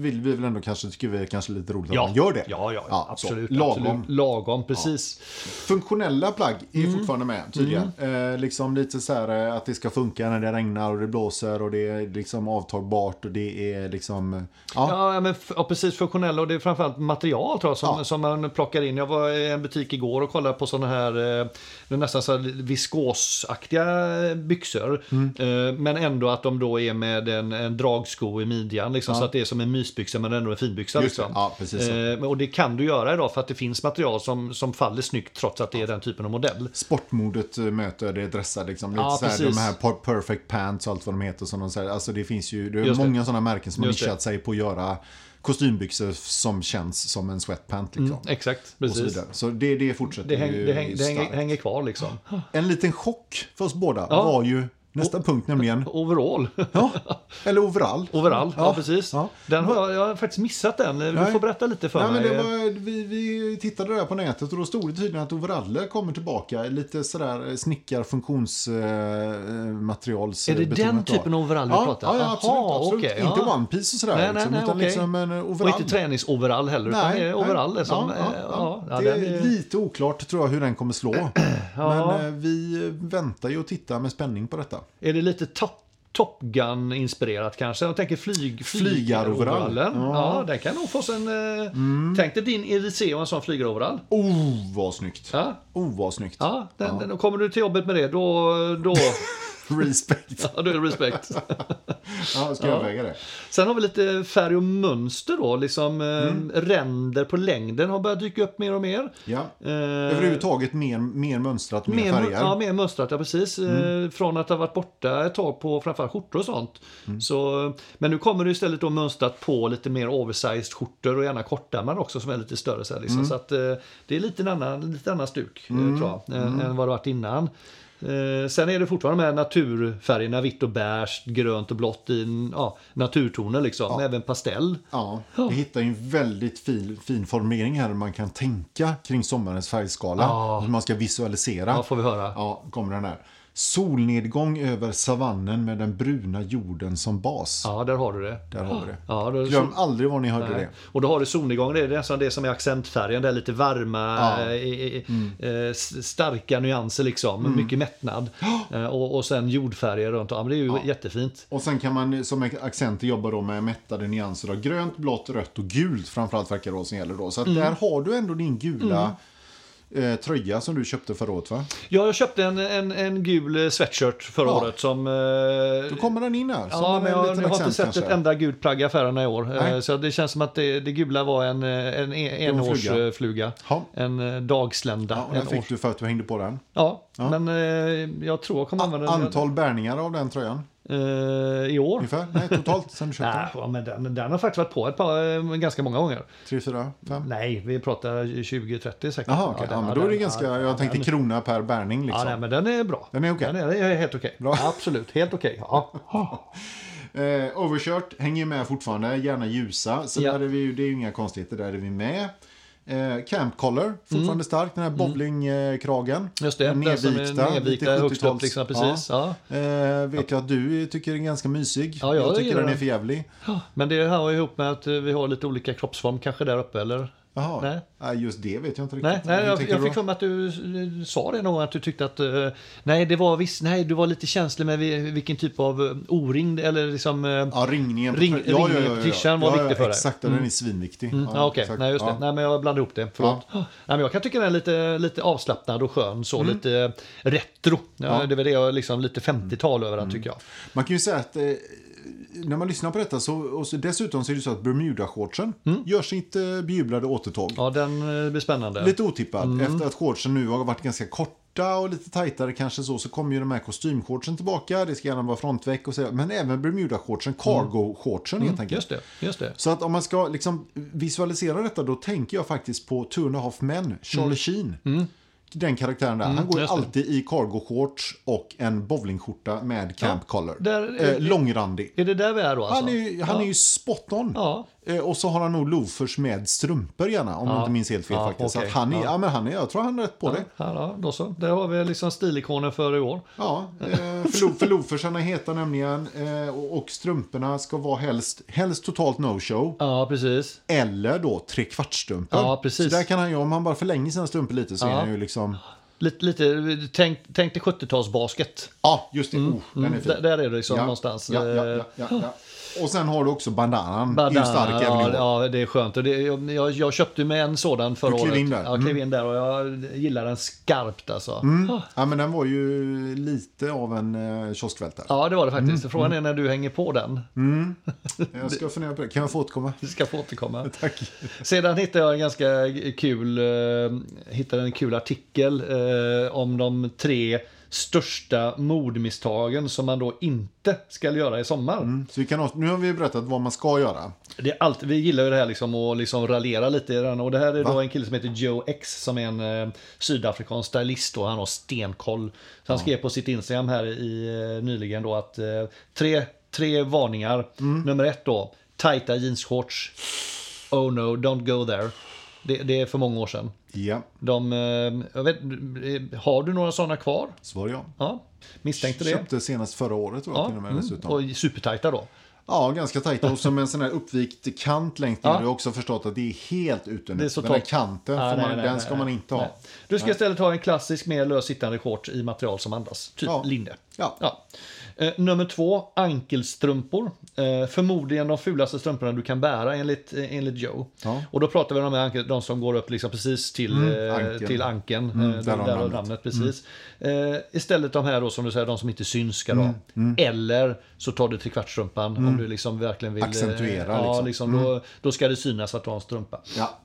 S2: vill vi väl ändå kanske, tycker vi är kanske lite roligt
S1: Ja.
S2: att man gör det.
S1: Ja, ja,
S2: Ja,
S1: ja
S2: så.
S1: absolut.
S2: Lagom.
S1: absolut. Mm. Lagom, precis.
S2: Funktionella plagg är fortfarande med tydligen.
S1: Mm.
S2: Eh, liksom lite så här eh, att det ska funka när det regnar och det blåser och det är liksom avtagbart och det är liksom... eh, Ja,
S1: Ja, men f- ja, precis. Funktionella och det är framförallt material tror jag som,
S2: Ja.
S1: som man plockar in. Jag var i en butik igår och kollade på sådana här eh, det är nästan så här viskosaktiga eh, byxor.
S2: Mm.
S1: Eh, men ändå att de då är med en, en dragsko i midjan. Liksom, Så att det är som en mysbyxa men ändå en finbyxa.
S2: Just det.
S1: Liksom.
S2: Ja, precis så.
S1: Eh, men- och det kan du göra idag för att det finns material som, som faller snyggt trots att det är den typen av modell.
S2: Sportmodet eh, möter det dressade. Liksom. Lite
S1: Ja,
S2: så här, de
S1: precis.
S2: här per- perfect pants och allt vad de heter. Som de säger. Alltså, det finns ju det är
S1: Just det.
S2: många sådana märken som har
S1: Just det.
S2: nischat sig på att göra kostymbyxor som känns som en sweatpant. Liksom.
S1: Exakt,
S2: och så
S1: Mm, precis.
S2: vidare. Så det, det fortsätter
S1: Det, häng,
S2: ju
S1: det, häng, det hänger,
S2: starkt.
S1: hänger kvar liksom.
S2: En liten chock för oss båda
S1: Ja.
S2: var ju nästa punkt nämligen.
S1: Overall.
S2: Ja, eller overall.
S1: Overall, ja,
S2: Ja,
S1: precis.
S2: ja.
S1: Den har jag, jag har faktiskt missat den. Du
S2: Nej.
S1: får berätta lite för
S2: Nej, men
S1: mig.
S2: det var, vi, vi tittade där på nätet och då stod det tydligen att overaller kommer tillbaka. Lite sådär eh, snickar eh, funktionsmaterials...
S1: Är det den typen av overall vi
S2: ja,
S1: pratar?
S2: Ja, ja
S1: Aha,
S2: absolut. absolut.
S1: okej,
S2: inte
S1: ja.
S2: one piece och sådär.
S1: Nej, nej,
S2: liksom,
S1: nej,
S2: utan
S1: okej.
S2: liksom en
S1: Och
S2: overall.
S1: inte träningsoverall heller, utan det är overall. Som, eh,
S2: ja, ja, ja.
S1: ja,
S2: det
S1: den
S2: är lite oklart tror jag hur den kommer slå. Men eh, vi väntar ju och tittar med spänning på detta.
S1: Är det lite top, top Gun-inspirerat kanske? Jag tänker flyg,
S2: Flygaroverall.
S1: flygaroverallen. Ja. den kan nog få sig en... eh,
S2: Mm.
S1: Tänk dig din EDC och en sån flygaroverall.
S2: Oh, vad snyggt.
S1: Ja,
S2: Oh, vad snyggt.
S1: ja, den, Den, och kommer du till jobbet med det, då, då,
S2: Respect.
S1: ja, då är det respekt.
S2: Ja, ska jag väga det?
S1: Sen har vi lite färg och mönster då, liksom eh, ränder på längden har börjat dyka upp mer och mer.
S2: Mm. Ja.
S1: Eh,
S2: Överhuvudtaget mer, mer mönstrat, mer,
S1: mer,
S2: färger. Mm.
S1: mö- ja, mer mönstrat, ja precis. Eh, från att ha varit borta ett tag på framförallt skjortor och sånt.
S2: Mm.
S1: Så, eh, men nu kommer det istället då mönstrat på lite mer oversized skjortor och gärna kortärmar också som är lite större.
S2: Mm. Mm.
S1: Så, här, liksom. så att, eh, det är lite en annan, lite annan stuk eh, tror jag, än- än vad det varit innan. Eh, sen är det fortfarande med naturfärgerna, vitt och beige, grönt och blått i en, ja, naturtoner liksom, men även pastell.
S2: Ja, vi hittar ju en väldigt fin, fin formulering här man kan tänka kring sommarens färgskala.
S1: Ja.
S2: Hur man ska visualisera.
S1: Ja, får vi höra.
S2: Ja, kommer den här. Solnedgång över savannen med den bruna jorden som bas.
S1: Ja, där har du det.
S2: Där har vi det.
S1: Ja, då,
S2: Glöm aldrig var ni hörde det.
S1: Och då har du solnedgång, det är nästan det som är accentfärgen, det är lite varma,
S2: Ja. Mm.
S1: eh, eh, eh, eh, s- starka nyanser liksom, mycket mättnad. Eh, och, och sen jordfärger runt om, det är ju jättefint.
S2: Och sen kan man som accenter jobba då med mättade nyanser av grönt, blått, rött och gult. Framförallt verkar det som gäller då. Så att
S1: Mm.
S2: där har du ändå din gula eh, tröja som du köpte förra året va?
S1: Ja, jag köpte en, en, en gul eh, sweatshirt förra
S2: Ja.
S1: året som... eh,
S2: Då kommer den in här. som
S1: Ja,
S2: en
S1: men jag,
S2: liten
S1: jag har inte
S2: accent
S1: sett ett
S2: kanske.
S1: enda gult plagg i affärerna i år. Eh,
S2: Nej.
S1: Så det känns som att det, det gula var en, eh, en, en
S2: var en fluga.
S1: enårsfluga.
S2: Ja.
S1: En eh, dagslända.
S2: Ja, och
S1: en
S2: den
S1: års-
S2: fick du för att du hängde på den.
S1: ja, men eh, jag tror jag kommer använda den
S2: Antal bärningar av den tröjan?
S1: eh, i år.
S2: Ungefär? Nej, totalt sen du köpte
S1: Nej,
S2: den?
S1: ja, men den, den har faktiskt varit på ett par, eh, ganska många gånger.
S2: Tre, fyra, fem?
S1: Nej, vi pratar 20-30 säkert.
S2: Jaha, okej.
S1: den-
S2: Ja, men då är det
S1: den-
S2: ganska...
S1: ja,
S2: Jag tänkte
S1: den-
S2: krona per bärning
S1: Ja,
S2: liksom.
S1: nej, men den är bra.
S2: Den är okej.
S1: Den är, den är helt okej. Absolut, helt okej. Ja.
S2: Eh, Overshirt hänger ju med fortfarande, gärna ljusa. Så
S1: Ja.
S2: där är vi, ju- det är ju inga konstigheter, där är vi med. Eh, camp collar, fortfarande stark, den här bowlingkragen.
S1: Mm. Just det,
S2: Den
S1: den som är
S2: nedvikta,
S1: nedvikta,
S2: lite
S1: högst
S2: 70-tals.
S1: upp liksom, precis. Ja.
S2: Eh, vet jag att du tycker den är ganska mysig.
S1: Ja, jag
S2: jag tycker
S1: gillar
S2: den är
S1: den.
S2: för jävlig.
S1: Ja, Men det hör ju ihop med att eh, vi har lite olika kroppsform kanske där uppe eller?
S2: Jaha,
S1: Nej.
S2: nej. just det vet jag inte riktigt.
S1: Nej, nej
S2: Hur
S1: jag,
S2: tänker
S1: jag
S2: du
S1: fick
S2: då?
S1: för mig att du eh, sa det nog att du tyckte att eh, nej, det var visst, nej, du var lite känslig med vi- vilken typ av eh, O-ring eller liksom eh, ja,
S2: Ja, ringningen. på
S1: Ring-
S2: trö- ja, ja, ja, ja,
S1: ringningen på tishan var viktig för dig. Mm.
S2: Exakt, ja, den är svinviktig.
S1: ja, okej,
S2: exakt.
S1: nej just det,
S2: Ja.
S1: nej men jag blandade ihop det, förlåt. Ja. Nej, men jag kan tycka den är lite, lite avslappnad och skön så,
S2: Mm.
S1: lite eh, retro. Ja, Det är väl det jag liksom lite 50-tal över
S2: Mm.
S1: den tycker jag.
S2: Man kan ju säga att eh, när man lyssnar på detta så, och så dessutom så är det så att Bermuda-shortsen gör sitt eh, bejublade återtåg.
S1: Mm. Ja, Mm. den eh, blir spännande.
S2: Lite otippad. Efter att shortsen nu har varit ganska korta och lite tajtare kanske så, så kommer ju de här kostymshortsen tillbaka. Det ska gärna vara frontväck och så, men även Bermuda-shortsen, cargo-shortsen helt enkelt.
S1: Mm. Just det, just det.
S2: Så att om man ska liksom visualisera detta då tänker jag faktiskt på Two and a half men, Charlie Sheen. Den karaktären där. han går ju
S1: Mm. just det.
S2: alltid i cargo-shorts och en bowlingskjorta med camp collar.
S1: där-
S2: eh, långrandig.
S1: Är det där vi är då alltså?
S2: Han är, ju- han är ju spot on.
S1: Ja.
S2: Eh, Och så har han nog loafers med strumpor gärna, om jag inte minns helt fel
S1: Ja,
S2: faktiskt. Så
S1: okej.
S2: att han är,
S1: Ja.
S2: ja. men han är, jag tror han är rätt på det.
S1: Ja, ja, då så. Där har vi liksom stilikoner för i år.
S2: Ja, eh, för, lo- för loafersarna är heta nämligen. eh, Och och strumporna ska vara helst, helst totalt no-show.
S1: Ja, precis.
S2: Eller då trekvartsstrumpor.
S1: Ja, precis.
S2: Så där kan han ju, om han bara förlänger sina strumpor lite så
S1: Ja.
S2: är han ju liksom...
S1: Lite, lite tänk, tänk dig 70-talsbasket.
S2: Ja, just det. oh, den är fin.
S1: Där, där är Mm, det liksom
S2: ja,
S1: någonstans. Eh.
S2: Ja, ja, ja, ja, ja. Och sen har du också bandanan. det är ju stark även i
S1: ja,
S2: år.
S1: ja, det är skönt. Och det, jag, jag- jag köpte med en sådan förra
S2: Du klev
S1: året.
S2: in där. Mm.
S1: Jag klev in där och jag gillar den skarpt alltså.
S2: Ja, men den var ju lite av en eh, kioskvältare.
S1: Ja, det var det faktiskt.
S2: Mm.
S1: Frågan är när du hänger på den.
S2: Jag ska fundera på det. Kan jag få återkomma?
S1: Vi ska få återkomma.
S2: Tack.
S1: Sedan hittade jag en ganska kul, eh, hittade en kul artikel eh, om de tre största mordmisstagen som man då inte ska göra i sommar.
S2: Så vi kan, åter- nu har vi berättat vad man ska göra.
S1: Det är allt, vi gillar ju det här liksom och liksom raljera lite i den. Och det här är då en kille som heter Joe X som är en eh, sydafrikansk stylist och han har stenkoll. Så han skrev på sitt Instagram här i, eh, nyligen då att eh, tre, tre varningar.
S2: Mm.
S1: Nummer ett då, tajta jeansshorts. Oh no, don't go there. Det, det är för många år sedan.
S2: Ja,
S1: De, eh, jag vet, eh, har du några sådana kvar?
S2: svar ja.
S1: Ja, misstänkte det.
S2: Köpte senast förra året tror jag
S1: Ja,
S2: till och med
S1: mm,
S2: dessutom.
S1: och supertajta då.
S2: Ja, ganska tajt. Och som en sån här uppvikt kant längst ner.
S1: Ja.
S2: Jag har också förstått att det är helt ute nu.
S1: Det är så
S2: den här
S1: torrt.
S2: kanten,
S1: Ja,
S2: får
S1: nej,
S2: man,
S1: nej,
S2: den
S1: nej,
S2: ska
S1: nej.
S2: man inte ha.
S1: Nej. Du ska istället ha en klassisk mer löst sittande shorts i material som andas. Typ
S2: Ja.
S1: linne.
S2: Ja.
S1: Eh, nummer två, ankelstrumpor. Eh, förmodligen de fulaste strumporna du kan bära enligt, eh, enligt Joe.
S2: Ja.
S1: Och då pratar vi om de, här ankel, de som går upp liksom precis till, eh,
S2: ankeln.
S1: till ankeln. eh,
S2: där
S1: där
S2: har
S1: har namnet.
S2: namnet.
S1: precis. Eh, istället de här då som du säger, de som inte syns ska då. Eller så tar du trekvartsstrumpan om du liksom verkligen vill... eh,
S2: Accentuera
S1: ja,
S2: liksom.
S1: liksom. då, då ska det synas att du har en strumpa.
S2: Ja.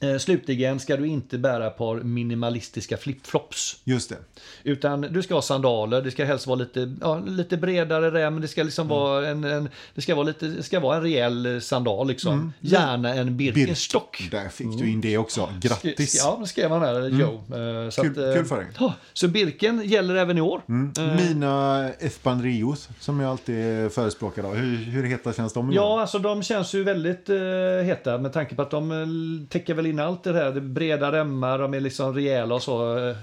S1: Eh, Slutligen ska du inte bära ett par minimalistiska flipflops.
S2: Just det.
S1: Utan du ska ha sandaler, det ska helst vara lite, ja, lite bredare rem, det ska
S2: Mm.
S1: liksom vara en, en, det ska vara lite, det ska vara en rejäl sandal liksom.
S2: Mm.
S1: Gärna en Birkenstock.
S2: Där fick du in det också. Grattis!
S1: Ja, det skrev han här, eller Joe. Eh, Så
S2: Mm. Kul-
S1: att, eh,
S2: kul för dig. Mm.
S1: ja, Så Birken gäller även i år.
S2: Mina Espanrios, som jag alltid förespråkar, då. Hur, hur heta känns de? idag?
S1: Ja, alltså de känns ju väldigt eh, heta med tanke på att de eh, täcker väl in allt det här. Det är breda remmar, de är liksom rejäla och så. eh.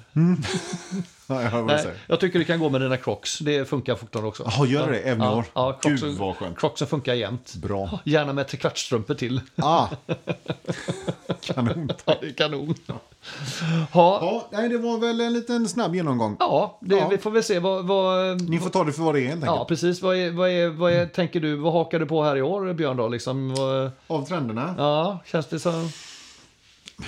S2: Ja, jag hör vad du
S1: Nej,
S2: säger.
S1: jag tycker du kan gå med dina crocs. Det funkar fortfarande också.
S2: Jaha, gör det? Även i
S1: ja,
S2: år?
S1: Ja,
S2: Gud,
S1: crocsen-
S2: vad skönt.
S1: Crocsen funkar jämt.
S2: Bra.
S1: Gärna med trekvartsstrumpor till.
S2: Ah. Kanon.
S1: Ja, det är kanon. Ja,
S2: Ja, nej, det var väl en liten snabb genomgång.
S1: ja, det,
S2: Ja.
S1: vi får väl se vad... vad
S2: Ni får ta det för vad det är helt enkelt.
S1: ja, precis. Vad, är, vad, är, vad är, tänker du? Vad hakar du på här i år, Björn? Då? Liksom, vad,
S2: Av trenderna.
S1: ja, känns det som...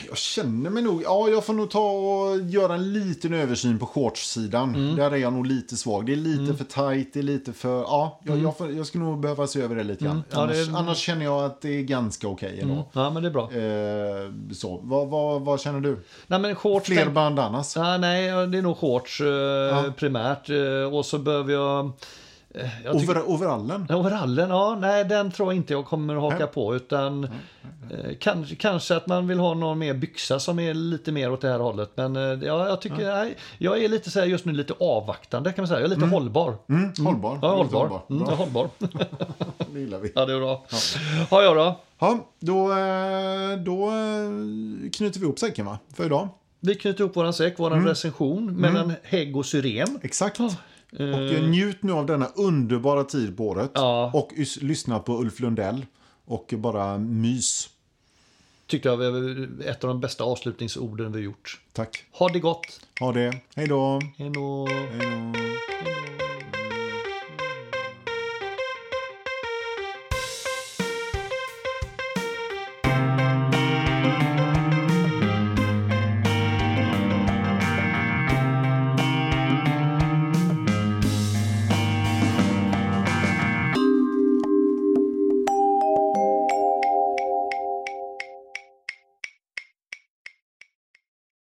S2: Jag känner mig nog... Ja, jag får nog ta och göra en liten översyn på shortssidan.
S1: Mm.
S2: Där är jag nog lite svag. Det är lite för tajt, det är lite för... Ja, jag, jag, får, jag skulle nog behöva se över det lite grann.
S1: Mm. Ja, det Mm. är-
S2: annars, annars känner jag att det är ganska okej ändå.
S1: Ja, men det är bra.
S2: Eh, så, vad, vad, vad känner du?
S1: Nej, men shorts...
S2: Fler bandanas?
S1: Ja, nej, ja, det är nog shorts eh, primärt. Eh, och så behöver jag... eh, jag tycker-
S2: Over, overallen?
S1: Overallen, ja, nej den tror jag inte jag kommer att haka
S2: Nej.
S1: på utan eh, kanske, kanske att man vill ha någon mer byxa som är lite mer åt det här hållet. Men eh, ja, jag tycker, nej, jag är lite så här just nu lite avvaktande kan man säga. Jag är lite hållbar.
S2: Mm, hållbar.
S1: Ja,
S2: Lite
S1: hållbar. Mm, jag är
S2: Bra,
S1: hållbar.
S2: det gillar vi.
S1: ja, det är bra. Ja, jag då?
S2: Ja, då, eh, då eh, knyter vi ihop säcken va? För idag.
S1: Vi knyter ihop våran säck,
S2: Mm.
S1: våran recension mellan hägg och syren.
S2: Exakt. Mm. Och eh, njut nu av denna underbara tid på året.
S1: Ja.
S2: Och ys- lyssna på Ulf Lundell. Och bara mys.
S1: Tyckte jag var ett av de bästa avslutningsorden vi gjort.
S2: Tack.
S1: Ha det gott!
S2: Ha det. Hej då.
S1: Hej då!
S2: Hej då.